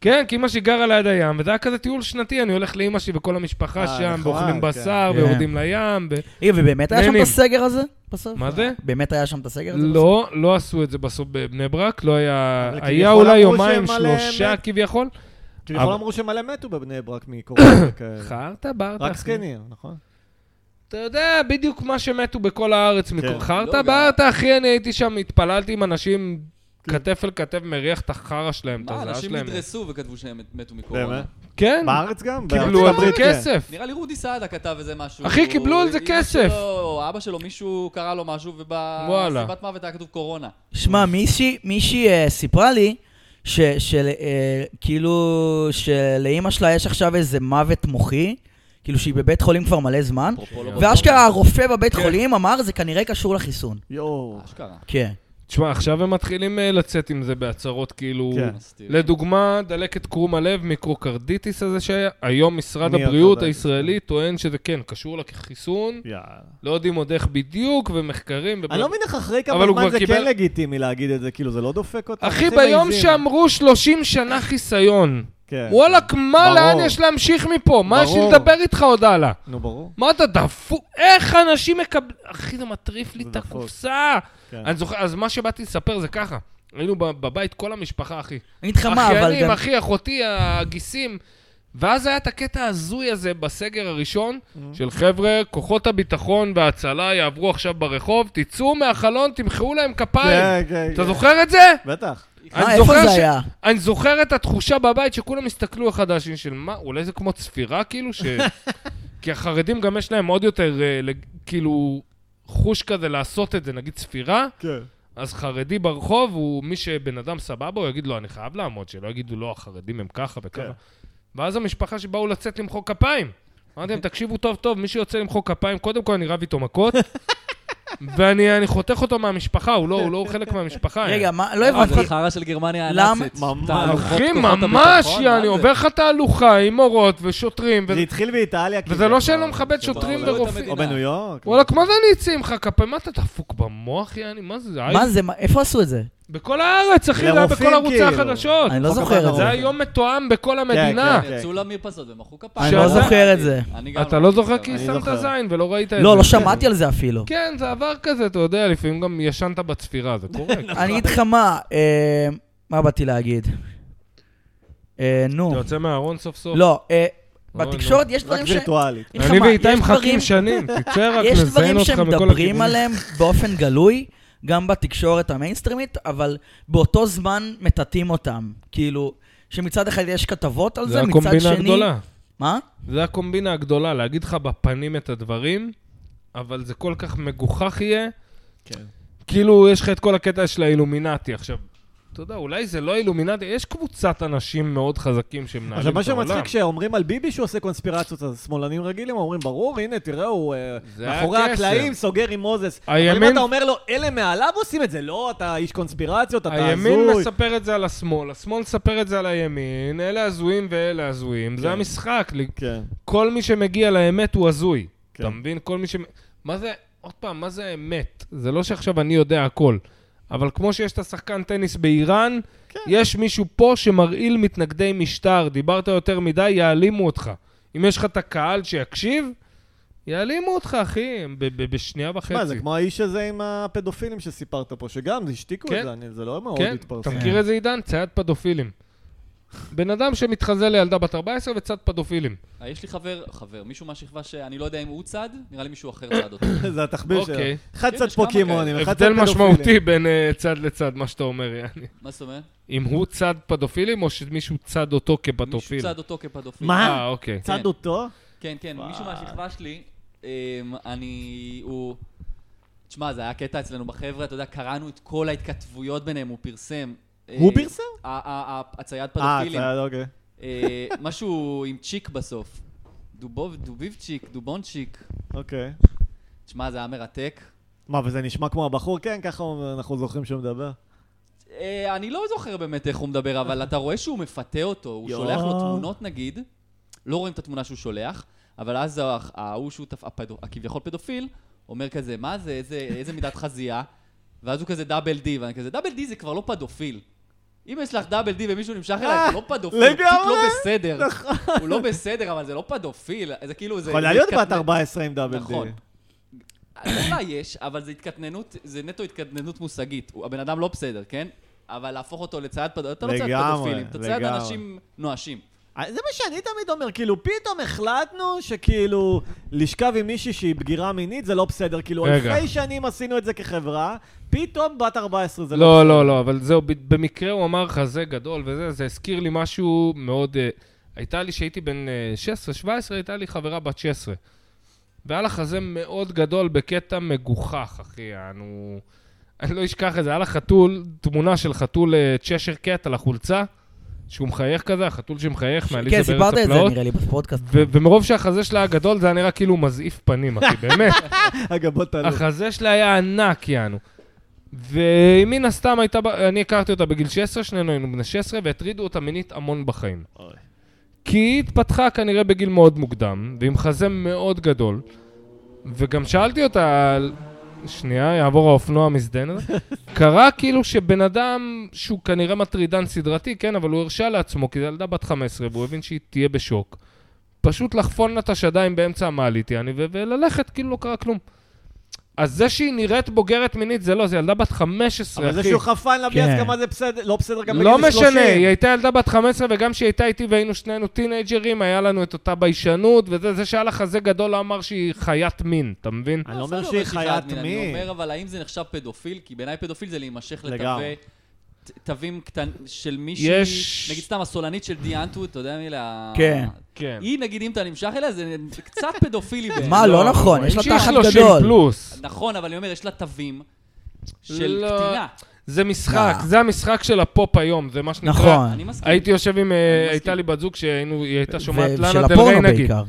כן, כי אימא שלי גרה ליד הים, וזה היה כזה טיול שנתי, אני הולך לאימא שלי וכל המשפחה אה, שם, נחמד, ואוכלים כן. בשר, כן. ויורדים לים, ו... אה, ובאמת היה שם את נהנים. הסגר הזה? בסוף? מה זה? באמת היה שם את הסגר הזה? בסוף? לא, לא עשו את זה בסוף בבני ברק, לא היה... אבל כביכול היה אולי אמרו יומיים, שהם מלא שלושה מת. כביכול. כביכול אבל- כאילו, לא אמרו שמלא מתו בבני ברק מקורונה וכאלה. חרטה ברטה. רק אחי. זקנים, נכון? אתה יודע בדיוק מה שמתו בכל הארץ כן. מכל לא, חרטה גם- ברטה, אחי, אני הייתי שם, התפללתי עם אנשים כתף אל כתף, מריח את החרא שלהם, את כן. מה, הזעה אנשים שלהם. נדרסו וכתבו שהם מתו מקורונה. באמת? כן, בארץ גם? קיבלו בארצות על זה הברית, כן. כסף. נראה לי רודי סעדה כתב איזה משהו. אחי, קיבלו על זה אמא כסף. שלו, אבא שלו, מישהו קרא לו משהו, וואלה. ובסביבת מוות היה כתוב קורונה. שמע, מישהי- מישהי אה, סיפרה לי ש- של... אה, כאילו שלאימא שלה יש עכשיו איזה מוות מוחי, כאילו שהיא בבית חולים כבר מלא זמן, אפרופו כן. לא ואשכרה הרופא בבית חולים אמר, זה כנראה קשור לחיסון. יואו. אשכרה. כן. תשמע, עכשיו הם מתחילים אה, לצאת עם זה בהצהרות, כאילו... כן. מסתיר. לדוגמה, דלקת קרום הלב, מיקרוקרדיטיס הזה שהיה, היום משרד מי אתה הבריאות יודע? הישראלי טוען שזה כן, קשור לחיסון, יאללה. לא יודעים עוד איך בדיוק, ומחקרים. כן. אני לא מבין איך אחרי כמה אבל הוא זמן כבר זה קיבל- כן לגיטימי להגיד את זה, כאילו זה לא דופק אותם? אחי, אנשים ביום מעיזים. שאמרו 30 שנה חיסיון, כן. וואלכ, מה, ברור. לאן יש להמשיך מפה? מה יש לי ברור. לדבר איתך עוד הלאה? נו, ברור. מה אתה דפוק? איך אנשים מקבלים... אחי, זה מטריף לי זה את דפוק. הקופסה. כן. אני זוכר, אז מה שבאתי לספר זה ככה. היינו ב- בבית כל המשפחה, אחי. אני אגיד לך מה, אבל אחיינים, גם... אחי, אחותי, הגיסים. ואז היה את הקטע ההזוי הזה בסגר הראשון, Mm-hmm. של חבר'ה, כוחות הביטחון וההצלה יעברו עכשיו ברחוב, תצאו מהחלון, תמחאו להם כפיים. כן, כן, אתה כן. זוכר את זה? בטח. מה, אני איפה זוכר זה ש- היה? אני זוכר את התחושה בבית שכולם הסתכלו אחד על השני של מה, אולי זה כמו צפירה כאילו? ש... כי החרדים גם יש להם עוד יותר, אה, לג- כאילו, חוש כזה לעשות את זה, נגיד צפירה, כן. אז חרדי ברחוב הוא מי שבן אדם סבבה, הוא יגיד לו, אני חייב לעמוד, שלא יגידו, לא, החרדים הם ככה וככה. כן. ואז המשפחה שבאו לצאת למחוא כפיים. אמרתי להם, תקשיבו טוב טוב, מי שיוצא למחוא כפיים, קודם כל אני רב איתו מכות, ואני אני חותך אותו מהמשפחה, הוא לא, הוא לא חלק מהמשפחה. רגע, מה, לא אה, זה הבנתי. חרא של גרמניה למה? הנאצית. ממש. תהלוכות אחי, כוחות הביטחון, ממש, מה יעני, זה? עובר לך תהלוכה עם מורות ושוטרים, ו- זה התחיל באיטליה. וזה כאילו. לא שאני לא מכבד שוטרים בעולם. ורופאים. או בניו יורק. וואלה, כמו זה אני אצא ממך כפיים, מה אתה דפוק במוח, יעני? מה זה? זה? מה זה, מה- איפה עשו את זה? בכל הארץ, אחי, זה היה לרופאים, בכל ערוצי כאילו. החדשות. אני לא חוק זוכר את הבנקאות. זה זה. היה יום מתואם בכל המדינה. כן. יצאו למרפסות ומחאו כפיים. אני לא שאתה- זוכר את זה. אני גם אתה לא זוכר כי אני שמת זוכר. זין ולא ראית את כן, זה. לא, לא שמעתי על זה אפילו. כן, זה עבר כזה, אתה יודע, לפעמים גם ישנת בצפירה, זה קורה. אני אגיד לך מה, אה, מה באתי להגיד? אה, אתה נו. יוצא מהארון סוף סוף. לא, אה, אוי, בתקשורת יש רק דברים ש... וירטואלית. אגיד לך אני מה, ואיתי יש מחכים דברים- שנים, תצא רק יש נזיין דברים אותך מכל שמדברים הכיוונים. עליהם באופן גלוי, גם בתקשורת המיינסטרימית, אבל באותו זמן מטאטאים אותם. כאילו, שמצד אחד יש כתבות על זה, זה מצד שני... הקומבינה הגדולה. מה? זה הקומבינה הגדולה, להגיד לך בפנים את הדברים, אבל זה כל כך מגוחך יהיה. כן. כאילו, יש לך את כל הקטע של האילומינטי עכשיו. אתה יודע, אולי זה לא אילומינטי, יש קבוצת אנשים מאוד חזקים עכשיו, שמנהלים מה את העולם. שמצחיק, כשאומרים על ביבי שהוא עושה קונספירציות, אז שמאלנים רגילים אומרים, ברור, הנה, תראה, הוא אה, זה מאחורי הקסם. הקלעים סוגר עם מוזס. אבל הימין- אם אתה אומר לו, אלה מעליו עושים את זה, לא, אתה איש קונספירציות, אתה הימין הזוי. מספר את זה על השמאל, השמאל מספר את זה על הימין, אלה הזויים ואלה הזויים, זה כן. המשחק. ל- כן, כל מי שמגיע לאמת הוא הזוי. כן. אתה מבין? כל מי ש... מה זה, עוד פעם, מה זה אמת? זה לא שעכשיו אני יודע הכל. אבל כמו שיש את השחקן טניס באיראן, כן. יש מישהו פה שמרעיל מתנגדי משטר. דיברת יותר מדי, יעלימו אותך. אם יש לך את הקהל שיקשיב, יעלימו אותך, אחי, הם ב- ב- בשנייה וחצי. מה, זה כמו האיש הזה עם הפדופילים שסיפרת פה, שגם השתיקו כן. את זה, אני- זה לא מאוד כן, התפרסם. אתה מכיר את זה, עידן? צייד פדופילים. בן אדם שמתחזה לילדה בת 14 וצד פדופילים. אה, יש לי חבר, חבר, מישהו מהשכבה שאני לא יודע אם הוא צד, נראה לי מישהו אחר צד אותו. זה התחביב שלו. אוקיי. אחד כן, קצת יש כמה פוקימונים, אחד קצת הבדל פדופילים. משמעותי בין אה, צד לצד, מה שאתה אומר, יעני. מה זאת אומרת? אם הוא צד פדופילים או שמישהו צד אותו מישהו כפדופיל? צד אותו כפדופיל. מה? אה, אוקיי. צד אותו? כן, כן, מישהו מהשכבה שלי, אמ, אני, הוא... תשמע, זה היה קטע אצלנו בחבר'ה, אתה יודע, קראנו את כל ההתכתבויות ביניהם, הוא פרסם. אה, הוא פרסם? ה- ה- ה- הצייד אה, פדופילים. צד, אוקיי. אה, משהו עם צ'יק בסוף. דובוב, דוביבצ'יק, דובונצ'יק. אוקיי. תשמע, זה היה מרתק. מה, וזה נשמע כמו הבחור? כן, ככה הוא- אנחנו זוכרים שהוא מדבר. אה, אני לא זוכר באמת איך הוא מדבר, אבל אתה רואה שהוא מפתה אותו, הוא יואו. שולח לו תמונות נגיד, לא רואים את התמונה שהוא שולח, אבל אז ה- ההוא שהוא תפ- הפדו- הכביכול פדופיל, אומר כזה, מה זה, איזה, איזה מידת חזייה, ואז הוא כזה דאבל די, ואני כזה, דאבל די זה כבר לא פדופיל. אם יש לך דאבל די ומישהו נמשך אליי, זה לא פדופיל, הוא פשוט לא לגמרי. נכון. בסדר. הוא לא בסדר, אבל זה לא פדופיל, זה כאילו, זה... יכולה זה להיות בת התקטנן- 14 עם דאבל די. נכון. אז אולי יש, אבל זה התקטננות, זה נטו התקטננות מושגית. הוא- הבן אדם לא בסדר, כן? אבל להפוך אותו לצייד פדופילים, אתה לא צייד לגמרי, פדופילים, אתה צייד לגמרי. אנשים נואשים. אה, זה מה שאני תמיד אומר, כאילו, פתאום החלטנו שכאילו לשכב עם מישהי שהיא בגירה מינית זה לא בסדר, כאילו רגע. אלפי שנים עשינו את זה כחברה, פתאום בת 14 זה לא לא, בסדר. לא, לא, אבל זהו, ב- במקרה הוא אמר לך זה גדול וזה, זה הזכיר לי משהו מאוד... אה, הייתה לי, כשהייתי בן אה, 16-17, הייתה לי חברה בת 16. והיה לה חזה מאוד גדול בקטע מגוחך, אחי, אנו... אני לא אשכח את זה, היה לה חתול, תמונה של חתול אה, צ'שר קט על החולצה, שהוא מחייך כזה, החתול שמחייך כן, מעליזה סיפרת בארץ את זה הפלאות. נראה לי בפודקאסט. ו- ומרוב שהחזה שלה היה גדול, זה היה נראה כאילו הוא מזעיף פנים, אחי, באמת. אגב, בוא תעלו. החזה שלה היה ענק, יענו. ומן הסתם הייתה, ב- אני הכרתי אותה בגיל 16, שנינו היינו בני 16, והטרידו אותה מינית המון בחיים. אוי. כי היא התפתחה כנראה בגיל מאוד מוקדם, ועם חזה מאוד גדול, וגם שאלתי אותה, על- שנייה, יעבור האופנוע המזדיין הזה, קרה כאילו שבן אדם שהוא כנראה מטרידן סדרתי, כן, אבל הוא הרשה לעצמו, כי זו ילדה בת 15, והוא הבין שהיא תהיה בשוק. פשוט לחפון לה את השדיים באמצע המעלית, יעני, ו- וללכת, כאילו לא קרה כלום. אז זה שהיא נראית בוגרת מינית, זה לא, זו ילדה בת 15, אבל אחי. זה שהוא חפן לביאס, כן. כמה זה בסדר, לא בסדר גם בגיל 30. לא משנה, היא הייתה ילדה בת 15, וגם כשהיא הייתה איתי והיינו שנינו טינג'רים, היה לנו את אותה ביישנות, וזה זה שהיה לה חזה גדול לא אמר שהיא חיית מין, אתה מבין? אני לא אף אחד אומר לא שהיא שהיא חיית מין, אני מין. אומר, אבל האם זה נחשב פדופיל? כי בעיניי פדופיל זה להימשך לגמרי. לתווי... ת- תווים קטן של מישהי, יש- נגיד סתם הסולנית של די אנטו, אתה יודע מי לה... כן. כן. היא, נגיד, אם אתה נמשך אליה, זה קצת פדופילי אה, בעיניי. מה, לא נכון, יש לה שהיא תחת 30 גדול. פלוס. נכון, אבל אני אומר, יש לה תווים של לא. קטינה. זה משחק, זה המשחק של הפופ היום, זה מה שנקרא. נכון. אני מסכים. הייתי יושב עם, אה, מסכים. הייתה לי בת זוג שהיינו, היא הייתה שומעת ושל לאנה דלריי הפורנו נגיד. בעיקר.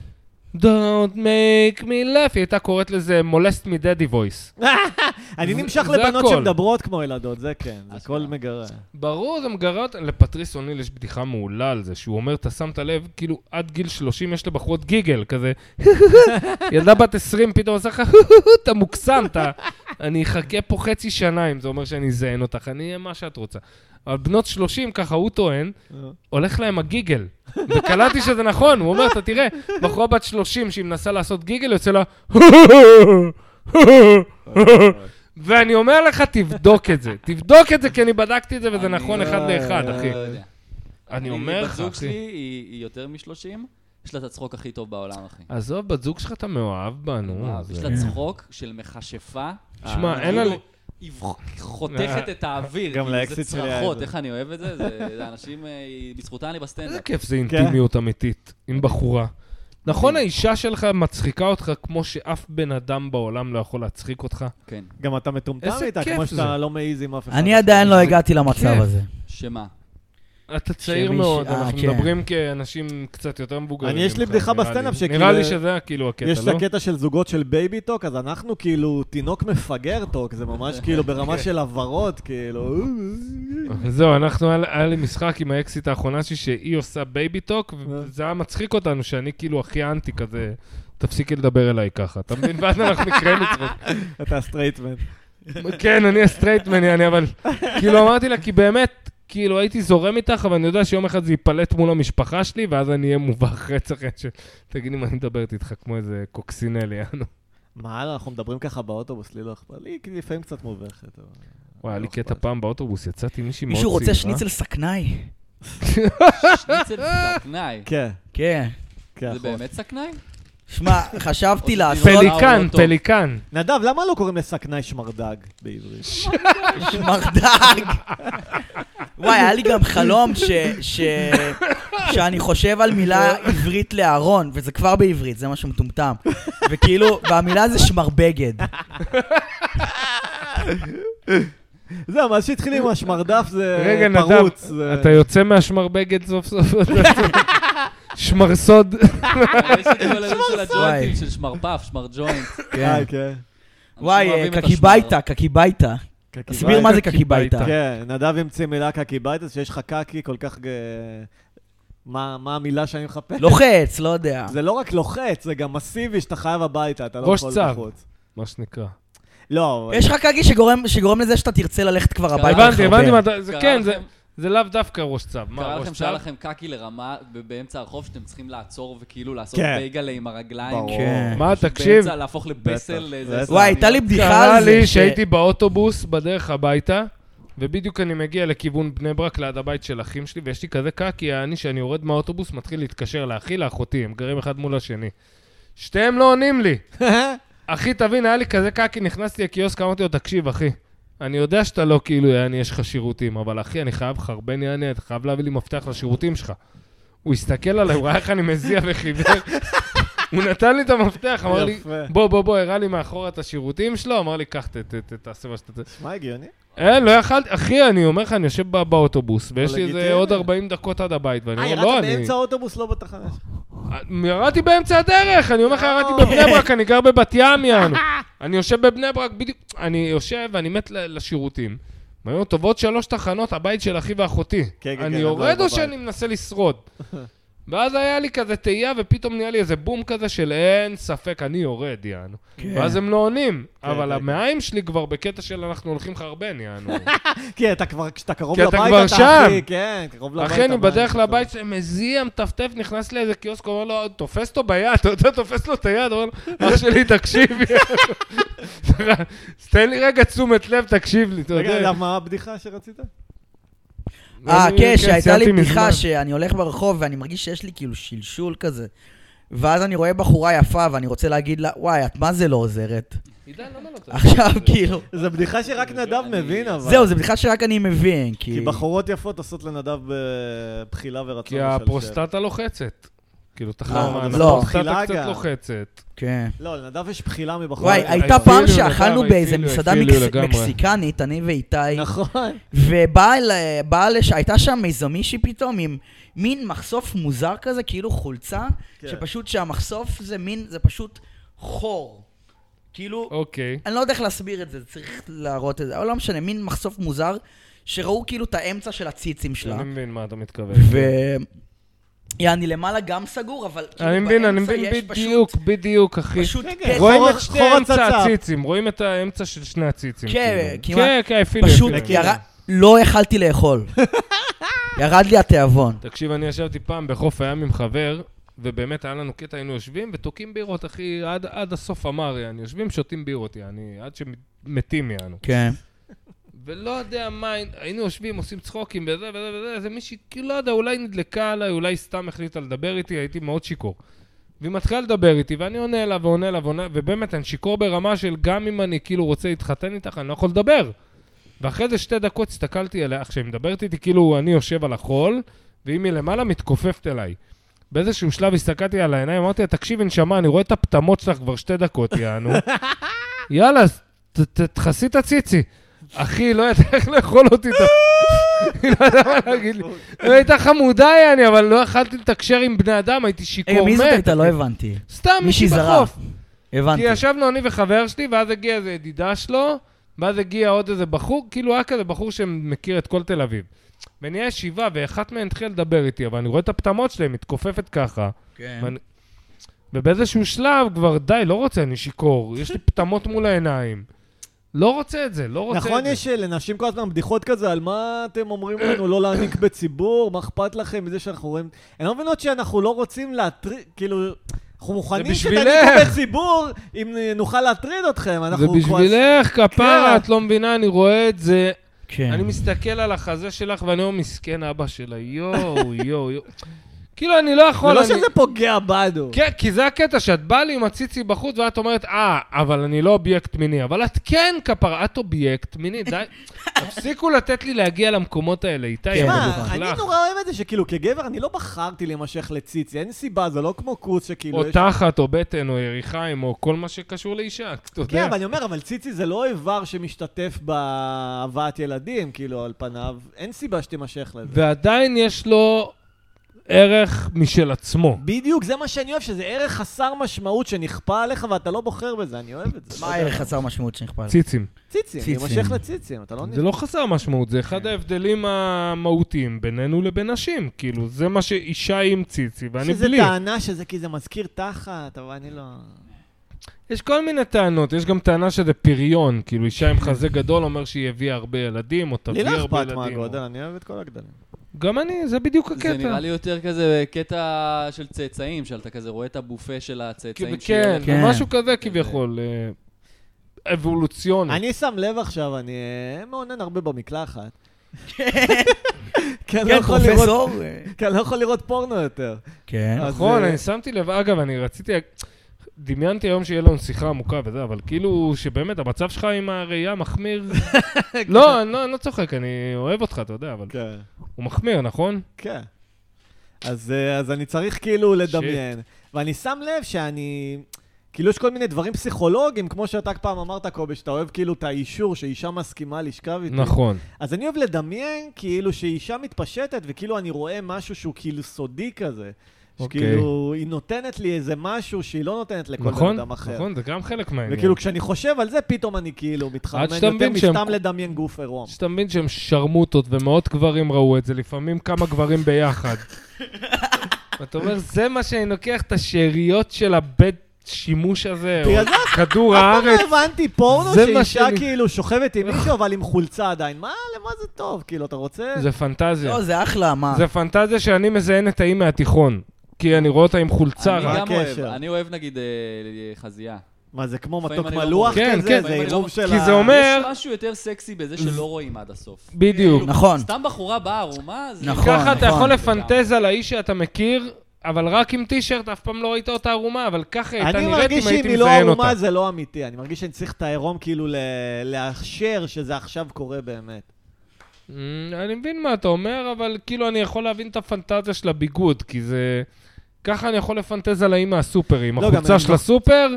Don't make me laugh, היא הייתה קוראת לזה molest me daddy voice. אני זה- נמשך זה לבנות הכל. שמדברות כמו ילדות, זה כן, זה אשכרה. הכל מגרה. ברור, זה מגרד, לפטריס אוניל יש בדיחה מעולה על זה, שהוא אומר, אתה שמת לב, כאילו, עד גיל 30 יש לבחורות גיגל, כזה, ילדה בת 20 פתאום עושה לך, אתה מוקסם, אתה, אני אחכה פה חצי שנה אם זה אומר שאני אזיין אותך, אני אהיה מה שאת רוצה. אבל בנות 30, ככה הוא טוען, אה. הולך להם הגיגל. וקלטתי שזה נכון, הוא אומר, אתה תראה, בחורה בת 30 שהיא מנסה לעשות גיגל, יוצא לה... ואני אומר לך, תבדוק את זה. תבדוק את זה, כי אני בדקתי את זה, וזה אני נכון לא- אחד לאחד, אחי. לא יודע. אני אומר בת לך, זוג שלי אחי. היא היא יותר מ-30, יש לה את הצחוק הכי טוב בעולם, אחי. עזוב, בת זוג שלך אתה מאוהב בנו. וואו, יש זה- לה צחוק של מכשפה. שמע, אה, אין כאילו, לנו- היא וח- חותכת את האוויר. גם כאילו, לאקסיט שלי זה היה את צרחות, זה. איך אני אוהב את זה, זה זה אנשים, אה, בזכותה אני איזה בסטנדאפ. כיף זה כן. אינטימיות אמיתית, עם בחורה. נכון, האישה שלך מצחיקה אותך כמו שאף בן אדם בעולם לא יכול להצחיק אותך? כן. גם אתה מטומטם איזה איתה, כיף כמו זה. שאתה לא מעיז עם אף אחד. אני עדיין כן. לא הגעתי למצב כיף. הזה. שמה? אתה צעיר שמישהו- מאוד, אה, אנחנו כן. מדברים כאנשים קצת יותר מבוגרים. אני, יש לי ממך, בדיחה נראה לי. בסטנדאפ שכאילו- נראה לי שזה היה כאילו הקטע, לא? יש את הקטע של זוגות של בייבי טוק, אז אנחנו כאילו תינוק מפגר טוק, זה ממש כאילו ברמה של הוורוד, כאילו... זהו, אנחנו, היה- היה לי משחק עם האקסיט האחרונה שלי, שהיא עושה בייבי טוק, אה. וזה היה מצחיק אותנו, שאני כאילו הכי אנטי כזה, תפסיקי לדבר אליי ככה, אתה מבין? ואז אנחנו נקראים את אתה הסטרייטמן. זה. כן, אני הסטרייטמן, אני אבל... כאילו, אמרתי לה, כי באמת, כאילו, הייתי זורם איתך, אבל אני יודע שיום אחד זה ייפלט מול המשפחה שלי, ואז אני אהיה מובך רצח, ש- תגידי, מה אני מדברת איתך כמו איזה קוקסינל, יענו. מה, אנחנו מדברים ככה באוטובוס, לי לא אכפת. לי כי לפעמים קצת מובכת. אבל- וואי, היה לי לא אכפת. קטע פעם באוטובוס, יצאתי עם אה? מישהי מאוד מישהו צעירה. רוצה שניצל סכנאי? שניצל סכנאי. כן, כן. כן. זה אחורה. באמת סכנאי? שמע, חשבתי או לעשות... שתינוק. פליקן, האוטו. פליקן. נדב, למה לא קוראים לסכנאי שמרדג בעברית? שמרדג. וואי, היה לי גם חלום ש... ש... שאני חושב על מילה עברית לאהרון, וזה כבר בעברית, זה משהו מטומטם. וכאילו, והמילה זה שמרבגד. זהו, מאז שהתחילים עם השמרדף זה רגע, נדב, פרוץ. זה- אתה יוצא מהשמרבגת סוף סוף. שמרסוד. יש לי כל היום של הג'וינטים, וואי. של שמרפף, שמר ג'וינט. כן. אה, כן. וואי, אוהבים את קקיבייטה, קקיבייטה. תסביר מה זה קקיבייטה. קקיבייטה. כן, נדב המציא מילה קקי בית, אז שיש לך קקי כל כך... אה, מה מה המילה שאני מחפש? לוחץ, לא יודע. זה לא רק לוחץ, זה גם מסיבי שאתה חייב הביתה, אתה לא ראש יכול צב. בחוץ. מה שנקרא. לא, יש לך קקי שגורם- שגורם לזה שאתה תרצה ללכת כבר הבנתי, הביתה. הבנתי, לחרבן. הבנתי מה אתה... זה- קרה כן, לכם- זה- זה לאו דווקא ראש צב. מה, קרה ראש לכם שהיה צב? לכם קקי לרמה ב- באמצע הרחוב שאתם צריכים לעצור וכאילו לעשות כן. בייגלה עם הרגליים. ברור. כן. מה, פשוט תקשיב, באמצע להפוך לבסל. בטח, לאיזה בטח. עשר וואי, הייתה לי שניות. בדיחה קרה על זה. לי ש- שהייתי באוטובוס בדרך הביתה, ובדיוק אני מגיע לכיוון בני ברק ליד הבית של אחים שלי, ויש לי כזה קקי, אני שאני יורד מהאוטובוס, מתחיל להתקשר לאחי, לאחותי, הם גרים אחד מול השני. שתיהם לא עונים לי. אחי, תבין, היה לי כזה קקי, נכנסתי לקיוסק, אמרתי לו, תקשיב, אחי, אני יודע שאתה לא כאילו, יעני, יש לך שירותים, אבל אחי, אני חייב חרבן יעני, אתה חייב להביא לי מפתח לשירותים שלך. הוא הסתכל עליי, הוא ראה איך אני מזיע וחיוור. הוא נתן לי את המפתח, אמר לי, יפה. בוא, בוא, בוא, הראה לי מאחורה את השירותים שלו, אמר לי, קח, ת- ת- ת- תעשה מה שאתה... מה הגיוני? אין, לא יכלתי, אחי, אני אומר לך, אני יושב בא- באוטובוס, ויש לי לגיטימי. איזה עוד 40 דקות עד הבית, ואני אה, אומר, לא, ירדת אני... באמצע האוטובוס, לא בתחנה. ירדתי באמצע הדרך, אני אומר לך, ירדתי בבני ברק, אני גר בבת ים, יענו. אני יושב בבני ברק, בדיוק, אני יושב ואני מת ל- לשירותים. והיו עוד טובות שלוש תחנות, הבית של אחי ואחותי. כן, כן, אני כן, יורד הבית, או הבית. שאני מנסה לשרוד? ואז היה לי כזה תהייה, ופתאום נהיה לי איזה בום כזה של אין ספק, אני יורד, יענו. ואז הם לא עונים, אבל כן. המעיים שלי כבר בקטע של אנחנו הולכים חרבן, יענו. כן, אתה כבר, כשאתה קרוב כי אתה לבית, אתה כבר אחי, שם. כן, קרוב לבית. אחי, אני המים, בדרך אתה- לבית שלהם, מזיע, מטפטף, נכנס לאיזה קיוסק, אומר לו, תופס אותו ביד, אתה יודע, תופס לו את היד, אומר לו, אח שלי, תקשיב, יאללה." אז תן לי רגע תשומת לב, תקשיב לי, אתה רגע, יודע. אגב, מה הבדיחה שרצית? אה, אני- כן, שהייתה לי סיימתי בדיחה מזמן. שאני הולך ברחוב ואני מרגיש שיש לי כאילו שלשול כזה. ואז אני רואה בחורה יפה ואני רוצה להגיד לה, וואי, את מה זה לא עוזרת? עידן, למה לא אתה- עכשיו כאילו... זו בדיחה שרק נדב מבין, אבל. זהו, זו בדיחה שרק אני מבין, כאילו. כי כי... בחורות יפות עושות לנדב אה, בחילה ורצון כי לשלשל. הפרוסטטה לוחצת. כאילו, אה, תחרמן, לא. הפרוסטטה בחילה קצת גם. לוחצת. כן. לא, לנדב יש בחילה מבחורות. וואי, אה, הייתה הפעילו פעם לגמרי, שאכלנו באיזה הפעילו, מסעדה הפעילו מקס- לגמרי. מקסיקנית, אני ואיתי, נכון. ובאה אל- באה לש- הייתה שם איזו מישהי פתאום עם מין מחשוף מוזר כזה, כאילו חולצה, כן. שפשוט שהמחשוף זה מין, זה פשוט חור. כאילו, אוקיי. אני לא יודע איך להסביר את זה, צריך להראות את זה, אבל לא משנה, מין מחשוף מוזר, שראו כאילו את האמצע של הציצים שלה. אני מבין מה אתה מתכוון. ו... יעני למעלה גם סגור, אבל כאילו אני מבין, אני באמצע מבין יש פשוט- בדיוק, כן. בדיוק, אחי. פשוט רגע, פתח. רואים חור- את שתי חור אמצע הצצה. הציצים, רואים את האמצע של שני הציצים. כן, כאילו. כמעט. כן, כן, אפילו. פשוט אפילו. ירד, לא יכלתי לאכול. ירד לי התיאבון. תקשיב, אני ישבתי פעם בחוף הים עם חבר, ובאמת היה לנו קטע, היינו יושבים ותוקעים בירות, אחי, עד, עד הסוף אמר, יעני, יושבים, שותים בירות, יעני, עד שמתים, יענו. כן. ולא יודע מה, היינו יושבים, עושים צחוקים וזה וזה וזה, איזה מישהי, כאילו, לא יודע, אולי נדלקה עליי, אולי סתם החליטה לדבר איתי, הייתי מאוד שיכור. והיא מתחילה לדבר איתי, ואני עונה לה ועונה לה ועונה, ובאמת, אני שיכור ברמה של גם אם אני כאילו רוצה להתחתן איתך, אני לא יכול לדבר. ואחרי זה שתי דקות הסתכלתי עליה, כשהיא מדברת איתי, כאילו אני יושב על החול, והיא מלמעלה מתכופפת אליי. באיזשהו שלב הסתכלתי על העיניים, אמרתי לה, תקשיבי, נשמה, אני רואה את הפטמות שלך כבר שתי דקות, יענו. יאללה, אז ת- ת- תכסי את הציצי. אחי, לא ידעה איך לאכול אותי. את ה- היא לא ידעה מה להגיד לי. היא הייתה חמודה, יעני, אבל לא יכלתי לתקשר עם בני אדם, הייתי רגע, שיכור מי זאת מת. הייתה? לא הבנתי. סתם מישהי מישהי זרה. בחוף. כי הבנתי. ישבנו אני וחבר שלי, ואז הגיע איזה ידידה שלו, ואז הגיע עוד איזה בחור, כאילו היה כזה בחור שמכיר את כל תל אביב. ונהיה ישיבה, ואחת מהן התחילה לדבר איתי, אבל אני רואה את הפטמות שלהם, מתכופפת ככה. כן. ואני- ובאיזשהו שלב כבר, די, לא רוצה, אני שיכור, יש לי פטמות מול העיניים. לא רוצה את זה, לא רוצה נכון, את זה. יש אה, לנשים כל הזמן בדיחות כזה על מה אתם אומרים לנו לא להעניק בציבור, מה אכפת לכם מזה שאנחנו רואים... הן לא מבינות שאנחנו לא רוצים להטריד, כאילו... אנחנו זה מוכנים בשבילך. שתעניקו בציבור אם נוכל להטריד אתכם. זה אנחנו כבר- בשבילך, כפרה, כן. את לא מבינה, אני רואה את זה. אני כן. מסתכל על החזה שלך ואני אומר, מסכן אבא שלה, יואו, יואו, יואו. כאילו, אני לא יכול, זה לא אני- שזה פוגע בנו. כן, כי זה הקטע, שאת באה לי עם הציצי בחוץ ואת אומרת, אה, אבל אני לא אובייקט מיני. אבל את כן כפרה, את אובייקט מיני, די. תפסיקו לתת לי להגיע למקומות האלה, איתי, כן, אתה מה, בטח. אני מלוכלך. נורא אוהב את זה שכאילו כגבר אני לא בחרתי להימשך לציצי, אין סיבה, זה לא כמו כוס שכאילו... או יש- תחת, או בטן, או יריחיים, או כל מה שקשור לאישה, אתה כן, יודע. אבל אני אומר, אבל ציצי זה לא איבר שמשתתף בהבאת ילדים, כאילו, על פניו. אין סיבה שתימשך לזה. ועדיין יש לו ערך משל עצמו. בדיוק, זה מה שאני אוהב, שזה ערך חסר משמעות שנכפה עליך ואתה לא בוחר בזה, אני אוהב את זה. מה הערך חסר משמעות שנכפה עליו? ציצים. ציצים, ציצים. להימשך לציצים, אתה לא כן. זה לא חסר משמעות, זה אחד ההבדלים המהותיים בינינו לבין נשים. כאילו, זה מה שאישה היא עם ציצי ואני שזה בלי. טענה שזה כי זה מזכיר תחת, אבל אני לא... יש כל מיני טענות, יש גם טענה שזה פריון. כאילו, אישה עם חזה גדול אומר שהיא הביאה הרבה ילדים, או לי תביא לא הרבה אכפת ילדים. מהגודל, או- אני אוהב את כל הגדלים. גם אני, זה בדיוק זה הקטע. נראה לי יותר כזה קטע של צאצאים, שאתה כזה רואה את הבופה של הצאצאים כי- כן, כן. משהו כזה כביכול. אה, אבולוציוני. אני שם לב עכשיו, אני אה, מעונן הרבה במקלחת. כי אני לא כן, יכול לראות- פרופסור? אה, כי אני לא יכול לראות פורנו יותר. כן. אז, נכון, אה, אני שמתי לב, אגב, אני רציתי... דמיינתי היום שיהיה לנו שיחה עמוקה וזה, אבל כאילו שבאמת המצב שלך עם הראייה מחמיר. לא, אני לא- אני לא צוחק, אני אוהב אותך, אתה יודע, אבל כן. הוא מחמיר, נכון? כן. אז, אה, אז אני צריך כאילו לדמיין. ואני שם לב שאני... כאילו יש כל מיני דברים פסיכולוגיים, כמו שאתה פעם אמרת, קובי, שאתה אוהב כאילו את האישור שאישה מסכימה לשכב איתי. נכון. אז אני אוהב לדמיין כאילו שאישה מתפשטת, וכאילו אני רואה משהו שהוא כאילו סודי כזה. אוקיי. שכאילו, היא נותנת לי איזה משהו שהיא לא נותנת לכל נכון? בן אדם אחר. נכון, זה גם חלק מהעניין. וכאילו, כשאני חושב על זה, פתאום אני כאילו מתחרמן שאתה יותר מבין שהם- מסתם לדמיין גוף עירום. שאתה מבין שהם שרמוטות ומאות גברים ראו את זה, לפעמים כמה גברים ביחד. ואתה אומר, זה מה שאני לוקח את השאריות של הבית שימוש הזה, או בגלל זה כדור אף פעם הארץ. לא הבנתי פורנו זה מה שאישה שאני- כאילו שוכבת עם מישהו, אבל עם חולצה עדיין. מה, למה זה טוב? כאילו, אתה רוצה? זה פנטזיה. לא, זה אחלה, מה? זה פנטזיה שאני מזיין את האי מהתיכון. כי אני רואה אותה עם חולצה אני רק. גם אוהב, הקשר? אני אוהב נגיד אה, חזייה. מה, זה כמו לפעמים מתוק אני לא מלוח מבין. כן, כזה? כן. זה לפעמים אני לא עירוב מבין. של כי ה... זה אומר- יש משהו יותר סקסי בזה שלא רואים עד הסוף. בדיוק. נכון. סתם בחורה באה ערומה, זה... נכון. ככה אתה יכול נכון. לפנטז על האיש שאתה מכיר, אבל רק עם טישרט, אף פעם לא ראית אותה ערומה, אבל ככה היא הייתה אני נראית מרגיש אם שאם הייתי היא לא מזיין אותה. ערומה זה לא אמיתי. אני מרגיש שאני צריך את העירום כאילו ל- לאשר שזה עכשיו קורה באמת. אמ, אני מבין מה אתה אומר, אבל כאילו אני יכול להבין את הפנטזיה של הביגוד, כי זה... ככה אני יכול לפנטז על האי מהסופר, עם לא, גם החולצה אני של לא- הסופר,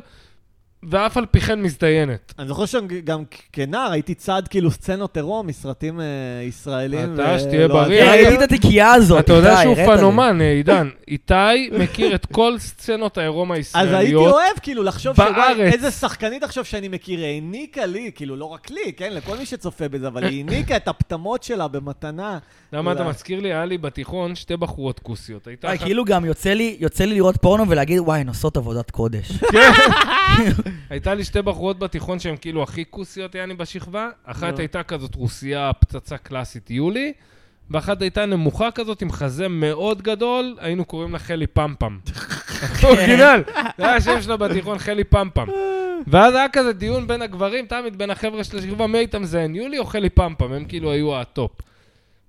ואף על פי כן מזדיינת. אני זוכר שגם כ- כנער הייתי צד כאילו סצנות עירום מסרטים אה, ישראלים. אתה ו- שתהיה לא, בריא. אז- אה, ראיתי את התיקייה לא, הזאת, אתה יודע איתי, שהוא הראית לי. פנומן, אה, עידן. איתי מכיר את כל סצנות העירום אז הייתי הישראליות. אוהב כאילו לחשוב שוואי, בארץ. איזה שחקנית עכשיו שאני מכיר העניקה לי, כאילו לא רק לי, כן, לכל מי שצופה בזה, אבל היא העניקה את הפטמות שלה במתנה. למה אתה אולי. אה, מזכיר לי, היה לי בתיכון שתי בחורות כוסיות. הייתה וואי, אחת- כאילו גם יוצא לי, יוצא לי לראות פורנו ולהגיד, וואי, הן עושות עבודת קודש. הייתה לי שתי בחורות בתיכון שהן כאילו הכי כוסיות, יעני, בשכבה. אחת נו. הייתה כזאת רוסייה, פצצה קלאסית יולי, ואחת הייתה נמוכה כזאת עם חזה מאוד גדול, היינו קוראים לה חלי פמפם. אורגינל, זה היה השם שלה בתיכון, חלי פמפם. ואז היה כזה דיון בין הגברים, תמיד בין החבר'ה של השכבה, מי היית מזיין, יולי או חלי פמפם? הם כאילו היו הטופ.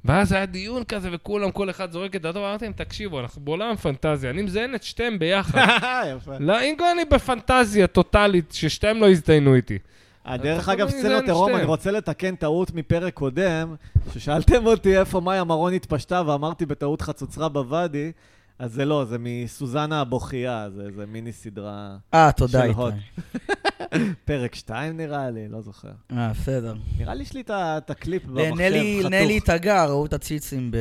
ואז היה דיון כזה, וכולם, כל אחד זורק את דעתו, ואמרתי להם, תקשיבו, אנחנו בעולם פנטזיה, אני מזיין את שתיהם ביחד. יפה. לא, אם כבר אני בפנטזיה טוטאלית, ששתיהם לא יזדיינו איתי. דרך אתה אגב, חבר סצנות מזיין עירום, שתיהם. אני רוצה לתקן טעות מפרק קודם, ששאלתם אותי איפה מאיה מרון התפשטה, ואמרתי בטעות חצוצרה בוואדי, אז זה לא, זה מסוזנה הבוכייה, זה זה מיני סדרה, אה, תודה, של איתי. הוט. פרק 2 נראה לי, לא זוכר. אה, בסדר. נראה לי יש לי את ה- את הקליפ במחשב לנלי נלי לא, חתוך, תגר, ראו את הציצים ב-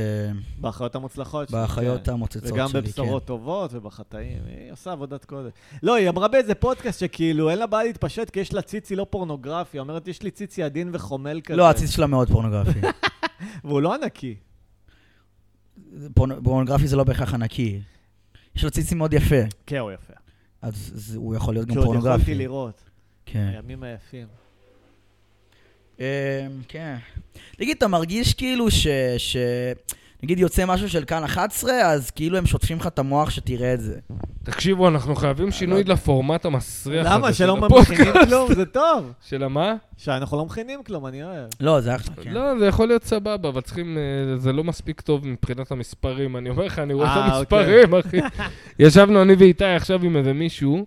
באחיות המוצלחות. שלי, באחיות כן. המוצצות שלי. וגם בבשורות טובות ובחטאים, היא עושה עבודת קודש. לא, היא אמרה באיזה פודקאסט שכאילו אין לה בעיה להתפשט כי יש לה ציצי לא פורנוגרפי, היא אומרת יש לי ציצי עדין וחומל כן. כזה. לא, הציץ שלה מאוד פורנוגרפי. והוא לא ענקי. פורנ- פורנוגרפי זה לא בהכרח ענקי. יש לו ציצים מאוד יפה, כן, הוא יפה. אז זה- הוא יכול להיות גם שעוד יכולתי פורנוגרפי. לראות. כן. הימים היפים. אמ, כן. תגיד, אתה מרגיש כאילו ש... ש- נגיד יוצא משהו של כאן 11, אז כאילו הם שוטפים לך את המוח שתראה את זה. תקשיבו, אנחנו אה, חייבים שינוי לא. לפורמט המסריח הזה. למה? של שלא הפודקאסט. מכינים כלום, זה טוב. של המה? שאנחנו לא מכינים כלום, אני אוהב. לא, זה אחלה, כן. לא, זה יכול להיות סבבה, אבל צריכים... אה, זה לא מספיק טוב מבחינת המספרים. אני אומר לך, אני רואה את אה, אוקיי. המספרים, אחי. ישבנו אני ואיתי עכשיו עם איזה מישהו,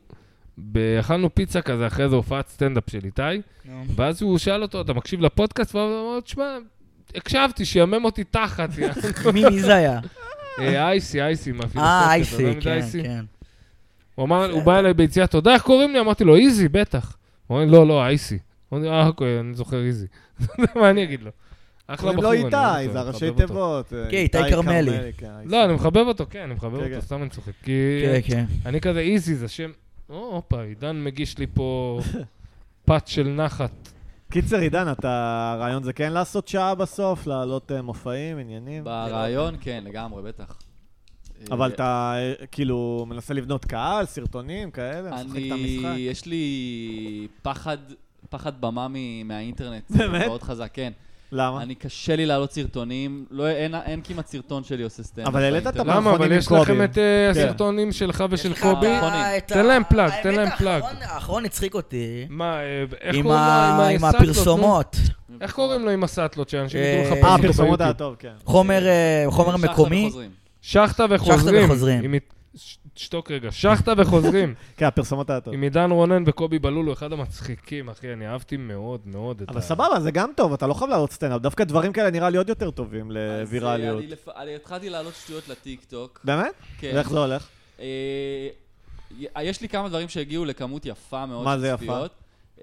ב- אכלנו פיצה כזה אחרי איזו הופעת סטנדאפ של איתי, נו. ואז הוא שאל אותו, אתה מקשיב לפודקאסט? והוא אמר, לו, תשמע, הקשבתי, שיאמם אותי תחת. יא." מי מי זה היה? אה, אייסי, אייסי, אה, מהפילוסופיה. אתה יודע אייסי, מי זה כן, אייסי? כן. הוא אמר, הוא בא אליי ביציאה, אתה יודע איך קוראים לי? אמרתי לו, איזי, בטח. הוא אומר, לא, לא, אייסי. הוא אומר, אה, אוקיי, אני זוכר איזי. מה אני אגיד לו? אחלה קוראים בחור. לו אני אוהב איתי, זה אותו, אני הראשי מחבב אותו. תיבות. אה, כן, איתי כרמלי. כן, איתי. לא, אני מחבב אותו, כן, אני מחבב כן, אותו, כן. סתם אני צוחק. כי כן, כן. אני כזה איזי, זה שם... או, הופה, עידן מגיש לי פה פת של נחת. קיצר, עידן, אתה... הרעיון זה כן לעשות שעה בסוף, לעלות אה, מופעים, עניינים. ברעיון, כן, לגמרי, בטח. אבל אה, אתה אה, כאילו מנסה לבנות קהל, סרטונים כאלה, משחק כן, את אני, המשחק. יש לי פחד, פחד במה מ- מהאינטרנט. באמת? מאוד חזק, כן. למה? אני, קשה לי להעלות סרטונים, לא, אין, אין כמעט סרטון שלי עושה סטנדאפ. אבל העלית את באינטרנט. הבא. למה? אבל עם יש קובי. לכם את אה, כן. הסרטונים שלך ושל יש לך קובי. אה, את ה- תן להם פלאג, האמת, תן להם פלאג. האחרון- האחרון הצחיק אותי. מה, אה, איך עם קוראים לו? ה- עם הסאטלות, נו? הפרסומות. איך קוראים לו עם הסאטלות שאנשים אה, ידעו לחפש אה, אותו הפרסומות היה ביוטיוב? טוב, כן. חומר אה, חומר שחטה מקומי. וחוזרים. שחטה וחוזרים. וחוזרים. עם עית- ש- שתוק רגע. שחטה וחוזרים. כן, הפרסומות היה טוב. עם עידן רונן וקובי בלול הוא אחד המצחיקים, אחי. אני אהבתי מאוד מאוד את ה... אבל סבבה, זה גם טוב, אתה לא חייב לעלות סטנדאפ. דווקא דברים כאלה נראה לי עוד יותר טובים אז, אה, לווירליות. אני לפ- אני התחלתי להעלות שטויות לטיקטוק. באמת? כן. ואיך זה הולך? אה, יש לי כמה דברים שהגיעו לכמות יפה מאוד מה של זה יפה? צפיות.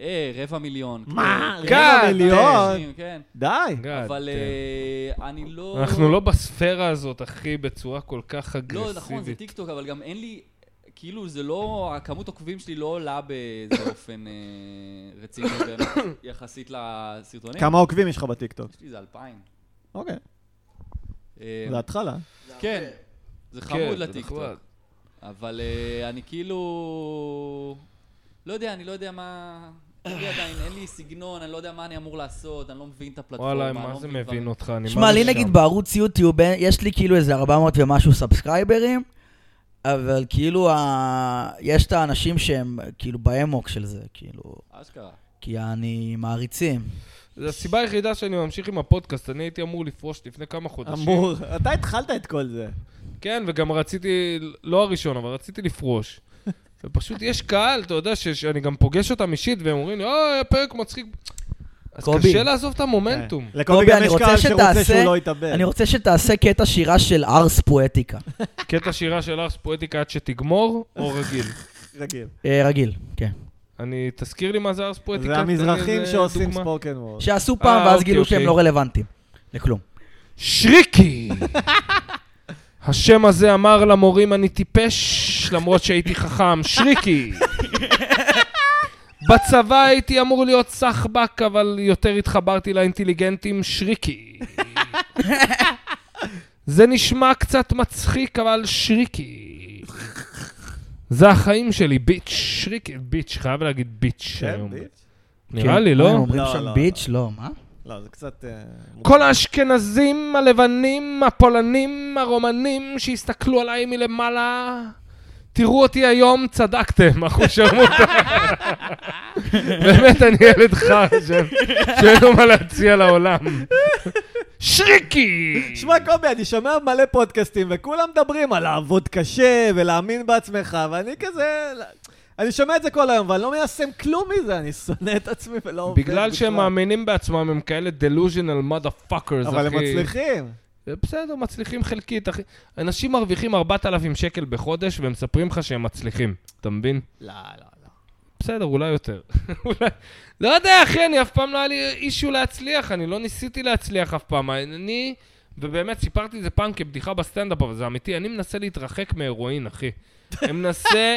אה, רבע מיליון. מה? כן. רבע God מיליון? כן. די. God אבל damn. אה, אני לא... כן. אנחנו לא בספירה הזאת, אחי, בצורה כל כך לא, נכון, זה אגרסיבית. טיקטוק, אבל גם אין לי... כאילו, זה לא... הכמות עוקבים שלי לא עולה באיזה אופן אה, רציני באמת, יחסית לסרטונים. כמה עוקבים יש לך בטיקטוק? יש לי איזה אלפיים. אוקיי, אה, זה התחלה. כן, זה כן, חמוד זה לטיקטוק. נחמד. אבל אה, אני כאילו... לא יודע, אני לא יודע מה... אין לי עדיין, אין לי סגנון, אני לא יודע מה אני אמור לעשות, אני לא מבין את הפלטפורמה. וואלה, אני מה לא זה מבין מבין דברים. אותך? אני שמע, לי ממש נגיד שם. בערוץ יוטיוב אה, יש לי כאילו איזה 400 ומשהו סאבסקרייברים, אבל כאילו ה- יש את האנשים שהם כאילו באמוק של זה, כאילו, אשכרה. כי אני מעריצים. זו הסיבה היחידה שאני ממשיך עם הפודקאסט, אני הייתי אמור לפרוש לפני כמה חודשים. אמור, אתה התחלת את כל זה. כן, וגם רציתי, לא הראשון, אבל רציתי לפרוש. ופשוט יש קהל, אתה יודע, ש- שאני גם פוגש אותם אישית, והם אומרים לי, אוי, היה פרק מצחיק. אז קובי. קשה לעזוב את המומנטום. כן. לקובי גם אני יש רוצה קהל שרוצה שתעשה- שהוא לא יתאבד. אני רוצה שתעשה קטע שירה של ארס פואטיקה. קטע שירה של ארס פואטיקה עד שתגמור, או רגיל. רגיל. אה, רגיל, כן. אני, תזכיר לי מה זה ארס פואטיקה. זה תן לי המזרחים איזה שעושים דוגמה. ספוקן וורד. שעשו אה, פעם ואז אוקיי, גילו שהם אוקיי. לא רלוונטיים. לכלום. שריקי! השם הזה אמר למורים אני טיפש, למרות שהייתי חכם. שריקי! בצבא הייתי אמור להיות סחבק, אבל יותר התחברתי לאינטליגנטים. שריקי! זה נשמע קצת מצחיק, אבל שריקי. זה החיים שלי, ביץ', שריקי, ביץ', חייב להגיד ביץ' היום. כן, ביץ'? נראה כן. מה, לי, הם לא? אומרים לא, שם לא, ביץ'? לא, מה? לא, זה קצת... אה, מוכר. כל האשכנזים, הלבנים, הפולנים, הרומנים שהסתכלו עליי מלמעלה, תראו אותי היום, צדקתם, אחו שרמוטה. באמת, אני ילד חר, ש- שאין לו מה להציע לעולם. שריקי! שמע, קובי, אני שומע מלא פודקאסטים, וכולם מדברים על לעבוד קשה ולהאמין בעצמך, ואני כזה... אני שומע את זה כל היום, ואני לא מיישם כלום מזה, אני שונא את עצמי ולא עובד בגלל שהם מאמינים בעצמם, הם כאלה delusional motherfuckers, אחי. אבל הם מצליחים. בסדר, מצליחים חלקית, אחי. אנשים מרוויחים 4,000 שקל בחודש, והם מספרים לך שהם מצליחים, אתה מבין? לא, לא, לא. בסדר, אולי יותר. אולי... לא יודע, אחי, אני אף פעם לא היה לי אישו להצליח, אני לא ניסיתי להצליח אף פעם. אני, ובאמת, סיפרתי את זה פעם כבדיחה בסטנדאפ, אבל זה אמיתי, אני מנסה להתרחק מהרואין, אחי. אני מנסה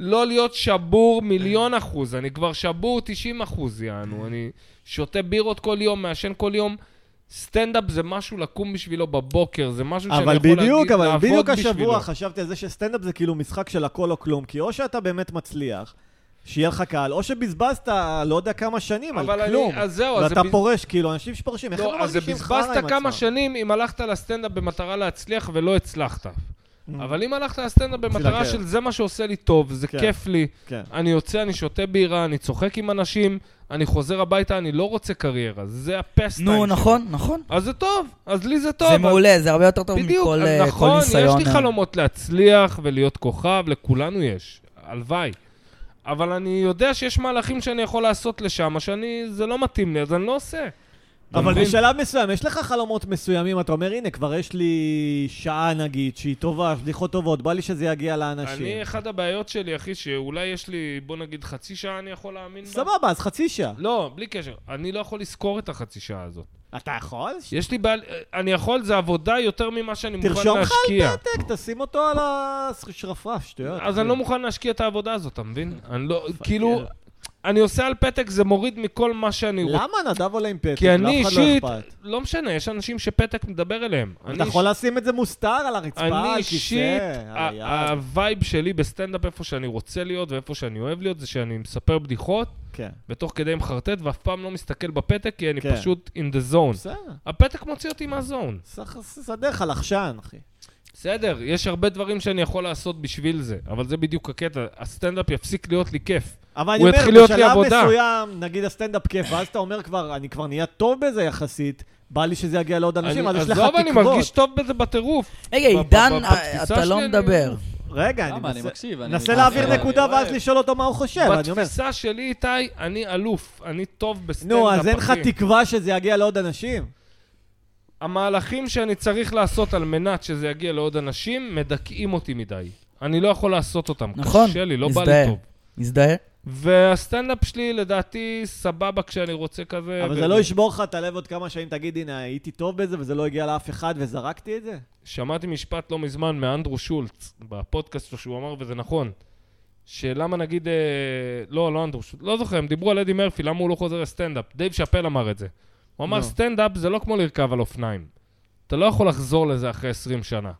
לא להיות שבור מיליון אחוז, אני כבר שבור 90 אחוז, יענו. אני שותה בירות כל יום, מעשן כל יום. סטנדאפ זה משהו לקום בשבילו בבוקר, זה משהו שאני יכול אבל להגיד, בדיוק, אבל לעבוד בדיוק בשבילו. השבוע חשבתי על זה שסטנדאפ זה כאילו משחק של הכל או כלום, כי או שאתה באמת מצליח, שיהיה לך קהל, או שבזבזת לא יודע כמה שנים אבל על אני- כלום. אז זהו, אז זה ואתה בז- פורש, כאילו, אנשים שפורשים, איך הם לא, אז זה מרגישים חרא עם עצמם? בזבזת כמה שנים אם הלכת לסטנדאפ במטרה להצליח ולא הצלחת. Mm. אבל אם הלכת לסטנדאפ במטרה לקרב. של זה מה שעושה לי טוב, זה כן. כיף לי, כן. אני יוצא, אני שותה בירה, אני צוחק עם אנשים, אני חוזר הביתה, אני לא רוצה קריירה, זה הפסטיים. נו, שלי. נכון, נכון. אז זה טוב, אז לי זה טוב. זה אז- מעולה, זה הרבה יותר טוב בדיוק, מכל אז אה, כל נכון, ניסיון. יש לי אה, חלומות להצליח ולהיות כוכב, לכולנו יש, הלוואי. אבל אני יודע שיש מהלכים שאני יכול לעשות לשם, שאני, זה לא מתאים לי, אז אני לא עושה. אבל מבין? בשלב מסוים, יש לך חלומות מסוימים, אתה אומר, הנה, כבר יש לי שעה נגיד, שהיא טובה, בדיחות טובות, בא לי שזה יגיע אני, לאנשים. אחת הבעיות שלי, אחי, שאולי יש לי, בוא נגיד, חצי שעה אני יכול להאמין בה. סבבה, אז חצי שעה. לא, בלי קשר. אני לא יכול לזכור את החצי שעה הזאת. אתה יכול? ש- יש לי בעל... אני יכול, זה עבודה יותר ממה שאני מוכן להשקיע. תרשום לך על פתק, תשים אותו על השרפרף, שטויות. אז אני לא מוכן להשקיע את העבודה הזאת, אתה מבין? אני לא, כאילו, אני עושה על פתק, זה מוריד מכל מה שאני רוצה. למה נדב עולה עם פתק? כי אני לאף אחד לא אישית, אכפת. לא משנה, יש אנשים שפתק מדבר אליהם. אני אתה יכול לשים את זה מוסתר על הרצפה, אני על כיסא, אישית, אה, על ה- היד. הווייב שלי בסטנדאפ, איפה שאני רוצה להיות ואיפה שאני אוהב להיות, זה שאני מספר בדיחות, כן. ותוך כדי מחרטט, ואף פעם לא מסתכל בפתק, כי אני כן. פשוט in the zone. בסדר, הפתק מוציא אותי מהזון. סך- סדר לך לחשן, אחי. בסדר, יש הרבה דברים שאני יכול לעשות בשביל זה, אבל זה בדיוק הקטע. הסטנדאפ יפסיק להיות לי כיף. אבל אני הוא יתחיל אומר, להיות לי בשלב עבודה. מסוים, נגיד הסטנדאפ כיף, ואז אתה אומר כבר, אני כבר נהיה טוב בזה יחסית, בא לי שזה יגיע לעוד אנשים, אני- אז יש לך עזוב, אני מרגיש תקוות. טוב בזה בטירוף. רגע, ב- ב- עידן, בתפיסה אתה שלי לא אני- מדבר. רגע, אני למה? אני מנסה- מקשיב. אני- מנסה אה, להעביר אה, נקודה אה, ואז אה, לשאול אותו מה הוא חושב, כן, אני אומר, בתפיסה שלי, איתי, אני אלוף, אני טוב בסטנדאפ. נו, אז אין לך אחי. תקווה שזה יגיע לעוד אנשים? המהלכים שאני צריך לעשות על מנת שזה יגיע לעוד אנשים, מדכאים אותי מדי. אני לא יכול לעשות אותם. נכון, קשה לי, לא בא לי מזדהה. טוב. מזדהה? והסטנדאפ שלי, לדעתי, סבבה כשאני רוצה כזה. אבל ו- זה לא ישבור לך את הלב עוד כמה שנים, תגיד, הנה, הייתי טוב בזה וזה לא הגיע לאף אחד וזרקתי את זה? שמעתי משפט לא מזמן מאנדרו שולץ, בפודקאסט שלו, שהוא אמר, וזה נכון, שלמה נגיד, אה, לא, לא אנדרו שולץ, לא זוכר, הם דיברו על אדי מרפי, למה הוא לא חוזר לסטנדאפ? דייב שאפל אמר את זה. הוא אמר, נו. סטנדאפ זה לא כמו לרכב על אופניים. אתה לא יכול לחזור לזה אחרי 20 שנה.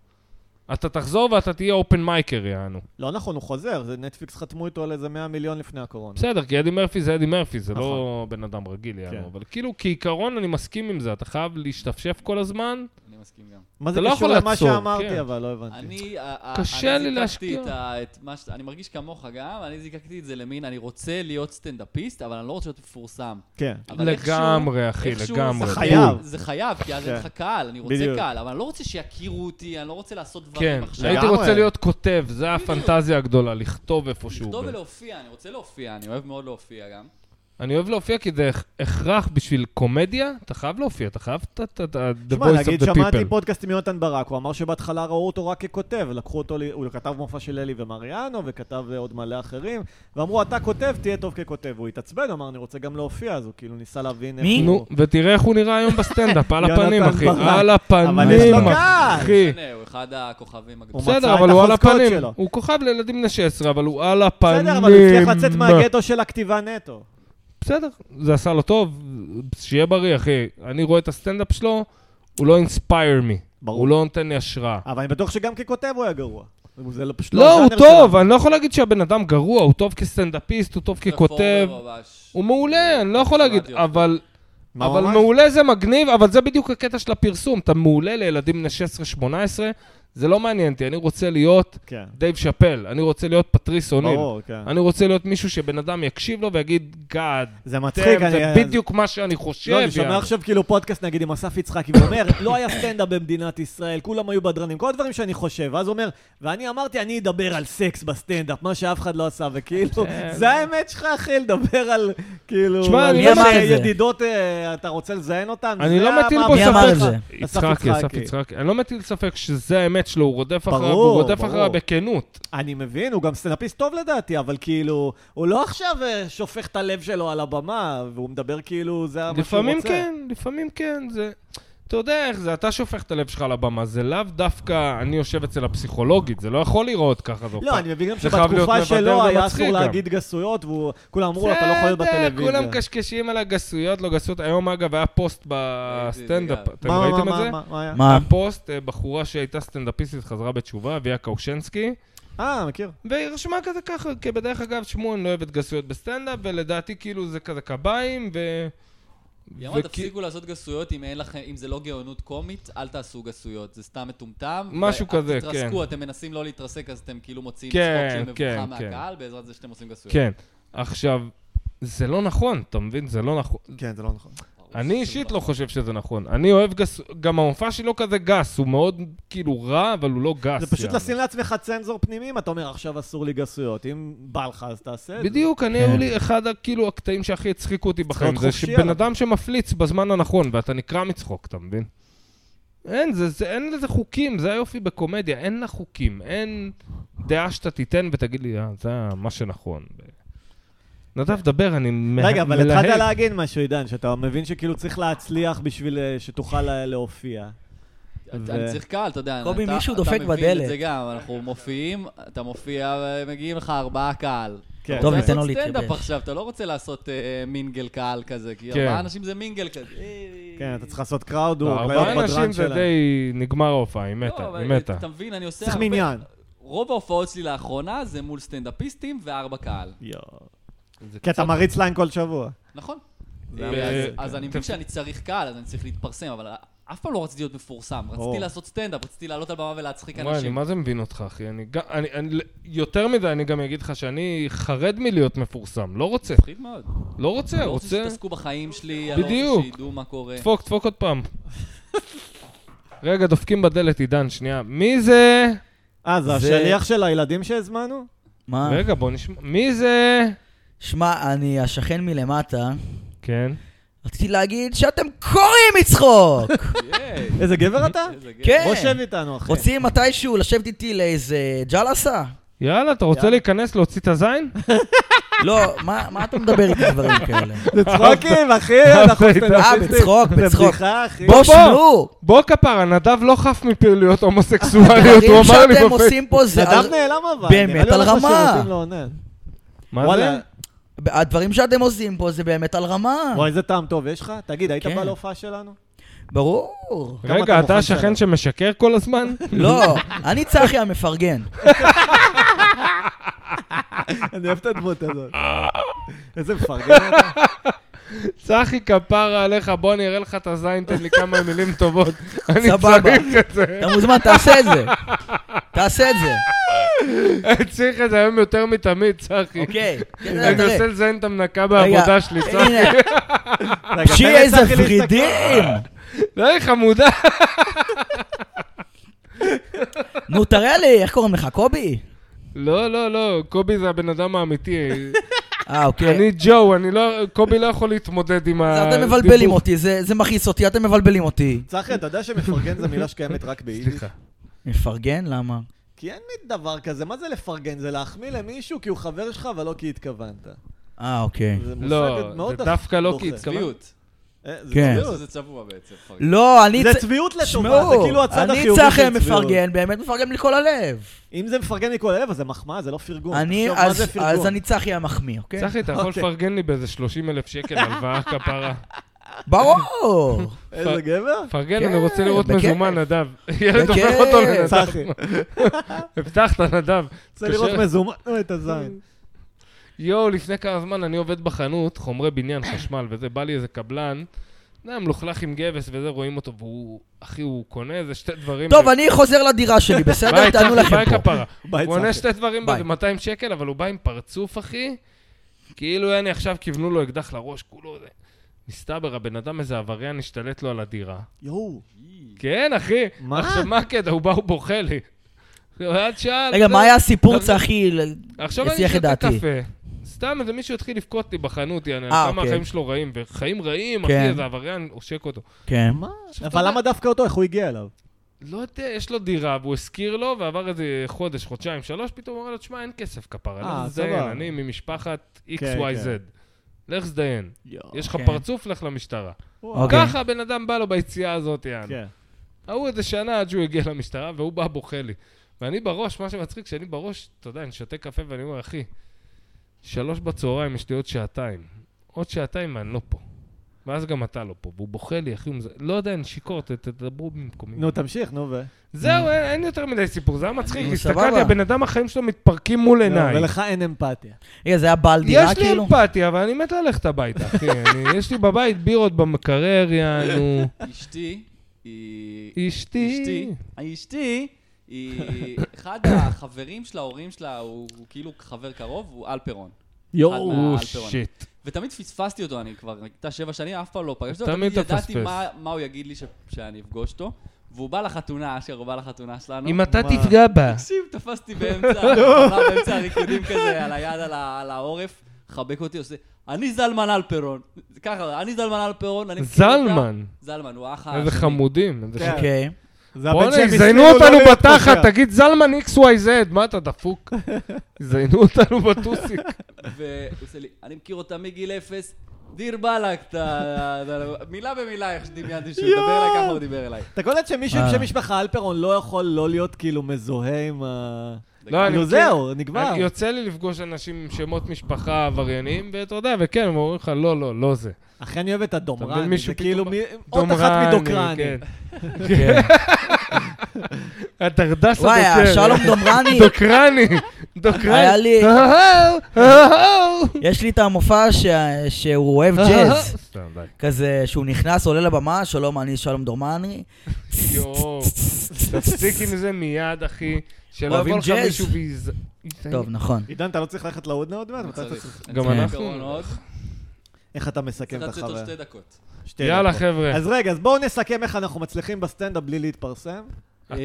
אתה תחזור ואתה תהיה אופן מייקר, יענו. לא נכון, הוא חוזר, זה נטפליקס חתמו איתו על איזה 100 מיליון לפני הקורונה. בסדר, כי אדי מרפי זה אדי מרפי, זה לא נכון. בן אדם רגיל, כן. יענו. אבל כאילו, כעיקרון, אני מסכים עם זה, אתה חייב להשתפשף כל הזמן. אני מסכים גם. מה זה אתה לא קשור יכול למה לעצור, כן. שאמרתי, אבל לא הבנתי. אני... ה- ה- קשה אני לי זיקקתי להשקיע. את ה- את מה ש... אני מרגיש כמוך גם, אני זיקקתי את זה למין, אני רוצה להיות סטנדאפיסט, אבל אני לא רוצה להיות מפורסם. כן. אבל איכשהו- לגמרי, אחי, איכשהו לגמרי. זה אתה חייב. זה חייב, כי אז אין לך כן. קהל, אני רוצה בדיוק. קהל, אבל אני לא רוצה שיכירו אותי, אני לא רוצה לעשות כן, דברים עכשיו. הייתי לגמרי. רוצה להיות כותב, זה הפנטזיה הגדולה, לכתוב איפשהו. לכתוב ולהופיע, אני רוצה להופיע, אני אוהב מאוד להופיע גם. אני אוהב להופיע כי זה הכ- הכרח בשביל קומדיה, אתה חייב להופיע, אתה חייב את- את את- the תשמע, voice נגיד of the שמעתי people. פודקאסט עם יונתן ברק, הוא אמר שבהתחלה ראו אותו רק ככותב, לקחו אותו, ל- הוא כתב מופע של אלי ומריאנו, וכתב אה, עוד מלא אחרים, ואמרו, אתה כותב, תהיה טוב ככותב. הוא התעצבן, הוא אמר, אני רוצה גם להופיע, אז הוא כאילו ניסה להבין איך מי? הוא... נו, ותראה איך הוא נראה היום בסטנדאפ, על יונתן הפנים, אחי, ברק. על הפנים, אבל יש לו קהל. אחי. הנה, הוא אחד הכוכבים הוא הגדולים. מצא בסדר, את אבל הוא על החוזקות הפנים. שלו. הוא כוכב לילדים בני 16, אבל הוא על הפנים. בסדר, אבל הוא הצליח לצאת מהגטו של הכתיבה נטו. בסדר, זה עשה לו טוב, שיהיה בריא, אחי. אני רואה את הסטנדאפ שלו, הוא לא inspire me. ברור. הוא לא נותן לי השראה. אבל אני בטוח שגם ככותב הוא היה גרוע. זה לא פשוט לא, הוא הז'אנר טוב, שלו. אני לא יכול להגיד שהבן אדם גרוע, הוא טוב כסטנדאפיסט, הוא טוב ככותב, רפורמר ממש. הוא מעולה, אני לא יכול שמעתי להגיד, אותו. אבל... מה הוא אבל אמר? מעולה זה מגניב, אבל זה בדיוק הקטע של הפרסום. אתה מעולה לילדים בני 16-18, זה לא מעניין אותי, אני רוצה להיות כן, דייב שאפל, אני רוצה להיות פטריס אוניל. ברור, כן. אני רוצה להיות מישהו שבן אדם יקשיב לו ויגיד, גאד, זה מצחיק, אני... כן, זה בדיוק מה שאני חושב. לא, אני שומע יעני." עכשיו כאילו פודקאסט נגיד עם אסף יצחקי, והוא אומר, לא היה סטנדאפ במדינת ישראל, כולם היו בדרנים, כל הדברים שאני חושב. ואז הוא אומר, ואני אמרתי, אני אדבר על סקס בסטנדאפ, מה שאף אחד לא עשה, וכאילו, זה האמת שלך, אחי, לדבר על, כאילו, תשמע, על כן. אני לא זה אמר את זה. שידידות, אה, אתה רוצה לזיין אותן? אני זה לא מטיל המאבק בו מי אמר את שלך. זה? יצחקי, אסף יצחקי. אני לא מטיל ספק שזה האמת שלו, הוא רודף אחריו, ברור, הוא רודף ברור. אחריו בכנות. אני מבין, הוא גם סטנדאפיסט טוב לדעתי, אבל כאילו, הוא לא עכשיו אה, שופך את הלב שלו על הבמה, והוא מדבר כאילו, זה מה שהוא רוצה. לפעמים כן, לפעמים כן, זה... אתה יודע איך זה, אתה שופך את הלב שלך על הבמה, זה לאו דווקא אני יושב אצל הפסיכולוגית, זה לא יכול להיראות ככה. זה לא, אני מבין גם אוקיי. זה חייב להיות שבתקופה מבדר שלו היה ומצחיק אסור גם. להגיד גסויות, והוא- כולם אמרו לו, אתה לא יכול להיות בסדר, בטלוויזיה. כולם מקשקשים על הגסויות, לא גסויות. היום, אגב, היה פוסט בסטנדאפ, מה, אתם מה, מה, ראיתם את מה, זה? מה, מה היה? מה? היה פוסט, אה, בחורה שהייתה סטנדאפיסטית חזרה בתשובה, אביה קאושנסקי, אה, מכיר. והיא רשמה כזה ככה, כבדרך אגב, שמעו, אני לא אוהבת גסויות בסטנדאפ, ולדעתי כאילו זה כזה קביים, ו... היא אמרה, וכי- תפסיקו לעשות גסויות אם אין לכם, אם זה לא גאונות קומית, אל תעשו גסויות, זה סתם מטומטם. משהו ואל כזה, תתרסקו, אתם מנסים לא להתרסק, אז אתם כאילו מוציאים כן, צחוק של כן, מבוכה כן. מהקהל, בעזרת זה שאתם עושים גסויות. כן. עכשיו, זה לא נכון, אתה מבין? זה לא נכון. כן, זה לא נכון. אני אישית לא חושב שזה נכון. אני אוהב גס... גם המופע שלי לא כזה גס, הוא מאוד כאילו רע, אבל הוא לא גס. זה פשוט יעני. לשים לעצמך צנזור פנימי, אם אתה אומר, עכשיו אסור לי גסויות. אם בא לך, אז תעשה את זה. בדיוק, אני כן. היו לי אחד ה- כאילו הקטעים שהכי הצחיקו אותי בחיים, להיות זה חופשי שבן עליו. אדם שמפליץ בזמן הנכון, ואתה נקרע מצחוק, אתה מבין? אין, זה, זה, אין לזה חוקים, זה היופי בקומדיה, אין לה חוקים, אין דעה שאתה תיתן ותגיד לי, אה, זה מה שנכון. נדב, דבר, אני מה- מלהג. רגע, אבל התחלת להגיד משהו, עידן, שאתה מבין שכאילו צריך להצליח בשביל אה, שתוכל אה, להופיע. אני ו- אני צריך קהל, אתה יודע. קובי, אתה- מישהו דופק אתה מבין את בדלת. זה גם, אנחנו מופיעים, אתה מופיע, מגיעים לך ארבעה קהל. כן. אתה טוב, רוצה ניתן לו לעשות סטנדאפ להתייבש. עכשיו, אתה לא רוצה לעשות אה, מינגל קהל כזה, כי כן. ארבעה אנשים זה מינגל כזה. אה, כן, אתה צריך לעשות קראוד, הוא ארבעה לא, אנשים בדרן זה שלהם. די... נגמר ההופעה, היא לא, מתה, אבל היא מתה. אתה מבין, אני עושה צריך הרבה... מניין. רוב ההופעות שלי לאחרונה זה מול סטנדאפיסטים וארבע קהל. כי אתה מריץ להם כל שבוע. נכון. זה אה, היה- אז- אז אני מבין שאני צריך קהל, אז אני צריך להתפרסם, אבל אף פעם לא רציתי להיות מפורסם. ברור. רציתי לעשות סטנדאפ, רציתי לעלות על במה ולהצחיק וואי, אני אנשים. מה זה מבין אותך, אחי? אני גם... אני, אני, יותר מזה, אני גם אגיד לך שאני חרד מלהיות מפורסם. לא רוצה. מפחיד מאוד. לא רוצה, אני לא רוצה רוצה... שיתעסקו בחיים שלי, אני לא בדיוק. רוצה שידעו מה קורה. דפוק, דפוק עוד פעם. רגע, דופקים בדלת, עידן, שנייה. מי זה? אה, זה זה- השליח של הילדים שהזמנו? אה. מה? רגע, בוא נשמע. מי זה? שמע, אני השכן מלמטה, כן. רציתי להגיד שאתם קוראים מצחוק! ייי, איזה גבר אתה? איזה גבר. כן! בוא שב איתנו, אחי. רוצים מתישהו לשבת איתי לאיזה ג'לסה? יאללה, אתה רוצה יאללה. להיכנס להוציא את הזין? לא, מה מה אתה מדבר איתי דברים כאלה? זה צחוקים, אחי, אנחנו אה, סטנדאפיסטים. בצחוק, זה בצחוק. בדיחה, אחי. בואו בוא. שמעו! בוא כפרה, נדב לא חף מפעילויות הומוסקסואליות, הוא הדברים אמר לי שאתם בפייס. עושים פה זה... נדב נעלם אבל. באמת נראה לי על הולך רמה. לשירותים לעונן. מה זה? וואלה, הדברים שאתם עושים פה זה באמת על רמה. וואי, איזה טעם טוב יש לך? תגיד, היית כן. בא להופעה שלנו? ברור. כמה אתה רגע, אתה מוכן השכן שלנו? שמשקר כל הזמן? לא, אני צחי המפרגן. אני אוהב את הדמות הזאת. איזה מפרגן אתה. צחי כפרה עליך, בוא אני אראה לך את הזין, תן לי כמה מילים טובות. אני סבבה. צריך את זה. אתה מוזמן, תעשה את זה. תעשה את זה, אני צריך את זה היום יותר מתמיד, צחי. אוקיי. כן, אני תראה. רוצה לזיין את המנקה רגע, בעבודה שלי, צחי. הנה, רגע, פשי תן איזה לצחי להסתכל. ורידים. לא, היא חמודה. נו, תראה לי, איך קוראים לך, קובי? לא, לא, לא, קובי זה הבן אדם האמיתי. אה, אוקיי. אני ג'ו, אני לא, קובי לא יכול להתמודד עם אז ה... אה, אתם מבלבלים אותי, זה זה מכעיס אותי, אתם מבלבלים אותי. צחי, אתה יודע שמפרגן זו מילה שקיימת רק ביידיש? סליחה. מפרגן? למה? כי אין מין דבר כזה, מה זה לפרגן? זה להחמיא למישהו כי הוא חבר שלך, אבל לא כי התכוונת. אה, אוקיי. זה מושג לא, מאוד זה דווקא לא דוחה. כי התכוונת. צביעות. אה, זה כן. צביעות. זה צבוע בעצם. פרגן. לא, אני... זה צ- צביעות לטובה, שמעו, זה כאילו הצד אני החיובי של צביעות. צחי המפרגן, באמת מפרגן מכל הלב. אם זה מפרגן מכל הלב, אז זה מחמאה, זה לא פרגון. אני, תחשוב, מה אז זה אז פרגון? אני צחי המחמיא, אוקיי? צחי, אתה יכול אוקיי. לפרגן לי באיזה 30 אלף שקל הלוואה כפרה. ברור. איזה גבר? פרגן, כן, אני רוצה לראות בכיף. מזומן, נדב. ילד בכיף. הופך אותו לנדב. צחי, הבטחת, נדב. רוצה לראות קשה. מזומן או את הזין. יואו, לפני כמה זמן אני עובד בחנות, חומרי בניין, חשמל וזה, בא לי איזה קבלן, אתה יודע, מלוכלך עם גבס וזה, רואים אותו, והוא, אחי, הוא קונה איזה שתי דברים. טוב, אני חוזר לדירה שלי, בסדר? ביי, תענו צחי, ביי לכם פה. כפרה. ביי, הוא עונה צחי. שתי דברים ביי. באיזה 200 שקל, אבל הוא בא עם פרצוף, אחי, כאילו, יעני, עכשיו כיוונו לו אקדח לראש, כולו זה. מסתבר, הבן אדם איזה עבריין השתלט לו על הדירה. יואו. כן, אחי. מה? עכשיו, מה הקטע? הוא בא, הוא בוכה לי. עד שעה... רגע, זה- מה היה הסיפור זה- צחי? עכשיו אני הסיח את שותה דעתי. קפה. סתם איזה מישהו התחיל לבכות לי בחנות, יעני, על אה, כמה אוקיי. החיים שלו רעים, וחיים רעים, כן. אחי, איזה עבריין עושק אותו. כן. מה? עכשיו, אתה אבל יודע- למה דווקא אותו? איך הוא הגיע אליו? לא יודע, יש לו דירה, והוא השכיר לו, ועבר איזה חודש, חודשיים, שלוש, פתאום הוא אמר לו, תשמע, אין כסף כפרה, אה, לך תזדיין, סבבה. אני ממשפחת כן, XYZ. לך תזדיין. יש לך כן. פרצוף, לך למשטרה. וואו. אוקיי. ככה הבן אדם בא לו ביציאה הזאת, יעני. כן. ההוא איזה שנה עד שהוא הגיע למשטרה, והוא בא בוכה לי. ואני בראש, מה שמצחיק, שאני בראש, אתה יודע, אני שותה קפה ואני אומר, אחי, שלוש בצהריים, יש לי עוד שעתיים. עוד שעתיים ואני לא פה. ואז גם אתה לא פה, והוא בוכה לי, אחי, הוא מזה- לא יודע, אני שיכור, ת- תדברו במקומי. נו, תמשיך, נו, ו... זהו, אין אין יותר מדי סיפור, זה היה מצחיק, נו, הסתכלתי, סבבה. הבן אדם, החיים שלו מתפרקים מול עיניי. לא, ולך אין אמפתיה. רגע, זה היה בעל דירה יש לי כאילו? אמפתיה, אבל אני מת ללכת הביתה, אחי. אני- יש לי בבית בירות במקרר, יענו. אשתי אשתי. היא... אשתי, אשתי, היא... אחד החברים של ההורים שלה, הוא הוא כאילו חבר קרוב, הוא אלפרון. יואו. אה, או, אלפרון. שיט. ותמיד פספסתי אותו, אני כבר, הייתה שבע שנים, אף פעם לא פגשתי אותו, תמיד תמיד אתה ידעתי מפספס. מה- מה הוא יגיד לי ש- שאני אפגוש אותו. והוא בא לחתונה, אשר הוא בא לחתונה שלנו. אם אתה מה? תפגע בה. תקשיב, תפסתי באמצע, הרחבה, באמצע הריקודים כזה, על היד, על, ה, על העורף, חבק אותי, עושה, אני זלמן אלפרון. זה ככה, אני זלמן אלפרון, אני... מכיר אותה." זלמן. זלמן, הוא האח איזה השני. חמודים. איזה כן. ש- אוקיי. זה הבן בוא'נה, שהם יזיינו הסכימו לא אותנו להיות בתחת, פושע. תגיד זלמן XYZ, מה אתה דפוק? יזיינו אותנו בטוסיק. והוא עושה לי, אני מכיר אותה מגיל אפס, דיר באלק, אתה- אתה- מילה במילה איך שדמיינתי שהוא מדבר אליי, ככה הוא דיבר אליי. אתה קולט שמישהו עם אה. שם משפחה אלפרון לא יכול לא להיות כאילו מזוהה עם ה... לא, אני נו מכיר- זהו, נגמר. אני- יוצא לי לפגוש אנשים עם שמות משפחה עבריינים, ואתה יודע, וכן, הם אומרים לך, לא, לא, לא זה. אחי, אני אוהב את אתה מבין, הדומרני, זה מישהו כאילו פתאום- מי- עוד אחת דומרני, מדוקרני. כן. כן. הדרדס הדוקר. וואי, השלום דומרני, דוקרני, דוקרני. היה לי- אהו, אהו. יש לי את המופע ש- שהוא אוהב ג'אז. סתם, די. כזה שהוא נכנס, עולה לבמה, שלום, אני שלום דומני. יואו, תפסיק עם זה מיד, אחי. שלא אוהבים יבוא לך ג'אז. מישהו ויז... טוב, נכון. עידן, אתה לא צריך ללכת להודנה עוד מעט? אני מתי אתה צריך- צריך- אני גם צריך אנחנו. פתרון עוד. איך אתה צריך מסכם את לצאת עוד החוויה? שתי דקות. שתי יאללה, דקות. חבר'ה. אז רגע, אז בואו נסכם איך אנחנו מצליחים בסטנדאפ בלי להתפרסם.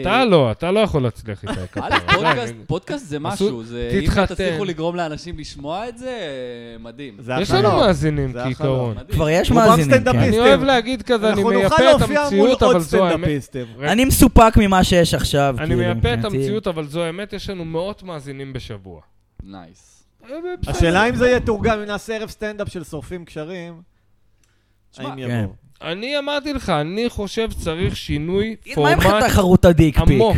אתה לא, אתה לא יכול להצליח איתה. כפרה. א', פודקאסט- די, פודקאסט זה אוקיי. עשו- משהו, זה- תתחתן. אם תצליחו לגרום לאנשים לשמוע את זה, מדהים. זה אני- יש החלום. לנו מאזינים זה כעיקרון. מדהים. כבר יש רובם מאזינים, כן. סטנדאפיסטים. אני אוהב להגיד כזה, אני אנחנו נוכל מייפה את להופיע מול המציאות, עוד אבל זו האמת. סטנדאפיסטים. רגע, כן. אני מסופק ממה שיש עכשיו. אני כאילו, מייפה את מבחינתי. המציאות, אבל זו האמת, יש לנו מאות מאזינים בשבוע. נייס. השאלה אם זה יתורגם, אם נעשה ערב סטנדאפ של שורפים קשרים, האם כן. יבואו. אני אמרתי לך, אני חושב צריך שינוי מה עם פורמט תחרות הדיק פיק? עמוק.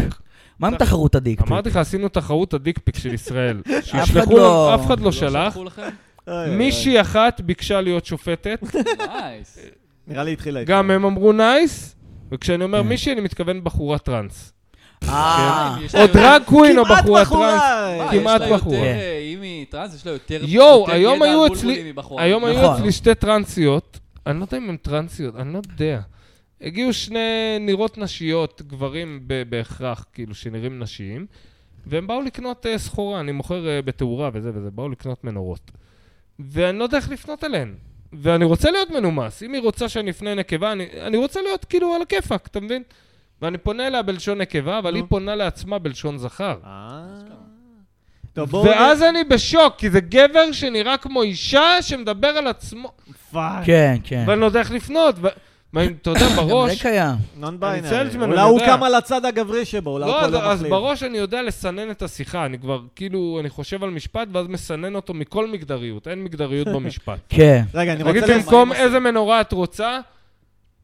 מה עם תחרות הדיק פיק? אמרתי לך, עשינו תחרות הדיקפיק של ישראל. אחד שישלחו, לא- לנו- אף אחד לא לא שלח. שלחו לכם? אוי, אוי, מישהי אחת ביקשה להיות שופטת, נייס. נראה לי התחילה איתך. גם הם אמרו נייס, וכשאני אומר כן. מישהי, אני מתכוון בחורה טראנס. כן. אה, יש לה או יותר- דרג קווין או כמעט בחורה טראנס. בחורה! מה, יש לה כמעט יותר, בחורה. אה, אם היא טראנס, יש לה יותר יואו, יותר היום ידע היו על אצלי- בולבולים מבחורה. היום היו נכון. אצלי שתי טרנסיות, אני לא יודע אם הן טרנסיות, אני לא יודע. הגיעו שני נראות נשיות, גברים ב- בהכרח, כאילו, שנראים נשיים, והם באו לקנות אה, סחורה, אני מוכר אה, בתאורה וזה וזה, באו לקנות מנורות. ואני לא יודע איך לפנות אליהן. ואני רוצה להיות מנומס, אם היא רוצה שאני אפנה נקבה, אני, אני רוצה להיות כאילו על הכיפאק, אתה מבין? ואני פונה אליה בלשון נקבה, אבל היא פונה לעצמה בלשון זכר. אה. כמה. טוב, בואו... ואז אני בשוק, כי זה גבר שנראה כמו אישה שמדבר על עצמו. פאק. כן, כן. ואני לא יודע איך לפנות, ו- ואני, אתה יודע, גם זה בראש, קיים. נון כן. אני צלג'מן, ביינרי. אני אולי הוא יודע. קם על הצד הגברי שבו, אולי הוא לא, כל אז, לא אז מחליף. בראש אני יודע לסנן את השיחה, אני כבר, כאילו, אני חושב על משפט, ואז מסנן אותו מכל מגדריות, אין מגדריות במשפט. כן. רגע, אני נגיד רוצה... לס- במקום איזה מנורה את רוצה,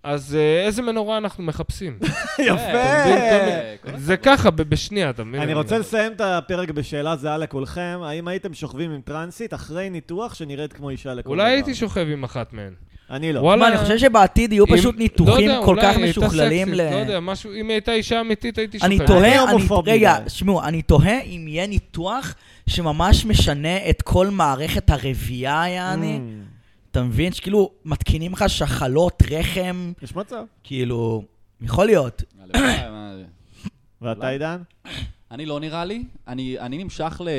אז אה, איזה מנורה אנחנו מחפשים. יפה! אה, כל הכבוד. זה ככה, ב- בשנייה, אתה מבין? אני רוצה לסיים את הפרק בשאלה זהה לכולכם. האם הייתם שוכבים עם טרנסית אחרי ניתוח שנראית כמו אישה לכל דבר? אולי הייתי שוכב עם אחת מהן. אני לא. מה, אני חושב שבעתיד יהיו אם- פשוט לא ניתוחים יודע, כל אולי כך היא הייתה משוכללים סקסית, ל... לא יודע, משהו, אם היא הייתה אישה אמיתית, הייתי שוכב. אני אני תוהה, אני... הומופוב רגע, מדי. שמעו, אני תוהה אם יהיה ניתוח שממש משנה את כל מערכת הרבייה, יעני. Mm. אתה מבין? שכאילו, מתקינים לך שחלות, רחם, יש מצב. כאילו, יכול להיות. אה. הלוואי, מה זה. ואתה, עידן? אני לא נראה לי, אני אני נמשך ל-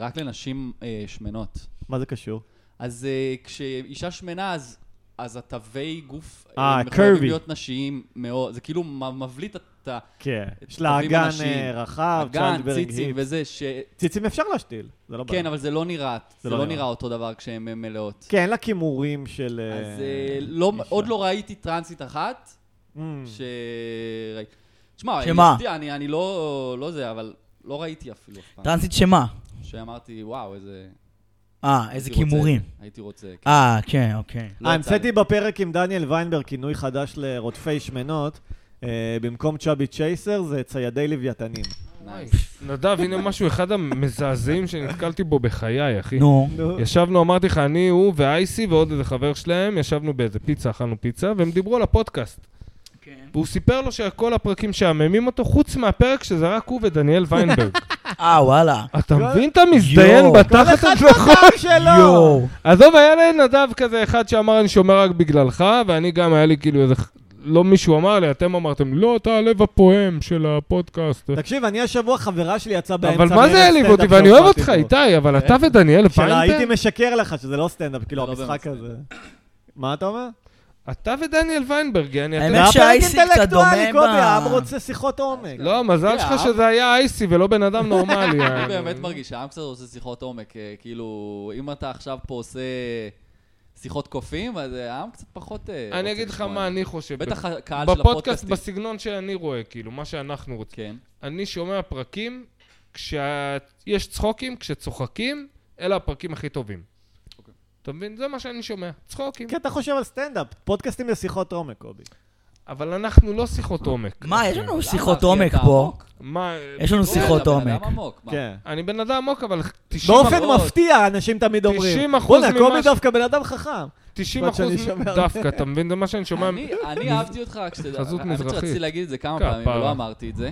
רק לנשים אה, שמנות. מה זה קשור? אז אה, כשאישה שמנה, אז... אז התווי גוף אה, אה, הם curvy. מחויבים להיות נשיים מאוד, זה כאילו מ- מבליט את ה- כן. יש לה תווים אגן הנשיים. אה, רחב, הגן, צ'נדברג ציצים היפ. וזה, ש... ציצים אפשר להשתיל, זה לא בעיה. כן, אבל זה לא נראה, זה לא נראה אותו דבר כשהן אה, מלאות. כן, אין לה כימורים של... אה, אז אה, לא- אישה. עוד לא ראיתי טרנסית אחת, Mm. ש... תשמע, שמה? אני, אני, אני לא, לא זה, אבל לא ראיתי אפילו אף פעם. טרנסית שמה? שאמרתי, וואו, איזה... אה, איזה הייתי רוצה- כימורים. הייתי רוצה... כן. אה, כן, אוקיי. לא אה, יצא לי. המצאתי בפרק עם דניאל ויינברג כינוי חדש לרודפי שמנות. אה, במקום צ'אבי צ'ייסר זה ציידי לוויתנים. נייס. נדב, הנה משהו אחד המזעזעים שנתקלתי בו בחיי, אחי. נו. נו. ישבנו, אמרתי לך, אני, הוא ואייסי ועוד איזה חבר שלהם, ישבנו באיזה פיצה, אכלנו פיצה, והם דיברו על הפודקאסט. כן. והוא סיפר לו שכל הפרקים שעממים אותו, חוץ מהפרק שזה רק הוא ודניאל ויינברג. אה, וואלה. אתה כל- מבין? אתה מזדיין יואו. בתחת הדלחות. לא! שלו! יואו. עזוב, היה לנדב כזה אחד שאמר, אני שומר רק בגללך, ואני גם, היה לי כאילו איזה... לא מישהו אמר לי, אתם אמרתם, לא, אתה הלב הפועם של הפודקאסט. תקשיב, אני השבוע, חברה שלי יצאה באמצע... אבל מה מערב זה העליב אותי? סטנדאפ ואני אוהב שהופעתי אותך, בו. איתי, אבל אתה ודניאל שאלה, כן? הייתי ויינברג, משקר לך שזה לא סטנדאפ, כאילו, זה לא המשחק באמת הזה. מה אתה אומר? אתה ודניאל ויינברג, יעני, אתם האמת זה היה פרק שהאייסי קצת אינטלקטואלי, דומה ב- קובי, העם רוצה שיחות עומק. לא, מזל כן, שלך העם- שזה היה אייסי ולא בן אדם נורמלי. אני יעני. אה, באמת מרגיש שהעם קצת עושה שיחות עומק, אה, כאילו, אם אתה עכשיו פה עושה... שיחות קופים, אז אה, העם קצת פחות... אה, אני רוצה אגיד לך לשמוע. מה אני חושב. בטח הקהל של בפודקאסט, הפודקאסטים. בסגנון שאני רואה, כאילו, מה שאנחנו רוצים. כן. אני שומע פרקים כשיש צחוקים, כשצוחקים, אלה הפרקים הכי טובים. אוקיי. אתה מבין? זה מה שאני שומע, צחוקים. כי אתה חושב על סטנדאפ, פודקאסטים זה שיחות עומק, קובי. אבל אנחנו לא שיחות עומק. מה, יש לנו למה, שיחות אחי, עומק אתה פה. עמוק? מה... יש לנו כן, שיחות אתה בן עומק. אדם עמוק, מה? כן. אני בן אדם עמוק, אבל 90 באופן אחוז. מפתיע, אנשים תמיד אומרים. 90% בואנה, ממה קובי ש- דווקא בן אדם חחם. 90 זאת אחוז שאני שומע הרבה. דווקא, אתה מבין? זה מה שאני שומע. אני- אני אהבתי אותך, כשאתה- חזות האמת מזרחית. שרציתי להגיד את זה כמה כפרה. פעמים, ולא אמרתי את זה.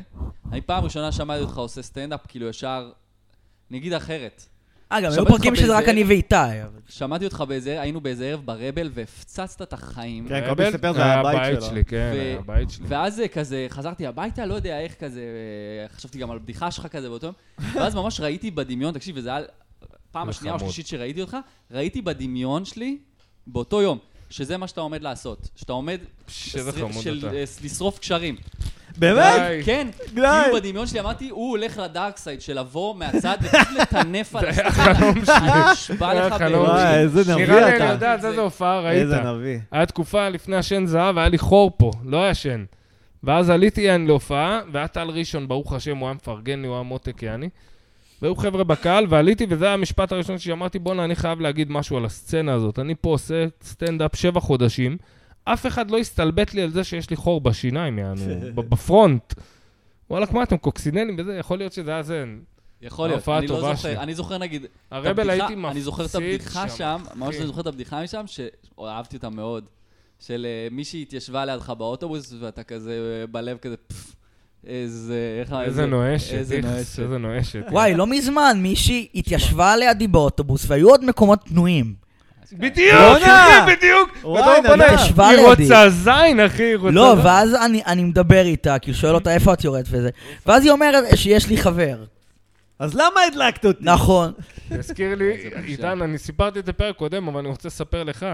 אני פעם ראשונה שמעתי אותך עושה סטנדאפ, כאילו ישר, אני אגיד אחרת. אה, גם היו שמעתי אותך פרקים שזה רק בזה. אני ואיתי. אבל- שמעתי אותך באיזה, היינו באיזה ערב ברבל, והפצצת את החיים. כן, קובי סיפר, זה היה הבית שלו. שלי, כן, ו- היה הבית שלי. ואז אה, כזה חזרתי הביתה, לא יודע איך כזה, אה, חשבתי גם על בדיחה שלך כזה באותו יום, ואז ממש ראיתי בדמיון, תקשיב, וזה היה פעם זה השנייה או חמוד. השלישית שראיתי אותך, ראיתי בדמיון שלי באותו יום, שזה מה שאתה עומד לעשות, שאתה עומד שזה של- חמוד של אתה. אה, לשרוף קשרים. באמת? די. כן, די. כאילו בדמיון שלי אמרתי, הוא הולך לדארק סייד של לבוא מהצד ופשוט לטנף על היה הסטנדאפ. החלום שלי. אני נשבע זה היה לך החלום באלוהים. וואי, איזה נביא נראה לי אני אתה. יודעת, איזה הופעה ראית. איזה נביא. היה תקופה לפני השן זהב, היה לי חור פה, לא היה שן. ואז עליתי יעני להופעה, והיה טל ראשון, ברוך השם, הוא היה מפרגן לי, הוא היה מותק יעני. והיו חבר'ה בקהל, ועליתי, וזה היה המשפט הראשון שאמרתי, בואנה, אני חייב להגיד משהו על הסצנה הזאת. אני פה עושה סטנדאפ שבע חודשים, אף אחד לא הסתלבט לי על זה שיש לי חור בשיניים, יענו, ב- בפרונט. וואלכ, מה אתם קוקסינלים וזה? יכול להיות שזה היה זה. יכול להיות, ההופעה אני לא הטובה זוכר, שלי. אני זוכר נגיד, את הרבל הבדיחה- הייתי אני זוכר את מפסיד שם, הבדיחה כן. שם, ממש אחי. אני זוכר את הבדיחה משם, שאהבתי אותה מאוד, של אה, מישהי התיישבה לידך באוטובוס, ואתה כזה אה, בלב כזה פפפ, איזה, איך ה- איזה נואשת, איזה איכס, נואשת. איזה נואשת. וואי, לא מזמן מישהי התיישבה לידי באוטובוס, והיו עוד מקומות פנויים. בדיוק, בואנה! אחי, בדיוק. וואי, ודור נדב. בונה, היא ישבה היא לידי. רוצה זין, אחי, היא רוצה... לא, ואז אני- אני מדבר איתה, כאילו שואל אותה איפה את יורדת וזה. ואז היא אומרת שיש לי חבר. אז למה הדלקת אותי? נכון. תזכיר לי, איזה בושה. עידן, אני סיפרתי את זה פרק קודם, אבל אני רוצה לספר לך.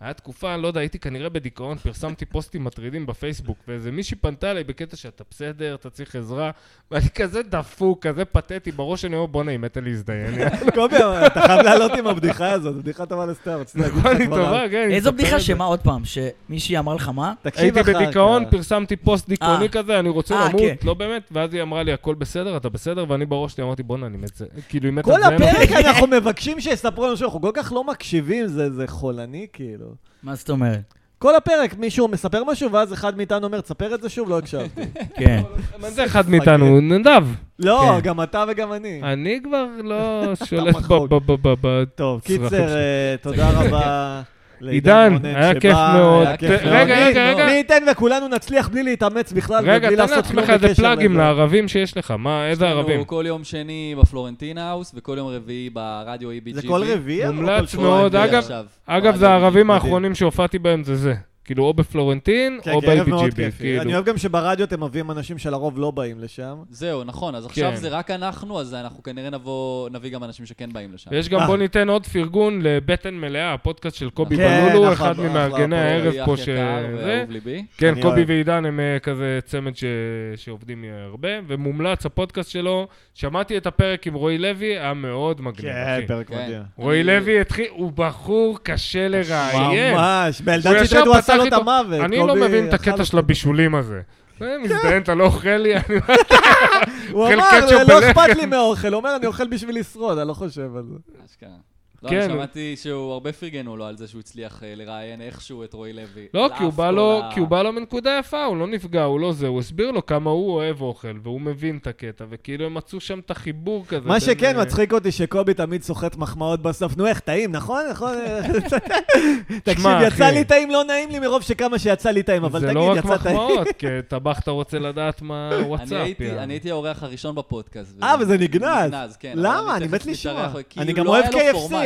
היה תקופה, אני לא יודע, הייתי כנראה בדיכאון, פרסמתי פוסטים מטרידים בפייסבוק, ואיזה מישהי פנתה אליי בקטע שאתה בסדר, אתה צריך עזרה, ואני כזה דפוק, כזה פתטי, בראש אני אומר, בואנה, היא מתה להזדיין. קובי, אתה חייב לעלות עם הבדיחה הזאת, בדיחה טובה לסטאר. רציתי להגיד לך נכון, היא כבר טובה, אז. כן. אני איזו מספר בדיחה את זה. שמה עוד פעם? שמישהי אמרה לך מה? תקשיב הייתי אחר כך. בדיכאון, פרסמתי פוסט דיכאוני אה. כזה, אני רוצה אה, למות, כן. לא באמת, ואז היא אמרה לי, הכל בסדר, אתה בסדר, ואני בראש שלי אמרתי, בואנה, אני מת זה. כאילו, היא מתה כל לזיין אותי. הפרק אנחנו מבקשים שיספרו לנו שאנחנו כל כך לא מקשיבים, זה זה חולני כאילו. מה זאת אומרת? כל הפרק מישהו מספר משהו, ואז אחד מאיתנו אומר, תספר את זה שוב, לא הקשבתי. כן. מה זה אחד מאיתנו? נדב. לא, כן. גם אתה וגם אני. אני כבר לא שולט ב- מחוק. ב- ב- ב- ב... טוב, צרכים קיצר, שלי. אה, תודה רבה. עידן, רונן היה שבא, כיף מאוד. היה כיף ת- מאוד. רגע, מי- רגע, רגע. מי ייתן וכולנו נצליח בלי להתאמץ בכלל רגע, ובלי תן לעשות כלום לעצמך בקשר איזה פלאגים לזה. לערבים שיש לך. מה, איזה ערבים? הוא כאילו, כל יום שני בפלורנטינה האוס, וכל יום רביעי ברדיו EBGB. זה כל רביעי? אבל מומלץ כל שבוע? מאוד, רביעי אגב- עכשיו. אגב, ברדיו זה הערבים אה, מדהים. האחרונים שהופעתי בהם זה זה. כאילו, או בפלורנטין, כן, או כי ערב מאוד ב-APGB. כיפי. אני כאילו, אוהב גם שברדיו אתם מביאים אנשים שלרוב לא באים לשם. זהו, נכון, אז עכשיו כן. זה רק אנחנו, אז אנחנו כנראה נבוא, נביא גם אנשים שכן באים לשם. ויש גם, אה. בוא ניתן עוד פרגון לבטן מלאה, הפודקאסט של קובי כן, בלולו, נכון, אחד אחלה, ממארגני אחלה, הערב רועי, פה אח ש... יקר זה. ואהוב ליבי. כן, אני קובי אוהב. ועידן הם אה, כזה צמד ש... שעובדים הרבה, ומומלץ הפודקאסט שלו. שמעתי את הפרק עם רועי לוי, היה מאוד מגניב, כן, אחי. פרק כן. מדהים. רועי אני- לוי התחיל, הוא בחור קשה לראיין. ממש, הוא באלדד ישר שטרית הוא פתח עשה לו את איתו, המוות. אני לא קובי מבין אכל את הקטע אותו. של הבישולים הזה. זה מזדיין, אתה לא אוכל לי, אני הוא אוכל אמר, קטשופ לא בלחם." אכפת לי מהאוכל, הוא אומר, אני אוכל בשביל לשרוד, אני לא חושב על זה. אשכרה. לא, כן. אני שמעתי שהוא, הרבה פרגנו לו על זה שהוא הצליח אה, לראיין איכשהו את רועי לוי. לא, על כי הוא אף בא כל לו, ה- כי הוא בא לו מנקודה יפה, הוא לא נפגע, הוא לא זה, הוא הסביר לו כמה הוא אוהב אוכל, והוא מבין את הקטע, וכאילו הם מצאו שם את החיבור כזה. מה בין, שכן, אה, מצחיק אותי שקובי תמיד סוחט מחמאות בסוף. נו, איך, טעים, נכון? נכון? תקשיב, שמע, יצא אחי. לי טעים, לא נעים לי מרוב שכמה שיצא לי טעים, אבל זה תגיד, לא רק יצא טעים. מחמאות, כי טבח אתה רוצה לדעת מה אני וואטסאפ. הייתי- יאללה. אני הייתי האורח הראשון בפודקאסט. אה, וזה נגנז. נגנז, כן. אבל למה? אני תכף מת מתארח, לשמוע. כאילו, אני גם לא אוהב היה לו KFC. פורמט.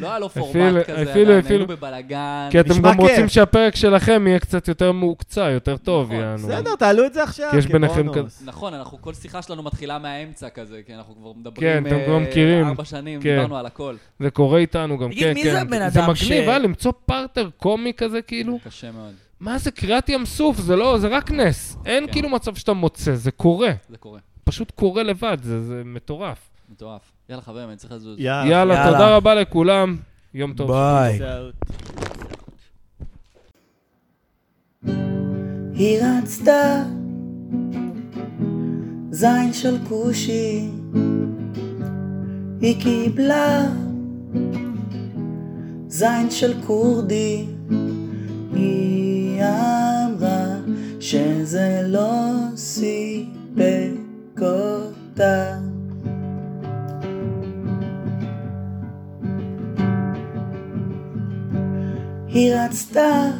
לא היה לו אפילו- פורמט כזה, אפילו- עדיין, אפילו- כן. היינו בבלאגן. כי אתם נשמע גם רוצים כיף. שהפרק שלכם יהיה קצת יותר מהוקצע, יותר טוב, נכון, יענו. בסדר, תעלו את זה עכשיו. כן, כי יש ביניכם כבונוס. נכון, אנחנו, כל שיחה שלנו מתחילה מהאמצע כזה, כי אנחנו כבר כן, מדברים... אתם כבר אה, מכירים. ארבע שנים, כן. דיברנו על הכל. זה קורה איתנו גם, תגיד, כן, מי זה כן. הבן זה אדם מגניב, ש- אה, למצוא פרטר קומי כזה, כאילו. קשה מאוד, מה זה קריעת ים סוף? זה לא, זה רק נס. אין כן. כאילו מצב שאתה מוצא, זה קורה. זה קורה. פשוט קורה לבד, זה זה מטורף. מטורף. יאללה, חברים, אני צריך לזוז. אה, יאללה. יאללה, יאללה. תודה רבה לכולם. יום טוב. ביי. זה- היא רצתה זין של כושי היא קיבלה זין של כורדי היא אמרה שזה לא סיפק אותה היא רצתה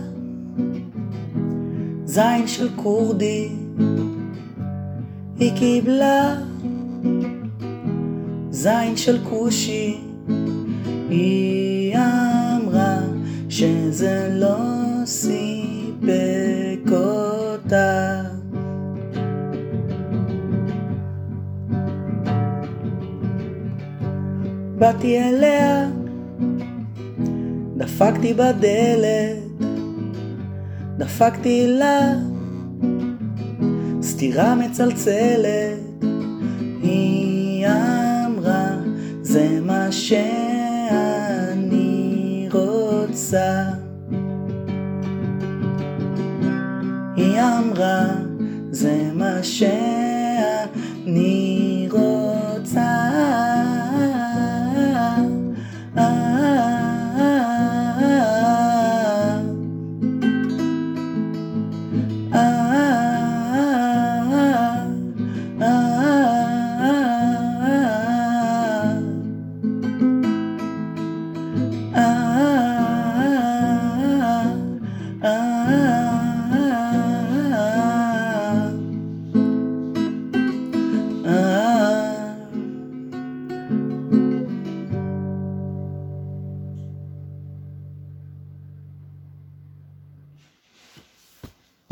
זין של כורדי היא קיבלה זין של כושי היא אמרה שזה לא סיפק אותה באתי אליה, דפקתי בדלת דפקתי לה סטירה מצלצלת, היא אמרה זה מה שאני רוצה. היא אמרה זה מה שאני